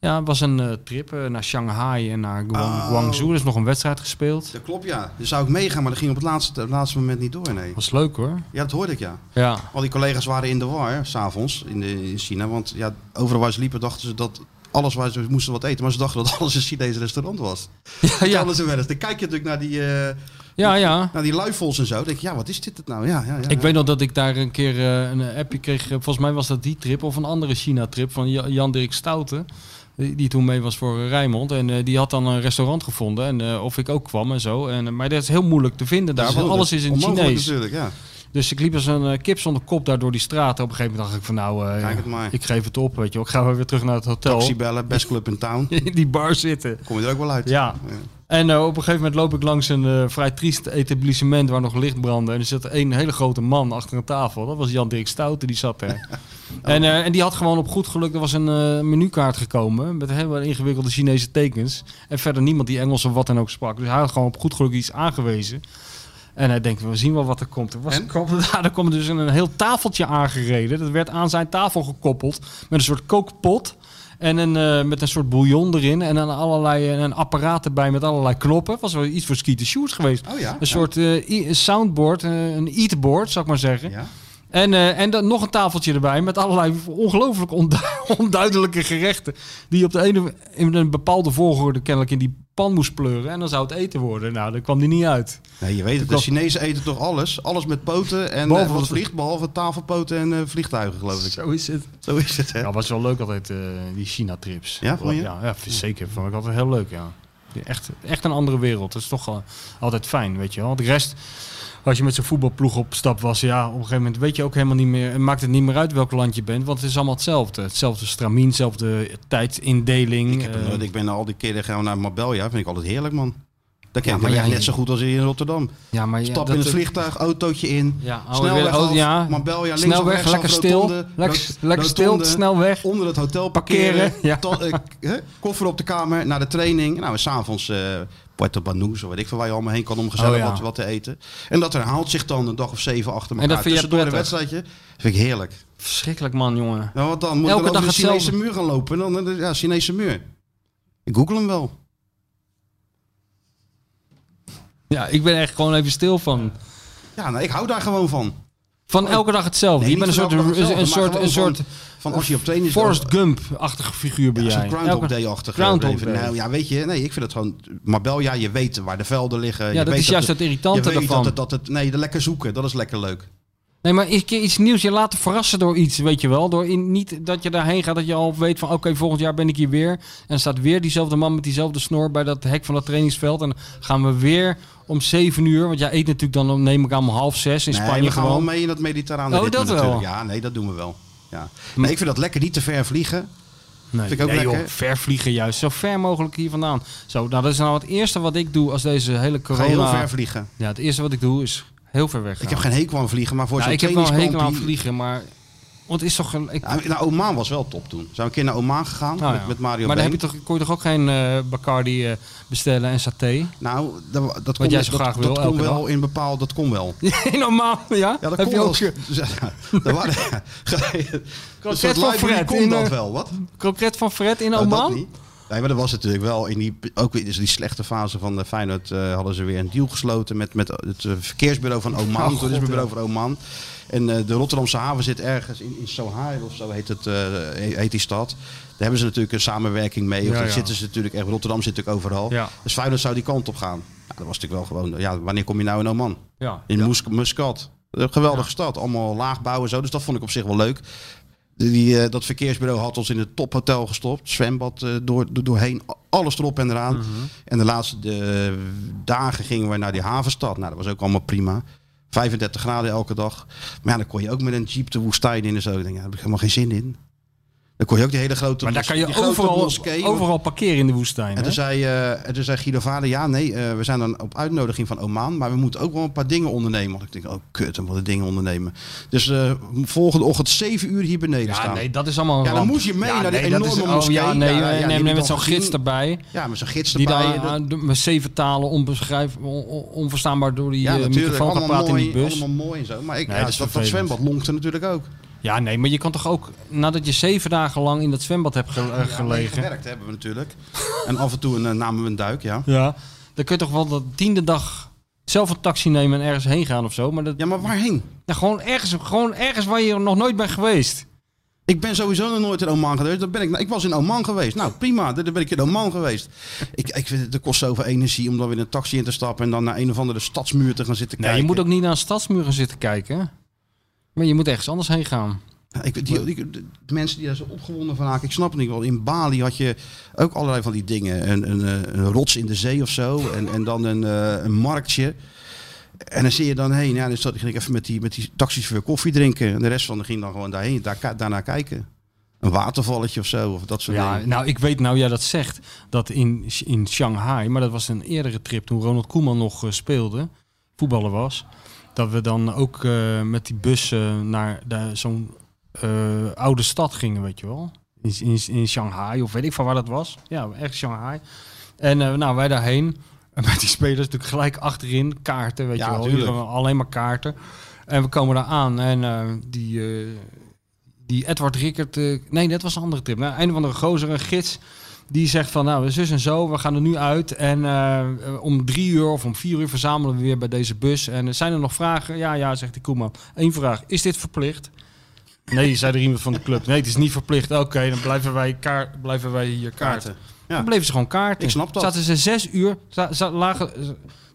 S3: ja, het was een eh, trip eh, naar Shanghai en naar Guang-
S2: Oh.
S3: Guangzhou. Er is nog een wedstrijd gespeeld.
S2: Dat klopt, ja. Daar zou ik meegaan, maar dat ging op het laatste, het laatste moment niet door, nee.
S3: Was leuk, hoor.
S2: Ja, dat hoorde ik, ja.
S3: Ja.
S2: Al die collega's waren in de war, s'avonds, in, de- in China. Want ja, overal waar ze liepen dachten ze dat alles waar ze moesten wat eten. Maar ze dachten dat alles een Chinees restaurant was.
S3: Ja,
S2: Ja.
S3: ja,
S2: Alles en wel eens. Dan kijk je natuurlijk naar die, eh
S3: ja, ja.
S2: naar die luifels en zo. Dan denk je, ja, wat is dit het nou? Ja, ja, ja.
S3: Ik weet nog dat ik daar een keer eh, een appje kreeg. Eh, Volgens mij was dat die trip of een andere China-trip van Ja- Jan-Dirk Stouten. Die die toen mee was voor eh, Rijnmond. En eh, die had dan een restaurant gevonden. En eh, of ik ook kwam en zo. En, eh, maar dat is heel moeilijk te vinden
S2: Dat
S3: daar.
S2: is
S3: Want
S2: heel dus
S3: alles is in het
S2: onmogelijk
S3: Chinees.
S2: natuurlijk, ja.
S3: Dus ik liep als een eh, kip zonder kop daar door die straten. Op een gegeven moment dacht ik van nou, eh,
S2: Kijk het maar.
S3: ik geef het op. Weet je wel. Ik ga weer terug naar het hotel.
S2: Taxi bellen, best club in town.
S3: In die bar zitten.
S2: Kom je er ook wel uit.
S3: Ja. En eh, op een gegeven moment loop ik langs een eh, vrij triest etablissement waar nog licht brandde. En er zat één hele grote man achter een tafel. Dat was Jan-Dirk Stouten, die zat er.
S2: Oh.
S3: en, eh, en die had gewoon op goed geluk, er was een eh, menukaart gekomen met helemaal ingewikkelde Chinese tekens. En verder niemand die Engels of wat dan ook sprak. Dus hij had gewoon op goed geluk iets aangewezen. En hij denkt, we zien wel wat er komt. Er was,
S2: En?
S3: kwam, daar kwam dus een, een heel tafeltje aangereden. Dat werd aan zijn tafel gekoppeld met een soort kookpot. En een, eh, met een soort bouillon erin. En dan allerlei eh, een apparaat erbij met allerlei knoppen. Was wel iets voor Skeet de Shoes geweest.
S2: Oh ja?
S3: Een soort eh, i- een soundboard, eh, een eatboard, zou ik maar zeggen.
S2: Ja.
S3: En, eh, en dan nog een tafeltje erbij met allerlei ongelooflijk ondu- onduidelijke gerechten. Die je op de ene, in een bepaalde volgorde kennelijk in die pan moest pleuren. En dan zou het eten worden. Nou, daar kwam die niet uit.
S2: Nee, je weet het. De
S3: klopt.
S2: Chinezen eten toch alles? Alles met poten en
S3: Behalve
S2: eh, wat
S3: wat-
S2: vliegt, behalve tafelpoten en eh, vliegtuigen, geloof ik.
S3: Zo is het.
S2: Zo is het, hè?
S3: Ja, was wel leuk altijd, eh, die China-trips.
S2: Ja, vond je?
S3: Ja, ja, vind- zeker. Vond ik altijd heel eh, leuk, ja. Echt, echt een andere wereld. Dat is toch wel altijd fijn, weet je wel. De rest, als je met zo'n voetbalploeg op stap was, ja, op een gegeven moment weet je ook helemaal niet meer. En maakt het niet meer uit welk land je bent, want het is allemaal hetzelfde. Hetzelfde stramien, hetzelfde tijdindeling.
S2: Ik, heb hem
S3: eh,
S2: nooit- ik ben al die keren gaan naar Marbella. Vind ik altijd heerlijk, man. Daar ken ik
S3: maar
S2: de weg
S3: jij-
S2: net zo goed als hier in Rotterdam.
S3: ja, maar ja,
S2: Stap
S3: dat-
S2: in het vliegtuig, autootje in.
S3: Ja, oh,
S2: snelweg
S3: weer- oh,
S2: af,
S3: ja.
S2: Marbella, links of
S3: Snelweg,
S2: rechts af,
S3: lekker stil.
S2: rotonde,
S3: Lekker,
S2: rot-
S3: lekker stil,
S2: rotonde,
S3: snelweg.
S2: Onder het hotel
S3: Parkeren,
S2: parkeren.
S3: ja.
S2: to- eh, k- hè, koffer op de kamer, naar de training. Nou, en s'avonds eh Puerto Banús, of weet ik veel waar je allemaal heen kan om gezellig
S3: Oh, ja.
S2: wat, wat te eten. En dat herhaalt zich dan een dag of zeven achter
S3: En dat
S2: elkaar.
S3: vind jij
S2: Tussendoor een
S3: prettig?
S2: wedstrijdje. vind ik heerlijk.
S3: Verschrikkelijk man, jongen.
S2: Nou, wat dan? Moet
S3: Elke
S2: Elke dan
S3: dag
S2: over de Chinese
S3: hetzelfde.
S2: muur gaan lopen? En Dan, eh, ja, Chinese muur. Ik google hem wel.
S3: Ja, ik ben echt gewoon even stil van.
S2: Ja, nou, ik hou daar gewoon van.
S3: Van elke dag hetzelfde.
S2: Oh. Nee,
S3: je bent
S2: niet
S3: een soort,
S2: van elke dag
S3: een, een
S2: hetzelfde,
S3: soort,
S2: maar gewoon
S3: een soort
S2: Van, van als je op training
S3: Forrest Gump-achtige figuur ben
S2: Ja,
S3: jij.
S2: zo'n Groundhog
S3: Elke-
S2: Day-achtig.
S3: Groundhog
S2: leven.
S3: Day.
S2: Nou ja, weet je, nee, ik vind het gewoon... Marbella, je weet waar de velden liggen. je
S3: Ja, dat
S2: weet
S3: is juist
S2: het-
S3: het irritante
S2: je weet
S3: ervan.
S2: Dat het, dat het, nee, de lekker zoeken, dat is lekker leuk.
S3: Nee, maar een keer iets nieuws. Je laten verrassen door iets, weet je wel. Door in, niet dat je daarheen gaat, dat je al weet van... oké, volgend jaar ben ik hier weer. En er staat weer diezelfde man met diezelfde snor... bij dat hek van dat trainingsveld. En dan gaan we weer om zeven uur... want jij eet natuurlijk dan, om, neem ik aan, om half zes in
S2: Nee,
S3: Spanje
S2: we gaan wel
S3: gewoon.
S2: mee in dat mediterrane
S3: Oh,
S2: ritme
S3: dat wel.
S2: natuurlijk. Ja, nee, dat doen we wel. Ja. Nee, ik vind dat lekker, niet te ver vliegen.
S3: Nee,
S2: Vind ik ook
S3: nee,
S2: lekker.
S3: joh, ver vliegen juist. Zo ver mogelijk hier vandaan. Zo, nou, dat is nou het eerste wat ik doe als deze hele
S2: Ga
S3: corona...
S2: heel ver vliegen.
S3: Ja, het eerste wat ik doe is heel ver weg.
S2: Ik heb geen hekel aan vliegen, maar voor
S3: ja,
S2: zo'n
S3: ik heb wel een
S2: trainingskamp...
S3: hekel aan
S2: die-
S3: vliegen, maar... Want het is toch... Een, ik-
S2: Ja, nou, Oman was wel top toen. Zijn we een keer naar Oman gegaan
S3: Nou
S2: met,
S3: ja.
S2: met Mario
S3: Maar dan heb
S2: Been.
S3: je toch, kon je toch ook geen eh, Bacardi eh, bestellen en saté?
S2: Nou, dat, dat kon,
S3: jij zo
S2: dat-
S3: graag wil,
S2: dat kon
S3: elke
S2: wel
S3: dag.
S2: in bepaald... Dat kon wel.
S3: Normaal, ja?
S2: Ja, dat
S3: heb
S2: kon
S3: je
S2: wel.
S3: ook ge-
S2: Ja, daar waren- Een soort
S3: van
S2: library
S3: Fred
S2: kon
S3: in,
S2: dat
S3: eh,
S2: wel, wat?
S3: kroket van Fred in
S2: Nou, dat
S3: Oman?
S2: niet. Nee, maar dat was het natuurlijk wel in die, ook in die slechte fase van de Feyenoord eh, hadden ze weer een deal gesloten met, met het eh, verkeersbureau van
S3: Oh,
S2: Oman, het toerismebureau van Oman. En eh, de Rotterdamse haven zit ergens in, in Sohail of zo heet, het, eh, he- heet die stad. Daar hebben ze natuurlijk een samenwerking mee. Of
S3: Ja,
S2: daar
S3: ja.
S2: zitten ze natuurlijk echt, Rotterdam zit natuurlijk overal.
S3: Ja.
S2: Dus Feyenoord zou die kant op gaan. Ja, dat was natuurlijk wel gewoon, ja, wanneer kom je nou in Oman?
S3: Ja.
S2: In Mus- Muscat. Een geweldige stad. Allemaal laagbouw en zo. Dus dat vond ik op zich wel leuk. Die, eh, dat verkeersbureau had ons in het tophotel gestopt. Zwembad eh, door, door- doorheen. a- Alles erop en eraan.
S3: Mhm.
S2: En de laatste eh, dagen gingen we naar die havenstad. Nou, dat was ook allemaal prima. 35 graden elke dag. Maar ja, dan kon je ook met een jeep de woestijn in en zo. Ik denk, ja, daar heb ik helemaal geen zin in. Dan kon je ook die hele grote
S3: Maar daar
S2: mos-
S3: kan je
S2: die grote
S3: overal,
S2: moskee,
S3: overal parkeren in de woestijn.
S2: en
S3: hè?
S2: toen zei, eh, en toen zei Guido Vader, ja nee, eh, we zijn dan op uitnodiging van Oman, maar we moeten ook wel een paar dingen ondernemen. Want ik denk, oh kut, we moeten dingen ondernemen. Dus eh, volgende ochtend zeven uur hier beneden
S3: ja,
S2: staan.
S3: nee, dat is allemaal een
S2: Ja, dan
S3: ramp. Ah,
S2: moest je mee naar die
S3: nee, dat
S2: enorme
S3: is,
S2: moskee.
S3: Oh, ja, nee,
S2: Ja, ja,
S3: nee,
S2: die
S3: nee,
S2: heb je
S3: met
S2: dan
S3: zo'n gids
S2: gezien.
S3: erbij.
S2: Ja, met zo'n gids
S3: Die
S2: erbij.
S3: daar
S2: dat-
S3: aan- met zeven talen onbeschrijf, on- on- onverstaanbaar door die
S2: ja,
S3: eh,
S2: natuurlijk,
S3: microfoon gaat
S2: allemaal
S3: praten
S2: mooi,
S3: in die bus.
S2: allemaal mooi en zo. Maar ik,
S3: Nee,
S2: ja, dat,
S3: dat is
S2: dat,
S3: vervelend.
S2: zwembad lonkte natuurlijk ook. Ja,
S3: Ja, nee, maar je kan toch ook, nadat je zeven dagen lang in dat zwembad hebt ge- eh,
S2: mee
S3: gelegen,
S2: gewerkt hebben we natuurlijk. en af en toe een, eh, namen we een duik, ja.
S3: Ja. Dan kun je toch wel de tiende dag zelf een taxi nemen en ergens heen gaan of zo. Maar, dat,
S2: Ja, maar waarheen?
S3: ja, gewoon, ergens, gewoon ergens waar je nog nooit bent geweest.
S2: Ik ben sowieso nog nooit in Oman geweest. Dan ben ik, nou, ik was in Oman geweest. Nou, prima. Dan ben ik in Oman geweest. Ik, ik vind het, het kost zoveel energie om dan weer in een taxi in te stappen... en dan naar een of andere stadsmuur te gaan zitten
S3: Nee,
S2: kijken.
S3: je moet ook niet naar een stadsmuur gaan zitten kijken. Maar je moet ergens anders heen gaan.
S2: Ja, ik, weet- die, die- de mensen die daar zo opgewonden van raken, ik snap het niet wel. In Bali had je ook allerlei van die dingen. Een, een, eh, een rots in de zee of zo. En, en dan een, eh, een marktje. En dan zie je dan heen. Ja, dus dat ging ik even met die, met die taxichauffeur koffie drinken. En de rest van de ging dan gewoon daarheen, daar, daarnaar kijken. Een watervalletje of zo. Of dat soort
S3: Ja,
S2: dingen.
S3: nou, ik weet nou, jij dat zegt, dat in, in Shanghai, maar dat was een eerdere trip toen Ronald Koeman nog eh, speelde, voetballer was, dat we dan ook eh, met die bus eh, naar daar zo'n eh, oude stad gingen, weet je wel. In, in, in Shanghai, of weet ik van waar dat was. Ja, echt Shanghai. En eh, nou, wij daarheen, en met die spelers natuurlijk gelijk achterin, kaarten, weet
S2: Ja,
S3: je wel.
S2: tuurlijk.
S3: Iedereen- Alleen maar kaarten. En we komen daar aan en eh, die... eh, die Edward Rickert. eh, nee, dat was een andere tip. Nou, een van de gozer, een gids. Die zegt van, nou, zus en zo, we gaan er nu uit. En eh, eh, om drie uur of om vier uur verzamelen we weer bij deze bus. En eh, zijn er nog vragen? Ja, ja, zegt die Koeman. Eén vraag, is dit verplicht? Nee, zei er iemand van de club. Nee, het is niet verplicht. Oké, dan blijven wij, kaar, blijven wij hier kaarten.
S2: Kaarten.
S3: Dan bleven ze gewoon kaarten.
S2: Ik snap dat.
S3: Zaten ze zes uur, za- za- lagen,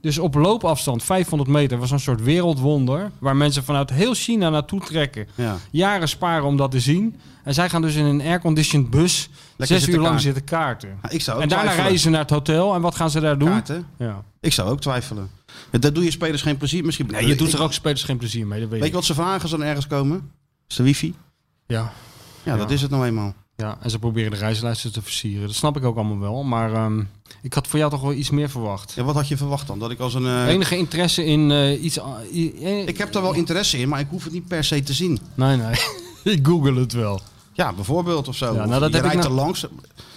S3: dus op loopafstand, 500 meter, was een soort wereldwonder. Waar mensen vanuit heel China naartoe trekken
S2: Ja.
S3: jaren sparen om dat te zien. En zij gaan dus in een airconditioned bus zes uur
S2: zitten
S3: lang
S2: kaarten.
S3: zitten kaarten.
S2: Nou, Ik zou ook
S3: en daarna
S2: twijfelen.
S3: reizen ze naar het hotel. En wat gaan ze daar doen?
S2: Kaarten.
S3: Ja.
S2: Ik zou ook twijfelen. Daar doe je spelers geen plezier. Misschien.
S3: Nee, je doet
S2: Ik-
S3: er ook spelers geen plezier mee, dat weet,
S2: Weet je
S3: ik.
S2: wat ze vragen als ze dan ergens komen? Is de wifi?
S3: Ja.
S2: Ja, dat is het nou eenmaal.
S3: ja, en ze proberen de reislijsten te versieren. Dat snap ik ook allemaal wel, maar ehm, ik had voor jou toch wel iets meer verwacht.
S2: Ja, wat had je verwacht dan? Dat ik als een. eh,
S3: Enige interesse in eh, iets... a- i- eh,
S2: Ik heb daar wel interesse in, maar ik hoef het niet per se te zien.
S3: Nee, nee. ik google het wel.
S2: Ja, bijvoorbeeld of zo.
S3: Ja, nou,
S2: Of
S3: dat
S2: je
S3: heb ik
S2: rijdt
S3: nou-
S2: er langs.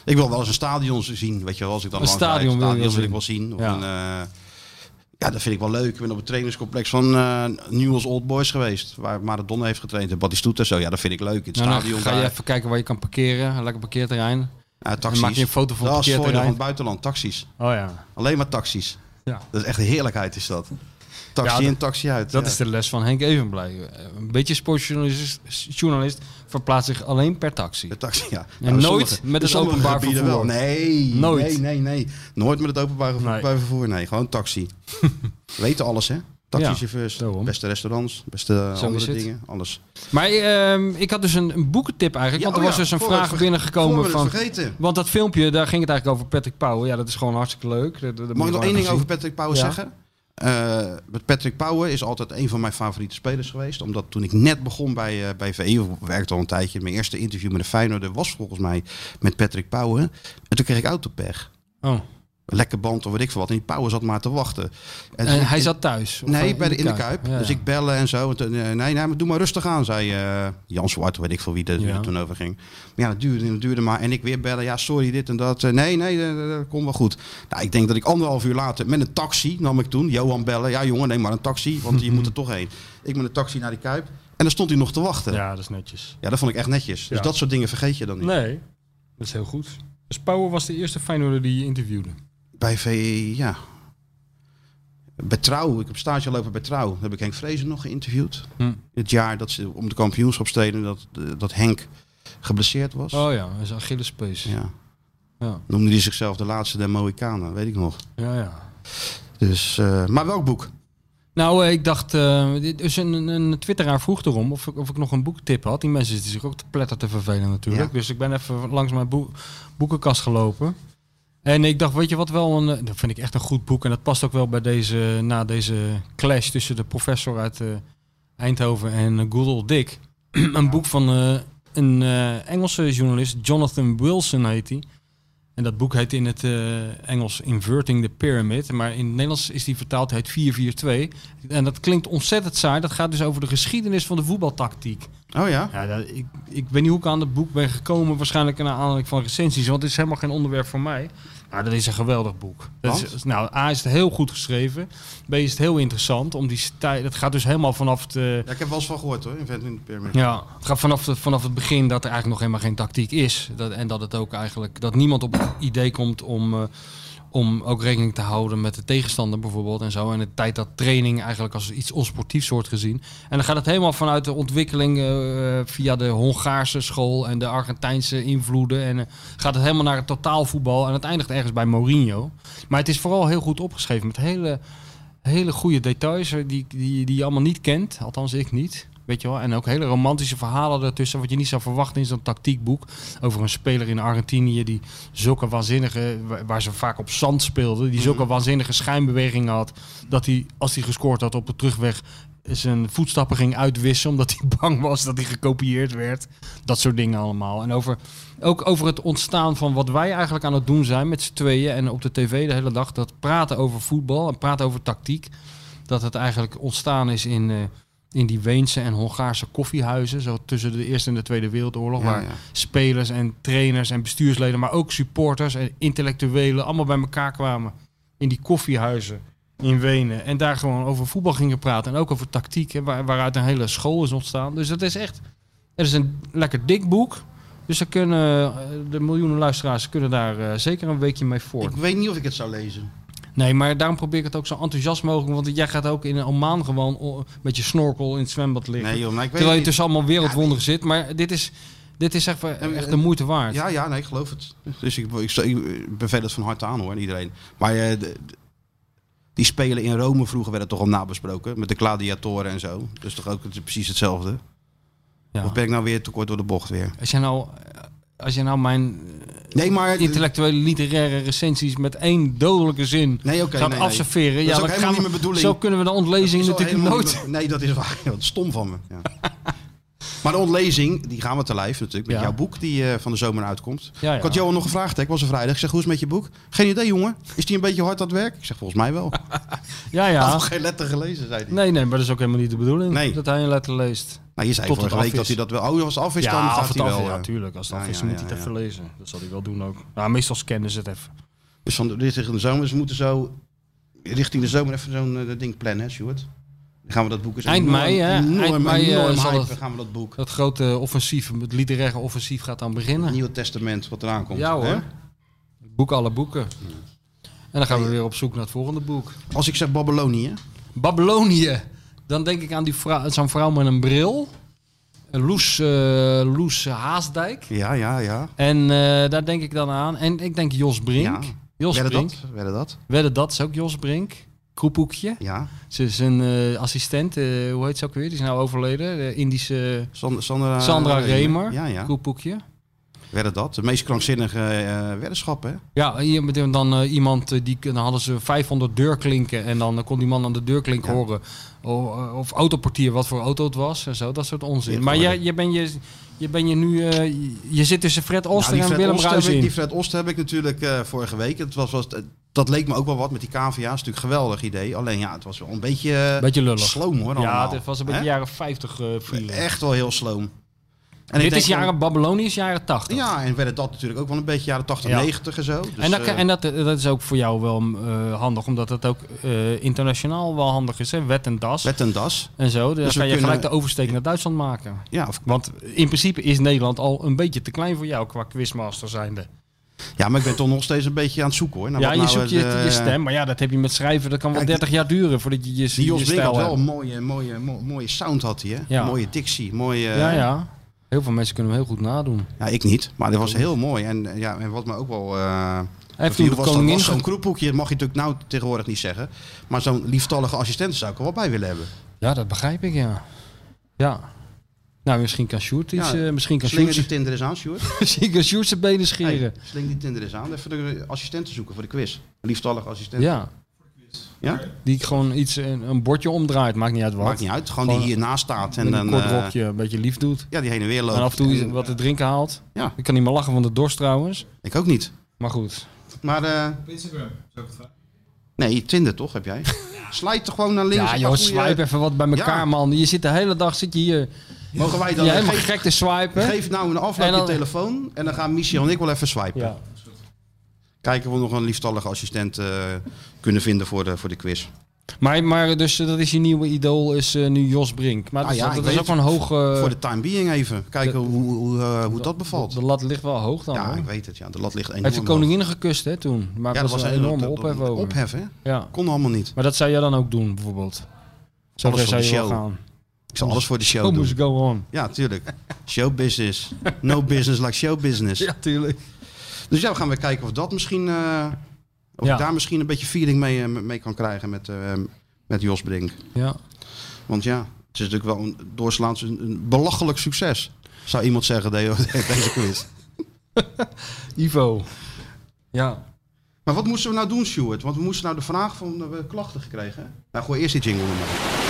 S2: Ik wil wel eens een stadion zien. Weet je wel, als ik dan
S3: Een
S2: langs rijd,
S3: stadion wil je
S2: stadions wil ik
S3: wel
S2: wel zien. Of
S3: Ja.
S2: een, eh, ja, dat vind ik wel leuk. Ik ben op het trainingscomplex van eh Newell's Old Boys geweest. Waar Maradona heeft getraind en Batistuta en zo. Ja, dat vind ik leuk. In het
S3: Nou, dan
S2: stadion
S3: ga je
S2: daar.
S3: even kijken waar je kan parkeren. Een lekker parkeerterrein.
S2: Ja, taxis.
S3: Dan maak je een foto van het
S2: Dat is het voordeel van
S3: parkeerterrein.
S2: het buitenland. Taxis.
S3: Oh ja.
S2: Alleen maar taxis.
S3: Ja.
S2: Dat is echt een heerlijkheid is dat. Taxi
S3: Ja, dat-
S2: in, taxi uit.
S3: Dat
S2: Ja.
S3: is de les van Henk Evenblij. Eh, Een beetje sportjournalist journalist verplaatst zich alleen per taxi.
S2: De taxi, ja.
S3: nooit
S2: sommige-
S3: met het
S2: in sommige
S3: openbaar
S2: gebieden
S3: vervoer.
S2: Wel. Nee,
S3: Nooit.
S2: Nee, nee, nee. Nooit met het openbaar gevo-
S3: Nee.
S2: bij vervoer. Nee, gewoon taxi. Weten alles, hè? Taxichauffeurs,
S3: daarom.
S2: beste restaurants, beste eh,
S3: Zo is
S2: andere
S3: het.
S2: dingen, alles.
S3: Maar ehm, ik had dus een, een boekentip eigenlijk. want er
S2: oh
S3: was dus een
S2: voor we het
S3: vraag
S2: verge- voor we
S3: binnengekomen
S2: het
S3: van...
S2: vergeten.
S3: Want dat filmpje, daar ging het eigenlijk over Patrick Pauwen. Ja, dat is gewoon hartstikke leuk. Dat- dat-
S2: Mag
S3: dat moet je
S2: ik nog
S3: gewoon
S2: één ding
S3: even
S2: over
S3: zien.
S2: Patrick Pauwen
S3: Ja.
S2: zeggen? Eh, met Patrick Pauwen is altijd een van mijn favoriete spelers geweest. Omdat toen ik net begon bij, eh, bij VE, of ik werkte al een tijdje. Mijn eerste interview met de Feyenoorder was volgens mij met Patrick Pauwen. En toen kreeg ik autopech.
S3: Oh.
S2: Lekker band of weet ik veel wat. En die Pauwen zat maar te wachten. En,
S3: En
S2: toen-
S3: Eh, hij zat thuis? Of
S2: Nee,
S3: in
S2: bij de, in de Kuip.
S3: Ja,
S2: Dus
S3: ja.
S2: ik bellen en zo. En toen, eh, nee, nee, maar doe maar rustig aan, zei eh, Jan Zwart, weet ik veel wie dat
S3: Ja.
S2: toen over ging. Maar ja, dat duurde, dat duurde maar. En ik weer bellen, ja, sorry, dit en dat. Eh, nee, nee, eh, dat, komt wel goed. Nou, ik denk dat ik anderhalf uur later met een taxi nam ik toen. Johan bellen, ja jongen, neem maar een taxi, want je moet er toch heen. Ik met een taxi naar die Kuip. En daar stond hij nog te wachten. Ja,
S3: ja, dat is netjes.
S2: dat vond ik echt netjes. Dus
S3: Ja.
S2: dat soort dingen vergeet je dan niet.
S3: Nee, dat is heel goed. Dus Pauwen was de eerste Feyenoorder die je interviewde.
S2: Bij VE, ja. Bij Trouw, ik heb stage lopen bij Trouw. Heb ik Henk Vrezen nog geïnterviewd.
S3: Hm.
S2: Het jaar dat ze om de kampioenschap streden, dat, dat Henk geblesseerd was.
S3: Oh ja, dat is Achillespees. Ja.
S2: Ja.
S3: Ja.
S2: Noemde hij zichzelf de laatste der Mohikanen, weet ik nog.
S3: ja,
S2: Dus, eh, maar welk boek?
S3: Nou, eh, ik dacht, eh, dit dus een, een- een twitteraar vroeg erom of ik, of ik nog een boektip had. Die mensen zitten zich ook te pletter te vervelen natuurlijk.
S2: Ja.
S3: Dus ik ben even langs mijn boe- boekenkast gelopen. En ik dacht, weet je wat wel, een, eh, dat vind ik echt een goed boek. En dat past ook wel bij deze, na deze clash tussen de professor uit eh, Eindhoven en eh, Good Old Dick. een boek van eh, een eh, Engelse journalist, Jonathan Wilson heet hij. En dat boek heet in het eh, Engels Inverting the Pyramid. Maar in het Nederlands is die vertaald, heet 442. En dat klinkt ontzettend saai. Dat gaat dus over de geschiedenis van de voetbaltactiek.
S2: Oh ja?
S3: Ja, dat, ik, ik weet niet hoe ik aan dat boek ben gekomen. Waarschijnlijk naar aanleiding van recensies. Want het is helemaal geen onderwerp voor mij. Maar dat is een geweldig boek. Dat
S2: Want?
S3: is, nou, A is het heel goed geschreven. B is het heel interessant. Om die stij, dat gaat dus helemaal vanaf de...
S2: Ja, ik heb wel eens van gehoord hoor, Invent in de Pyramid.
S3: Ja, het gaat vanaf, de- vanaf het begin dat er eigenlijk nog helemaal geen tactiek is. Dat, en dat het ook eigenlijk dat niemand op het idee komt om, eh, om ook rekening te houden met de tegenstander bijvoorbeeld en zo. En de tijd dat training eigenlijk als iets onsportiefs wordt gezien. En dan gaat het helemaal vanuit de ontwikkeling eh, via de Hongaarse school en de Argentijnse invloeden. En eh, gaat het helemaal naar het totaalvoetbal. En het eindigt ergens bij Mourinho. Maar het is vooral heel goed opgeschreven met hele hele goede details eh, die, die, die je allemaal niet kent. Althans, ik niet. Weet je wel? En ook hele romantische verhalen daartussen. Wat je niet zou verwachten in zo'n tactiekboek. Over een speler in Argentinië die zulke waanzinnige... wa- waar ze vaak op zand speelden. Die zulke waanzinnige schijnbewegingen had. Dat hij, als hij gescoord had op de terugweg... zijn voetstappen ging uitwissen. Omdat hij bang was dat hij gekopieerd werd. Dat soort dingen allemaal. En over, ook over het ontstaan van wat wij eigenlijk aan het doen zijn met z'n tweeën en op de tv de hele dag. Dat praten over voetbal en praten over tactiek. Dat het eigenlijk ontstaan is in, eh, in die Weense en Hongaarse koffiehuizen. Zo tussen de Eerste en de Tweede Wereldoorlog.
S2: Ja,
S3: waar
S2: ja.
S3: spelers en trainers en bestuursleden, maar ook supporters en intellectuelen allemaal bij elkaar kwamen. In die koffiehuizen in Wenen. En daar gewoon over voetbal gingen praten. En ook over tactiek. hè, waar, waaruit een hele school is ontstaan. Dus dat is echt. Het is een lekker dik boek. Dus daar kunnen eh, de miljoenen luisteraars kunnen daar eh, zeker een weekje mee voort.
S2: Ik weet niet of ik het zou lezen.
S3: Nee, maar daarom probeer ik het ook zo enthousiast mogelijk. Want jij gaat ook in een Oman gewoon o- met je snorkel in het zwembad liggen.
S2: Nee joh, maar ik weet
S3: Terwijl
S2: het
S3: je
S2: niet.
S3: tussen allemaal wereldwonderen zit. Maar dit is, dit is echt, eh,
S2: En-
S3: echt de moeite waard.
S2: eh, Ja, ja, nee, ik geloof het. Dus ik, ik, ik beveel het van harte aan hoor, aan iedereen. Maar eh, de- de- die spelen in Rome vroeger werden toch al nabesproken. Met de gladiatoren en zo. Dus toch ook het is precies hetzelfde.
S3: Ja.
S2: Of ben ik nou weer tekort door de bocht weer?
S3: Als jij nou eh, Als je nou mijn
S2: Nee, maar...
S3: intellectuele literaire recensies met één dodelijke zin
S2: Nee, oké,
S3: gaat
S2: nee, nee.
S3: afserveren.
S2: Dat is
S3: ja,
S2: ook
S3: dan
S2: helemaal
S3: gaan we-
S2: niet mijn bedoeling.
S3: Zo kunnen we de ontlezing
S2: Zo
S3: natuurlijk
S2: helemaal
S3: nooit.
S2: niet meer- Nee, dat is waar. Dat is stom van me. Ja. maar de ontlezing, die gaan we te lijf natuurlijk. Met
S3: Ja.
S2: jouw boek die eh, van de zomer uitkomt.
S3: Ja, ja.
S2: Ik had Johan nog gevraagd, hè. ik was een vrijdag. Ik zeg, hoe is het met je boek? Geen idee, jongen. Is die een beetje hard aan het werk? Ik zeg, volgens mij wel. Ik
S3: Ah. Ja,
S2: had
S3: ja.
S2: nog geen letter gelezen, zei hij.
S3: Nee, nee, maar dat is ook helemaal niet de bedoeling
S2: Nee.
S3: dat hij een letter leest.
S2: Nou, je zei
S3: Tot
S2: vorige
S3: het
S2: week
S3: af
S2: dat hij
S3: is.
S2: dat wel... Oh, als het af is, dan
S3: ja,
S2: gaat
S3: of het
S2: hij
S3: af-
S2: wel...
S3: ja,
S2: eh.
S3: tuurlijk. Als het
S2: ja,
S3: af is,
S2: ja,
S3: moet
S2: ja,
S3: hij het
S2: ja.
S3: even lezen. Dat zal hij wel doen ook. Nou, meestal scannen ze het even.
S2: Dus van, dit is in de zomer. Dus we moeten zo richting de zomer even zo'n eh, ding plannen, hè, Stuart? Dan gaan we dat boek eens...
S3: Eind mei, hè?
S2: Enorm,
S3: Eind mei, eh,
S2: enorm
S3: zal
S2: hypen
S3: het-
S2: gaan we dat boek.
S3: Dat grote offensief, het literaire offensief gaat dan
S2: Het
S3: beginnen.
S2: Nieuwe Testament, wat eraan komt.
S3: Ja hoor.
S2: hè?
S3: Boek alle boeken. En dan gaan we weer op zoek naar het volgende boek.
S2: Als ik zeg Babylonië...
S3: Babylonië. Dan denk ik aan die vrou- zo'n vrouw met een bril. Loes, eh, Loes Haasdijk.
S2: Ja, ja, ja.
S3: En eh, daar denk ik dan aan. En ik denk Jos Brink.
S2: Ja.
S3: Jos
S2: Werden
S3: Brink.
S2: dat? Werden dat?
S3: Wedden dat is ook Jos Brink. Kroephoekje.
S2: Ja.
S3: Ze is een eh, assistent. eh, hoe heet ze ook weer? Die is nou overleden. De Indische
S2: San- Sandra,
S3: Sandra Remer.
S2: Ah, Ja, ja.
S3: Kroephoekje.
S2: Werden dat? De meest krankzinnige eh weddenschap, hè?
S3: Ja, hier met hem dan eh, iemand, eh, die, dan hadden ze 500 deurklinken en dan eh, kon die man aan de deurklink
S2: Ja.
S3: horen. O- eh, of autoportier, wat voor auto het was en zo, dat soort onzin.
S2: Ja,
S3: maar
S2: maar
S3: je,
S2: dat-
S3: je bent je, je, ben je nu, eh, je- je zit tussen Fred Oster
S2: Nou, die,
S3: en
S2: Fred
S3: Willem
S2: Ost
S3: Ruijs
S2: heb ik,
S3: in.
S2: die Fred Ost heb ik natuurlijk eh, vorige week. Het was, was, dat leek me ook wel wat met die KVA's. Natuurlijk geweldig idee. Alleen ja, het was wel een beetje, eh,
S3: Beetje lullig.
S2: sloom hoor.
S3: ja,
S2: allemaal.
S3: het was een beetje
S2: Hè?
S3: jaren 50 eh feeling.
S2: Echt wel heel sloom. En ik
S3: Dit
S2: denk
S3: is
S2: van-
S3: jaren, Babylonië is jaren 80.
S2: Ja, en werden dat natuurlijk ook wel een beetje jaren 80,
S3: Ja.
S2: 90 en zo. Dus,
S3: en dat,
S2: eh,
S3: kan- en dat, dat is ook voor jou wel eh, handig, omdat dat ook eh, internationaal wel handig is. Hè? Wet en das
S2: Wet en das.
S3: en zo. Dan
S2: Dus we
S3: kan je
S2: kunnen-
S3: gelijk de oversteek naar Duitsland maken.
S2: Ja, of-
S3: Want in principe is Nederland al een beetje te klein voor jou qua quizmaster zijnde.
S2: ja, maar ik ben toch nog steeds een beetje aan het zoeken hoor. Nou,
S3: ja,
S2: wat
S3: je
S2: nou,
S3: zoekt je,
S2: eh,
S3: je stem, maar ja, dat heb je met schrijven. Dat kan wel
S2: Kijk,
S3: 30 jaar duren voordat je je,
S2: Die
S3: je
S2: Jos Brink had
S3: stijl
S2: wel
S3: hebt.
S2: een mooie, mooie, mo- mooie sound had hij, hè?
S3: Ja.
S2: Mooie dictie, mooie...
S3: Ja, ja. Heel veel mensen kunnen hem heel goed nadoen.
S2: Ja, ik niet, maar dat was heel mooi. En, eh, ja, en wat me ook wel... eh
S3: Hij heeft
S2: beviel
S3: toen de
S2: was, dat
S3: koningin...
S2: was zo'n
S3: ge-
S2: kroephoekje, dat mag je natuurlijk nou tegenwoordig niet zeggen. Maar zo'n lieftallige assistent zou ik er wel bij willen hebben.
S3: Ja, dat begrijp ik, ja. Ja. Nou, misschien kan Sjoerd iets...
S2: Ja,
S3: eh, misschien kan
S2: Slinger
S3: Sjoerd,
S2: die Tinder eens aan, Sjoerd.
S3: misschien kan Sjoerd zijn benen scheren.
S2: Hey, sling die Tinder eens aan. Even de assistenten zoeken voor de quiz. Een lieftallige assistent.
S3: Ja.
S2: Ja?
S3: Die gewoon iets, een, een bordje omdraait, maakt niet uit wat.
S2: Maakt niet uit, gewoon, die
S3: Gewoon-
S2: hiernaast staat. En
S3: Met
S2: dan,
S3: een kort
S2: eh,
S3: rokje, een beetje lief doet.
S2: ja, die heen en weer loopt.
S3: En af en toe
S2: En-
S3: wat te drinken haalt.
S2: Ja.
S3: Ik kan niet meer lachen van de dorst trouwens.
S2: Ik ook niet.
S3: Maar goed.
S2: Maar eh,
S4: Op Instagram, zou ik het vragen.
S2: nee, Tinder toch heb jij? Slijt toch gewoon naar links.
S3: Ja,
S2: een
S3: joh,
S2: paar goeie-
S3: swipe even wat bij elkaar,
S2: Ja.
S3: man. Je zit de hele dag zit je hier
S2: Mogen wij
S3: je
S2: dan...
S3: helemaal
S2: geef-
S3: gek te swipen.
S2: Geef nou een aflaat
S3: En dan-
S2: je telefoon en dan gaan Michel en ik wel even swipen.
S3: Ja.
S2: Kijken of we nog een liefstallige assistent eh, kunnen vinden voor de, voor de quiz.
S3: Maar, maar dus eh, dat is je nieuwe idool, is eh, nu Jos Brink. Maar
S2: Nou
S3: Dus
S2: ja,
S3: dat, is-
S2: ik
S3: dat is
S2: weet
S3: ook wel een hoog... eh,
S2: voor de time being even. Kijken hoe, hoe, eh, hoe dat bevalt.
S3: De lat ligt wel hoog dan.
S2: ja,
S3: hoor.
S2: ik weet het. Ja. De lat ligt enorm
S3: Hij heeft de
S2: hoog.
S3: koningin gekust hè, toen. Maar
S2: Ja,
S3: dat was een enorme ophef
S2: opheffen.
S3: over.
S2: Ophef, hè?
S3: Ja.
S2: Kon allemaal niet.
S3: Maar dat zou jij dan ook doen, bijvoorbeeld? Zo
S2: Alles voor
S3: ver zou
S2: de
S3: je wel
S2: show.
S3: gaan.
S2: Ik zal alles voor de show
S3: Oh,
S2: doen.
S3: moest go on.
S2: Ja, tuurlijk. Show business. No business like show business.
S3: tuurlijk.
S2: Dus ja, we gaan weer kijken of dat misschien... eh, of
S3: Ja.
S2: ik daar misschien een beetje feeling mee, eh, mee kan krijgen met, eh, met Jos Brink.
S3: Ja.
S2: Want ja, het is natuurlijk wel een doorslaans een, een belachelijk succes. Zou iemand zeggen de- deze quiz.
S3: Ivo. Ja.
S2: Maar wat moesten we nou doen, Stuart? Want we moesten nou de vraag van we hebben klachten gekregen. hè? Nou, gooi eerst die jingle er maar.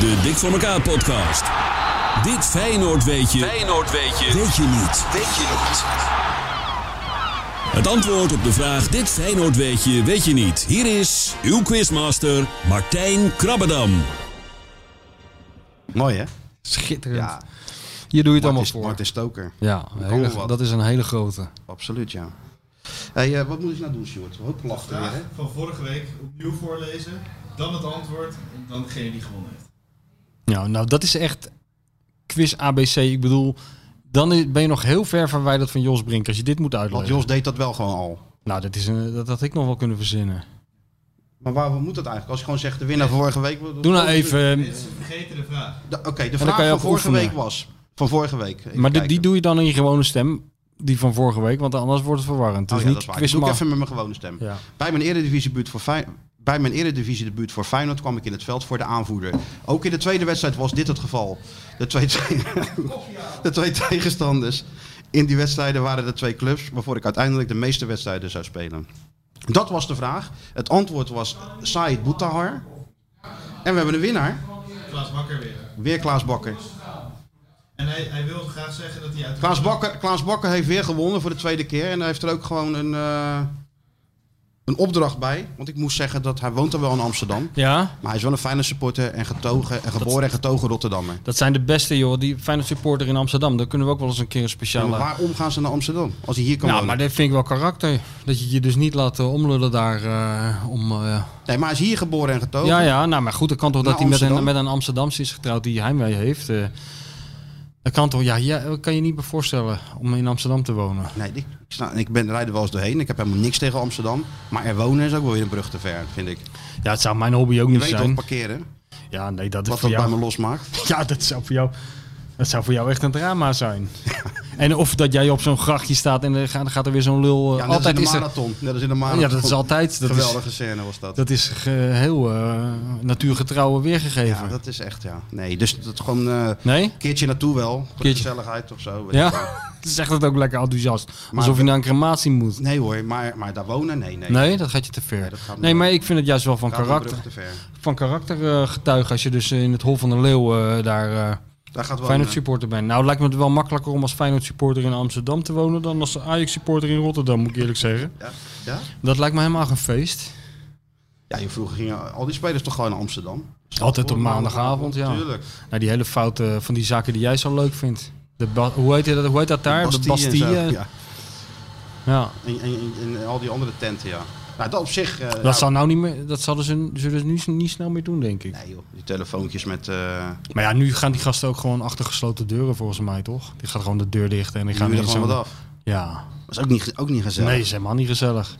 S8: De Dik voor elkaar podcast. Dit Feyenoord weet je. Feyenoord weet je. Weet je niet. Weet je niet. Het antwoord op de vraag Dit Feyenoord weet je, weet je niet. Hier is uw quizmaster Martijn Krabbedam.
S2: Mooi, hè?
S3: Schitterend.
S2: Ja,
S3: Hier doe je het allemaal
S2: Martin,
S3: voor.
S2: Martin Stoker.
S3: Ja, een hele-
S2: wel wat.
S3: dat is een hele grote.
S2: Absoluut, ja. Hey, eh, wat moet ik nou doen, Stuart? Ook klachten weer, hè?
S4: Vraag van vorige week opnieuw voorlezen, dan het antwoord en dan degene die gewonnen heeft.
S3: Ja, nou dat is echt quiz ABC. Ik bedoel, dan i- ben je nog heel ver verwijderd van Jos Brink als je dit moet
S2: Want
S3: uitleggen.
S2: Jos deed dat wel gewoon al.
S3: Nou, dat, is een, dat had ik nog wel kunnen verzinnen.
S2: Maar waarom moet dat eigenlijk? Als je gewoon zegt de winnaar van vorige week... wat-
S3: Doe nou even,
S4: Mensen vergeten de vraag.
S2: De- Oké, de
S3: dan
S2: vraag
S3: kan je
S2: van
S3: ook
S2: vorige
S3: oefenen.
S2: week was... Van vorige week. Even
S3: maar die,
S2: kijken.
S3: die doe je dan in je gewone stem, die van vorige week, want anders wordt het verwarrend. Het
S2: Oh
S3: is
S2: ja, dat
S3: niet
S2: is waar. Ik doe ik
S3: quizmaster.
S2: even met mijn gewone stem.
S3: Ja.
S2: Bij mijn eredivisiebuurt voor Fey- bij mijn eredivisie debuut voor Feyenoord kwam ik in het veld voor de aanvoerder. Ook in de tweede wedstrijd was dit het geval. De twee, de twee tegenstanders in die wedstrijden waren de twee clubs waarvoor ik uiteindelijk de meeste wedstrijden zou spelen. Dat was de vraag. Het antwoord was Said Boutahar. En we hebben een winnaar.
S4: Klaas Bakker weer.
S2: Weer Klaas Bakker.
S4: En hij, hij wil graag zeggen dat hij uit
S2: Klaas Bakker, Klaas Bakker heeft weer gewonnen voor de tweede keer. En hij heeft er ook gewoon een, eh, een opdracht bij. Want ik moest zeggen dat hij woont dan wel in Amsterdam.
S3: Ja,
S2: Maar hij is wel een fijne supporter en, getogen, en geboren en getogen Rotterdammer.
S3: dat zijn de beste, joh. Die Feyenoord supporter in Amsterdam. Daar kunnen we ook wel eens een keer een
S2: Ja,
S3: speciale...
S2: maar waarom gaan ze naar Amsterdam? Als hij hier kan
S3: Ja,
S2: wonen.
S3: maar dat vind ik wel karakter. Dat je je dus niet laat eh, omlullen daar eh, om... eh,
S2: Nee, maar hij is hier geboren en getogen.
S3: Ja, ja, nou, maar goed, dat kan toch
S2: Naar
S3: dat hij met een,
S2: Amsterdam.
S3: met een Amsterdamse is getrouwd die heimwee heeft. eh. dat kan toch, ja, ja, kan je niet meer voorstellen om in Amsterdam te wonen.
S2: Nee, ik, ik, sta, ik ben, rijd er wel eens doorheen. Ik heb helemaal niks tegen Amsterdam. Maar er wonen is ook wel weer een brug te ver, vind ik.
S3: Ja, het zou mijn hobby ook
S2: Je
S3: niet
S2: weet toch
S3: zijn.
S2: parkeren?
S3: Ja, nee, dat is
S2: Wat
S3: voor
S2: dat bij
S3: jou.
S2: me losmaakt.
S3: Ja, dat zou voor jou. Dat zou voor jou echt een drama zijn. en of dat jij op zo'n grachtje staat en dan gaat, dan gaat er weer zo'n lul. eh,
S2: Ja, net
S3: altijd
S2: als in
S3: is
S2: de
S3: er-
S2: marathon. Net als in de marathon.
S3: Ja, dat is altijd. Dat is,
S2: Geweldige scène was dat.
S3: dat is ge- heel eh, natuurgetrouw weergegeven.
S2: ja, dat is echt, ja. Nee, dus dat gewoon eh, een
S3: Nee?
S2: keertje naartoe wel. Voor de
S3: Keertje.
S2: gezelligheid of zo. weet ik wel.
S3: Ja? Zegt het ook lekker enthousiast. Alsof je naar een crematie moet.
S2: Nee hoor, maar, maar daar wonen? Nee, nee.
S3: Nee, dat gaat je te ver.
S2: Nee,
S3: Nee,
S2: dat gaat me-
S3: maar ik vind het juist wel van
S2: Gaat een
S3: karakter,
S2: brug te ver.
S3: van karakter eh, getuigen als je dus eh, in het Hol van de Leeuw eh, daar eh
S2: Daar gaat wel
S3: Feyenoord supporter bent. Nou, het lijkt me het wel makkelijker om als Feyenoord supporter in Amsterdam te wonen dan als Ajax supporter in Rotterdam, moet ik eerlijk zeggen.
S2: Ja? Ja?
S3: Dat lijkt me helemaal geen feest.
S2: ja, je vroeger gingen al die spelers toch gewoon naar Amsterdam?
S3: Altijd op maandagavond, ja.
S2: Tuurlijk.
S3: Nou, die hele foute van die zaken die jij zo leuk vindt. De ba- hoe, heet dat, hoe heet dat daar? De
S2: en
S3: Bastille.
S2: zo,
S3: ja.
S2: ja. En, en, en, en al die andere tenten, ja. Nou, dat op zich... eh,
S3: Dat,
S2: ja,
S3: zou nou niet meer, dat zouden ze, zullen ze nu niet snel meer doen, denk ik.
S2: Nee joh, die telefoontjes met... eh
S3: Maar ja, nu gaan die gasten ook gewoon achter gesloten deuren, volgens mij, toch? Die gaat gewoon de deur dicht en die
S2: die
S3: gaan
S2: gaan er
S3: in
S2: gewoon
S3: zo'n-
S2: wat af.
S3: Ja.
S2: Dat is ook niet, ook niet gezellig.
S3: Nee, is helemaal niet gezellig.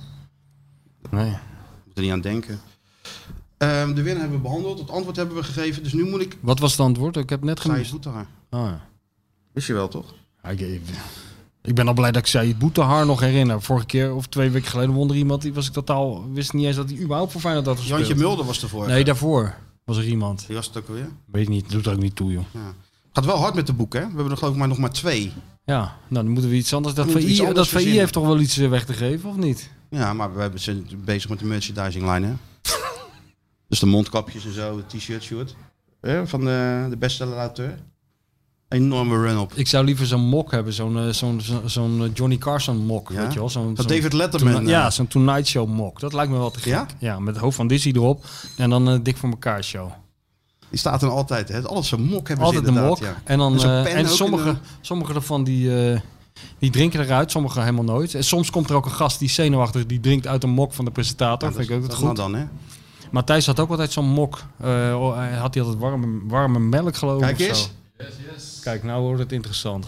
S3: Nee.
S2: moet er niet aan denken. Ehm, de winnaar hebben we behandeld, het antwoord hebben we gegeven. Dus nu moet ik...
S3: Wat was het antwoord? Ik heb net
S2: Saïd
S3: gemist.
S2: Boetehar.
S3: Oh, ja.
S2: Wist je wel toch?
S3: Ja, ik, ik- ik ben al blij dat ik zei Boetehar nog herinner. Vorige keer of twee weken geleden won er iemand. Die was ik totaal wist niet eens dat hij überhaupt voor Feyenoord had gespeeld.
S2: Jantje Mulder was ervoor.
S3: Nee, daarvoor was er iemand.
S2: Die was het ook weer.
S3: Weet ik niet. Doet er ook niet toe, joh.
S2: Gaat wel hard met de boeken, hè? We hebben er geloof ik maar nog maar twee.
S3: Ja, nou dan moeten we iets anders. Dat
S2: moeten we
S3: VI,
S2: iets anders
S3: dat VI
S2: verzinnen.
S3: heeft toch wel iets eh, weg te geven, of niet?
S2: Ja, maar we hebben- zijn bezig met de merchandising line, hè? dus de mondkapjes en zo, de t-shirt, shirt. Hè, Van de, de bestseller auteur. Enorme run-up.
S3: Ik zou liever zo'n mok hebben. Zo'n eh, zo'n zo'n zo'n, eh, Johnny Carson mok,
S2: Ja?
S3: weet je wel. Zo'n
S2: Van
S3: zo'n-
S2: David Letterman.
S3: Tonight-
S2: eh,
S3: ja, zo'n Tonight Show mok. Dat lijkt me wel te gek.
S2: Ja?
S3: Ja, met het hoofd van Dizzy erop. En dan een dik voor elkaar show.
S2: Die staat er altijd, hè? Alles zo'n mok hebben ze
S3: Altijd een
S2: dus inderdaad.
S3: mok.
S2: Ja.
S3: En, dan,
S2: En zo'n
S3: eh,
S2: pen
S3: en
S2: ook in
S3: sommige,
S2: de-
S3: sommige ervan die, eh, die drinken eruit, sommige helemaal nooit. En soms komt er ook een gast die zenuwachtig die drinkt uit een mok van de presentator.
S2: Ja,
S3: vind ik ook dat
S2: dat nou
S3: goed.
S2: dan, hè?
S3: Matthijs had ook altijd zo'n mok. Eh, oh, hij had hij altijd warme, warme melk geloof ik.
S2: Kijk
S3: of
S2: eens.
S3: zo. Kijk, nou wordt het interessant.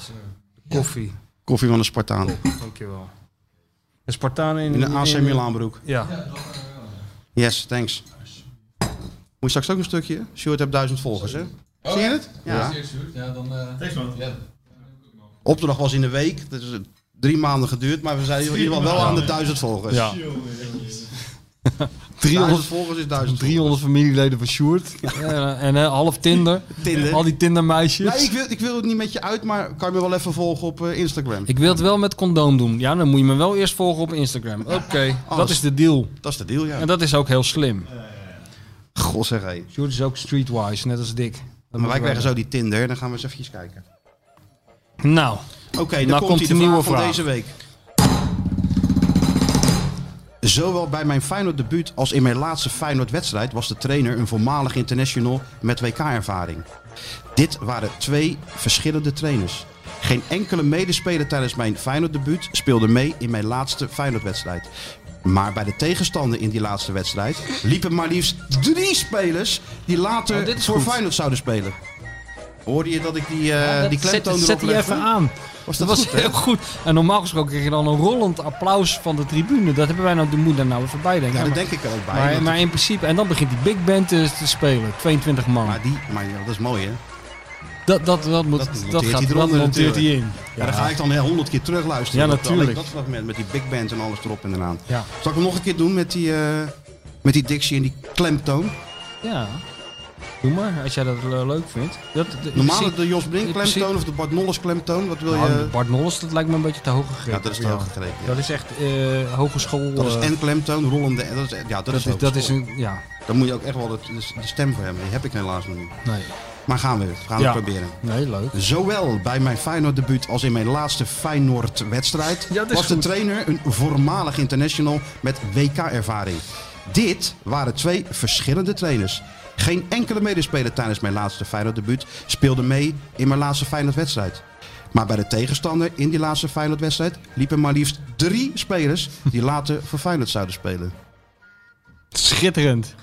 S3: Koffie,
S2: Koffie van een Spartaan.
S3: dankjewel. Een Spartaan in,
S2: In een AC
S3: in-
S2: Milan broek.
S3: Ja.
S2: Yes, thanks. Moet je straks ook een stukje? Stuart hebt duizend volgers, hè? Zie je het? Oh, Ja. eh,
S4: Thanks man.
S2: Opdracht was in de week. Dat is eh, drie maanden geduurd, maar we zijn in ieder geval wel aan de duizend volgers.
S3: ja.
S2: Duizend
S3: 300,
S2: volgers is duizend
S3: 300 familieleden van Sjoerd. Eh, en eh, half Tinder.
S2: Tinder.
S3: Al die Tindermeisjes.
S2: volgers. Nee, ik wil, ik wil het niet met je uit, maar kan je me wel even volgen op eh, Instagram?
S3: Ik wil het wel met condoom doen. Ja, dan moet je me wel eerst volgen op Instagram. Oké, dat
S2: Alles.
S3: is de deal.
S2: Dat is de deal, ja.
S3: En dat is ook heel slim.
S2: God zeg, hé.
S3: Sjoerd is ook streetwise, net als Dick. Dat
S2: Maar wij
S3: moet ik
S2: krijgen zo die Tinder, dan gaan we eens even kijken.
S3: wel. Nou,
S2: Oké, dan
S3: Nou
S2: komt,
S3: komt
S2: de
S3: de
S2: nieuwe
S3: nieuwe
S2: van
S3: vraag.
S2: deze week. Zowel bij mijn Feyenoord debuut als in mijn laatste Feyenoord wedstrijd was de trainer een voormalig international met WK-ervaring. Dit waren twee verschillende trainers. Geen enkele medespeler tijdens mijn Feyenoord debuut speelde mee in mijn laatste Feyenoord wedstrijd. Maar bij de tegenstander in die laatste wedstrijd liepen maar liefst drie spelers die later
S3: Oh, dit is
S2: voor
S3: goed.
S2: Feyenoord zouden spelen. Hoorde je dat ik die, eh die
S3: zet,
S2: klemtoon erop
S3: zet die
S2: legde?
S3: even aan.
S2: Was
S3: Dat
S2: dat,
S3: was
S2: goed, hè?
S3: heel goed. En normaal gesproken krijg je dan een rollend applaus van de tribune. Dat hebben wij nou, de moeder nou even bij denken.
S2: Ja, dat
S3: maar,
S2: denk ik er ook bij.
S3: maar,
S2: want-
S3: maar in principe, en dan begint die big band te, te spelen. 22 man.
S2: maar die, maar ja, dat is mooi, hè?
S3: dat, dat, dat, moet,
S2: dat
S3: dat,
S2: monteert hij
S3: gaat, dat
S2: eronder
S3: monteert hij in.
S2: Ja. Dan ga ik dan honderd keer terug luisteren.
S3: Ja,
S2: Dat- alleen
S3: natuurlijk.
S2: Dat fragment met die big band en alles erop en eraan.
S3: Ja.
S2: Zal ik hem nog een keer doen met die... eh, Met die dictie en die klemtoon.
S3: Ja. Doe maar, als jij dat le- leuk vindt. Dat, dat- ik
S2: Normaal
S3: zie-
S2: de Jos Brink klemtoon
S3: in principe-
S2: of de Bart Nolles klemtoon. Wat wil
S3: Nou,
S2: je?
S3: Bart Nolles, dat lijkt me een beetje te hoog gegrepen.
S2: Ja, dat is te
S3: voor jou.
S2: hoog gegrepen, ja.
S3: Dat is echt eh, hogeschool...
S2: Dat is
S3: eh,
S2: en klemtoon, rollende. en Dat is, ja, dat,
S3: dat
S2: is,
S3: is, dat is
S2: hogeschool.
S3: een... Ja,
S2: Dan moet je ook echt wel de, de stem voor hebben. Die heb ik helaas nog niet.
S3: nee.
S2: Maar gaan we weer. Gaan we
S3: Ja.
S2: proberen.
S3: Nee, leuk.
S2: Zowel bij mijn Feyenoord debuut als in mijn laatste Feyenoord wedstrijd
S3: Ja, dat is
S2: was de
S3: goed.
S2: trainer een voormalig international met WK-ervaring. Dit waren twee verschillende trainers. Geen enkele medespeler tijdens mijn laatste Feyenoord debuut speelde mee in mijn laatste Feyenoord wedstrijd. Maar bij de tegenstander in die laatste Feyenoord wedstrijd liepen maar liefst drie spelers die later voor Feyenoord zouden spelen.
S3: Schitterend.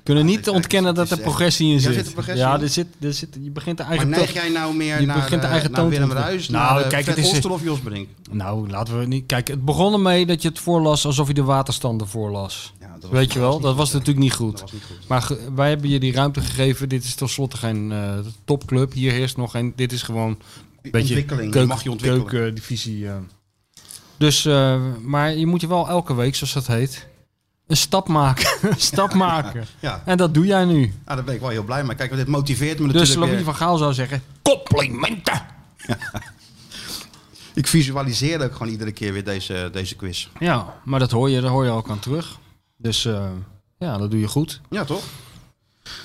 S3: We kunnen niet
S2: dit is
S3: ontkennen
S2: echt-
S3: dat
S2: dit
S3: er
S2: is
S3: progressie in
S2: Ja,
S3: zit.
S2: zit er progressie
S3: ja,
S2: in?
S3: er zit, er zit, je begint de
S2: Maar
S3: eigen
S2: neig
S3: toon-
S2: jij nou meer
S3: je
S2: naar,
S3: begint de
S2: eh,
S3: eigen
S2: naar
S3: toon te
S2: Willem
S3: ontwikkelen.
S2: Ruijs,
S3: Nou,
S2: naar eh,
S3: kijk,
S2: Fred
S3: het is-
S2: Oster of Jos Brink?
S3: Nou, laten we niet... Kijk, het begon ermee dat je het voorlas alsof je de waterstanden voorlas.
S2: Ja, dat was-
S3: Weet je wel,
S2: niet
S3: dat was
S2: goed, hè?
S3: natuurlijk niet goed.
S2: Dat was niet goed.
S3: Maar ge- wij hebben je die ruimte gegeven. Dit is tenslotte geen eh, topclub. Hier heerst nog geen... Dit is gewoon een beetje
S2: Ontwikkeling, je
S3: keuken-
S2: mag je ontwikkelen.
S3: keukendivisie. eh. Dus, eh, maar je moet je wel elke week, zoals dat heet, een stap maken. Een stap maken.
S2: Ja,
S3: En dat doe jij nu.
S2: Ah, daar ben ik wel heel blij mee. Kijk, dit motiveert me
S3: Dus
S2: natuurlijk
S3: Louis
S2: weer.
S3: van Gaal zou zeggen, complimenten!
S2: Ik visualiseer ook gewoon iedere keer weer deze, deze quiz.
S3: Ja, maar dat hoor je, daar hoor je ook aan terug. Dus eh, ja, dat doe je goed.
S2: Ja, toch?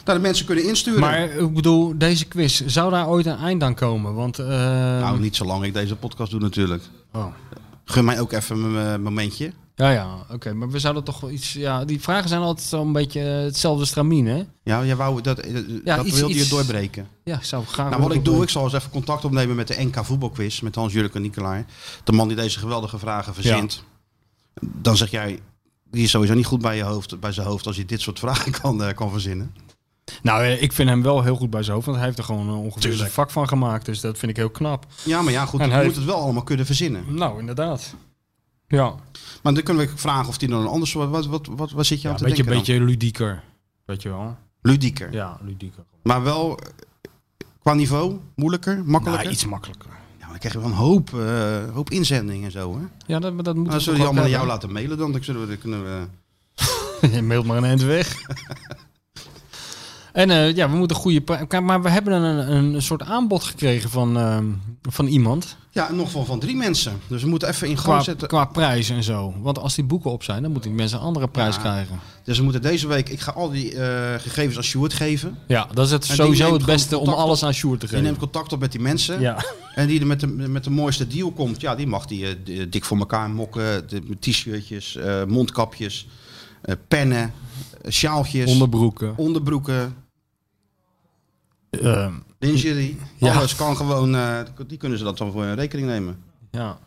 S2: Nou, de mensen kunnen insturen.
S3: Maar ehm, ik bedoel, deze quiz, zou daar ooit een eind aan komen? Want, eh,
S2: nou, niet zolang ik deze podcast doe natuurlijk.
S3: oh.
S2: Gun mij ook even een eh, momentje.
S3: Ja, ja, oké. maar we zouden toch wel iets... Ja, die vragen zijn altijd zo'n beetje eh, hetzelfde stramien, hè?
S2: Ja, jij wou, dat, eh,
S3: Ja,
S2: dat
S3: iets-
S2: wilde je
S3: iets-
S2: doorbreken.
S3: Ja, ik zou graag...
S2: Nou, wat ik doe, ik zal eens even contact opnemen met de NK Voetbalquiz. Met Hans-Jurgen Nikolaar. De man die deze geweldige vragen verzint. Dan zeg jij, die is sowieso niet goed bij, je hoofd, bij zijn hoofd als je dit soort vragen kan, eh, kan verzinnen.
S3: Nou, eh, ik vind hem wel heel goed bij zijn hoofd, want hij heeft er gewoon eh, ongeveer zijn vak van gemaakt. Dus dat vind ik heel knap.
S2: Ja, maar ja, goed,
S3: En
S2: je
S3: hij-
S2: moet het wel allemaal kunnen verzinnen.
S3: Nou, inderdaad. Ja,
S2: Maar dan kunnen we ook vragen of die dan een ander soort... Wat, wat, wat, wat zit je
S3: ja
S2: aan
S3: een
S2: te
S3: beetje,
S2: denken
S3: beetje ludieker. Weet je wel?
S2: dan? Ludieker.
S3: Ja, ludieker.
S2: Maar wel eh, qua niveau moeilijker, makkelijker.
S3: Nou, iets makkelijker.
S2: Ja, maar dan krijg je wel een hoop, eh, hoop inzendingen en zo. Hè? Nou,
S3: Ja, dat, maar dat moet
S2: dan zullen die allemaal naar jou laten mailen dan. Dan zullen we, dan kunnen we...
S3: Je mailt maar een eind weg. en eh, ja, we moeten goede... pri- Kijk, Maar we hebben een, een soort aanbod gekregen van, ehm, van iemand.
S2: Ja, en nog van, van drie mensen. Dus we moeten even in gang
S3: Qua,
S2: zetten.
S3: qua prijs en zo. Want als die boeken op zijn, dan moeten die mensen een andere prijs
S2: Ja.
S3: krijgen.
S2: Dus we moeten deze week... Ik ga al die eh, gegevens aan Sjoerd geven.
S3: Ja, dat is het
S2: die
S3: sowieso
S2: neemt
S3: het beste
S2: gewoon
S3: om
S2: contact
S3: alles aan Sjoerd te
S2: Die neemt
S3: geven.
S2: contact op met die mensen.
S3: Ja.
S2: En die er met de, met de mooiste deal komt. Ja, die mag die eh, d- dik voor elkaar mokken. de- met T-shirtjes, eh, mondkapjes, eh, pennen, eh, sjaaltjes,
S3: Onderbroeken.
S2: onderbroeken.
S3: Ehm,
S2: Lingerie.
S3: Ja.
S2: Alles kan gewoon, eh, die kunnen ze dat dan voor hun rekening nemen.
S3: ja.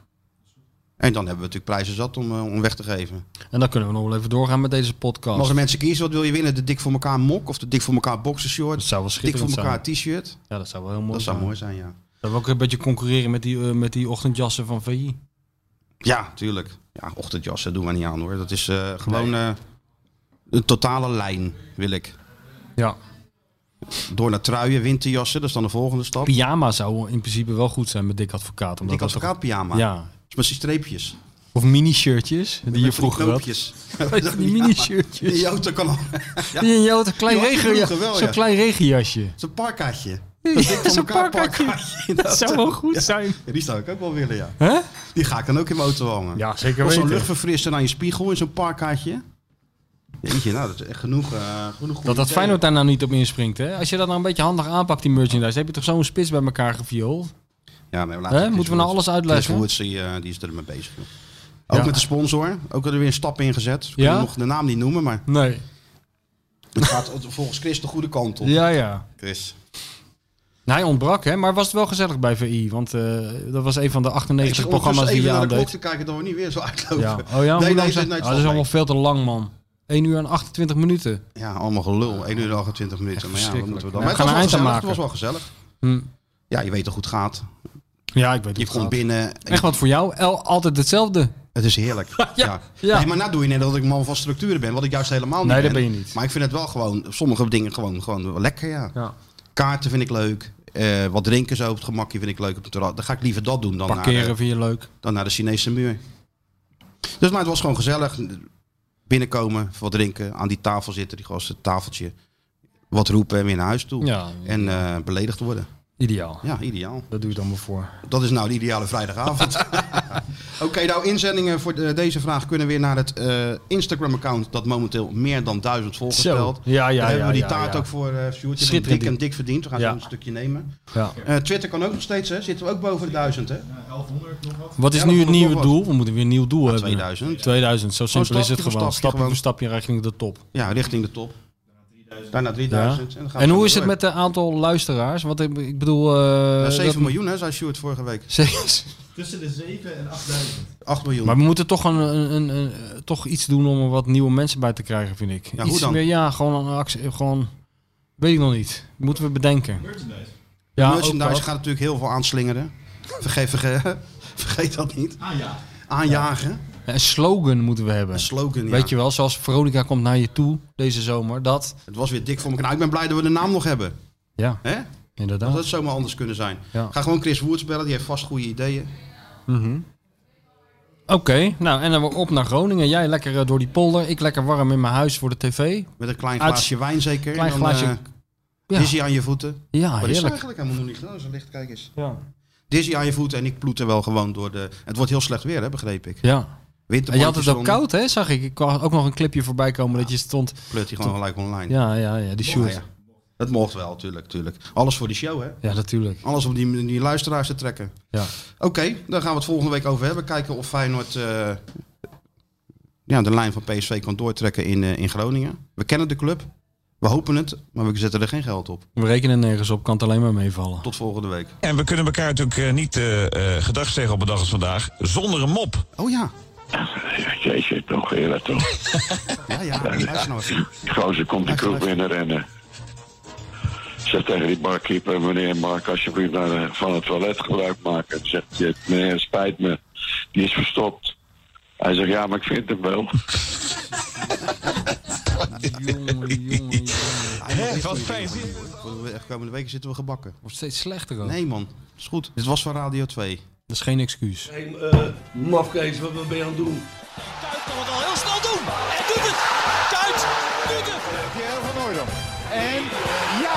S2: En dan hebben we natuurlijk prijzen zat om, eh, om weg te geven.
S3: En dan kunnen we nog wel even doorgaan met deze
S2: Maar als
S3: podcast.
S2: de mensen kiezen, wat wil je winnen? De dik voor elkaar mok of de dik voor elkaar
S3: Dat
S2: boxershort?
S3: zou wel
S2: Dik voor
S3: schitterend zijn.
S2: elkaar t-shirt?
S3: Ja, dat zou wel heel mooi
S2: Dat
S3: zijn.
S2: zou mooi zijn, ja.
S3: Dat we ook een beetje concurreren met die, eh, met die ochtendjassen van VI.
S2: Ja, tuurlijk. Ja, ochtendjassen doen we niet aan hoor. Dat is eh, gewoon eh, een totale lijn, wil ik.
S3: Ja.
S2: Door naar truien, winterjassen, dat is dan de volgende stap.
S3: Pyjama zou in principe wel goed zijn met Dick Advocaat. Omdat
S2: Dik
S3: dat toch-
S2: advocaat pyjama. Ja.
S3: Ja.
S2: Met die streepjes.
S3: Of mini-shirtjes,
S2: Met
S3: die je
S2: van die
S3: vroeger had.
S2: knoopjes.
S3: Weet je, Die mini-shirtjes.
S2: Die auto kan al. Ja.
S3: Die in je had een klein
S2: Die had je
S3: regenja-
S2: vroeger wel,
S3: Zo'n
S2: ja.
S3: klein regenjasje.
S2: Zo'n parkaatje. Dat
S3: Ja,
S2: dik voor
S3: zo'n
S2: elkaar
S3: parkaatje.
S2: parkaatje.
S3: Dat zou wel goed zijn.
S2: Ja, die zou ik ook wel willen, ja.
S3: Hè?
S2: Die ga ik dan ook in mijn auto hangen.
S3: Ja, zeker
S2: of zo'n
S3: weten.
S2: luchtverfrisser aan je spiegel in zo'n parkaatje. Jeetje, nou, dat is echt genoeg. eh, genoeg goede
S3: Dat dat
S2: ideeën.
S3: Feyenoord daar nou niet op inspringt, hè? Als je dat nou een beetje handig aanpakt, die merchandise, heb je toch zo'n spits bij elkaar gevioeld?
S2: Ja, maar laat
S3: Hè,
S2: het eens
S3: moeten we nou
S2: Woods-
S3: alles uitleggen?
S2: Chris Woods, die, eh, die is er mee bezig. joh. Ook
S3: Ja.
S2: met de sponsor. Ook er weer een stap in gezet. We
S3: Ja?
S2: kunnen nog de naam niet noemen, maar
S3: Nee.
S2: het gaat volgens Chris de goede kant op.
S3: Ja, ja.
S2: Chris.
S3: Hij ontbrak, hè? Maar was het wel gezellig bij VI? Want eh, dat was een van de
S2: Ik zit
S3: 98
S2: ondertussen
S3: programma's die
S2: even
S3: je
S2: naar de klok
S3: aandeed.
S2: te kijken dat we niet weer zo uitlopen.
S3: Ja. Oh ja, hoe
S2: nee, nee,
S3: lang zijn-
S2: nee, het
S3: Ah,
S2: valt
S3: dat is
S2: mee.
S3: allemaal veel te lang, man. 1 uur en 28 minuten.
S2: Ja, allemaal gelul. 1 uur en 28 minuten. Maar ja, wat moeten we dan?
S3: Nou,
S2: maar het was,
S3: gaan
S2: wel
S3: we
S2: gezellig, het
S3: eind
S2: was
S3: aan
S2: wel gezellig.
S3: Hm.
S2: Ja, je weet hoe het gaat.
S3: Ja, ik weet
S2: Je
S3: het
S2: komt
S3: wel.
S2: binnen. en
S3: Echt wat voor jou? El, altijd hetzelfde.
S2: Het is heerlijk. ja.
S3: ja.
S2: Nee, maar nou doe je net dat ik een man van structuren ben. Wat ik juist helemaal niet
S3: Nee,
S2: ben.
S3: dat ben je niet.
S2: Maar ik vind het wel gewoon, sommige dingen gewoon, gewoon wel lekker, ja.
S3: Ja.
S2: Kaarten vind ik leuk. Eh, wat drinken zo op het gemakje vind ik leuk op het terras. Dan ga ik liever dat doen dan, naar eh,
S3: Parkeren
S2: de,
S3: vind je leuk.
S2: dan naar de Chinese muur. Dus maar het was gewoon gezellig. binnenkomen, wat drinken, aan die tafel zitten, die gasten, het tafeltje, wat roepen en weer naar huis toe.
S3: Ja.
S2: En eh, beledigd worden.
S3: Ideaal.
S2: Ja, ideaal.
S3: Dat doe je dan maar voor.
S2: Dat is nou de ideale vrijdagavond. Oké, nou inzendingen voor de- deze vraag kunnen weer naar het eh, Instagram-account dat momenteel meer dan duizend volgers
S3: Zo.
S2: telt.
S3: Ja, ja,
S2: Daar hebben we
S3: ja,
S2: die
S3: ja,
S2: taart
S3: ja.
S2: ook voor eh Sjoerd. Je bent
S3: Schitterend
S2: dik en
S3: ding.
S2: dik verdiend. We gaan
S3: Ja.
S2: zo een stukje nemen.
S3: Ja.
S2: Eh, Twitter kan ook nog steeds, hè? Zitten we ook boven de duizend, hè?
S4: 1100 nog wat.
S3: Wat is
S2: Ja, dat
S3: nu het
S2: moet
S3: nieuwe
S2: nog
S3: doel? We moeten weer een nieuw doel hebben.
S2: 2000.
S3: 2000, zo simpel is
S2: stapje
S3: het
S2: voor
S3: gewoon.
S2: stapje
S3: Stapje
S2: gewoon.
S3: voor stapje richting de top.
S2: Ja, richting de top. Daarna 3000. En, dan gaan
S3: En
S2: we
S3: hoe is
S2: weer
S3: het
S2: door.
S3: met het aantal luisteraars? Want ik, ik bedoel... eh,
S2: Ja, 7
S3: dat-
S2: miljoen, hè, zei Sjoerd vorige week.
S3: Zeker.
S4: Tussen de 7 en 8000.
S2: 8 miljoen.
S3: Maar we moeten toch, een, een, een, een- toch iets doen om er wat nieuwe mensen bij te krijgen, vind ik.
S2: Ja,
S3: iets
S2: hoe dan?
S3: Meer, ja, gewoon een actie. Gewoon, weet ik nog niet. Moeten we bedenken.
S4: Merchandise.
S3: Ja,
S2: merchandise
S3: ook dat.
S2: gaat natuurlijk heel veel aanslingeren. Vergeet, verge- vergeet dat niet.
S4: Ah ja.
S2: Aanjagen.
S3: Een slogan moeten we hebben.
S2: Een slogan, ja.
S3: Weet je wel, zoals Veronica komt naar je toe deze zomer. Dat,
S2: Het was weer dik voor elkaar. Nou, ik ben blij dat we de naam nog hebben.
S3: ja,
S2: Hè?
S3: inderdaad.
S2: Dat had zomaar anders kunnen zijn.
S3: Ja.
S2: Ga gewoon Chris Woerts bellen, die heeft vast goede ideeën.
S3: Oké, nou en dan weer op naar Groningen. Jij lekker eh, door die polder, ik lekker warm in mijn huis voor de tv.
S2: Met een klein
S3: Uit-
S2: glaasje wijn zeker.
S3: Klein
S2: Dan,
S3: glaasje-
S2: eh,
S3: Ja.
S2: Dizzy aan je voeten. Wat
S3: Ja,
S2: is er
S3: Ah, heerlijk.
S2: eigenlijk helemaal nog niet gedaan? Zo licht, kijk eens.
S3: Ja.
S2: Dizzy aan je voeten en ik ploet er wel gewoon door de... Het wordt heel slecht weer, hè, begreep ik.
S3: ja.
S2: Winter.
S3: En je had het ook koud, hè, zag ik. Ik kwam ook nog een clipje voorbij komen dat je stond...
S2: Pleurt hij gewoon gelijk online.
S3: Ja, ja, ja, die
S2: Nou
S3: shoot.
S2: ja. Dat mocht wel, tuurlijk, tuurlijk. Alles voor die show, hè.
S3: Ja, natuurlijk.
S2: Alles om die, die luisteraars te trekken.
S3: Ja.
S2: Oké, daar gaan we het volgende week over hebben. Kijken of Feyenoord eh, ja, de lijn van PSV kan doortrekken in, eh, in Groningen. We kennen de club. We hopen het, maar we zetten er geen geld op.
S3: We rekenen nergens op, kan het alleen maar meevallen.
S2: Tot volgende week.
S9: En we kunnen elkaar natuurlijk eh, niet eh eh, gedag zeggen op een dag als vandaag zonder een mop.
S2: Oh ja.
S6: Jeetje, toch, heerlijk toch.
S2: Ja, ja. Luister nou even.
S6: Die gozer komt de kroeg binnen rennen. Zegt tegen die barkeeper, meneer, maak alsjeblieft naar, eh, van het toilet gebruik maken. Zegt hij, meneer, het spijt me, die is verstopt. Hij zegt, ja, maar ik vind hem wel.
S3: Jongen, jongen, jongen.
S9: Hè, wat fijn.
S2: Voor de komende weken zitten we gebakken.
S3: Wordt steeds slechter ook.
S2: Nee man, is goed. Dit was van Radio 2.
S3: Dat is geen excuus.
S1: Hé, eh, mafkees, wat ben je aan het doen?
S10: Kuit kan het al heel snel doen. En doet het. Kuit doet het.
S11: Pierre van Hooydonk. En ja!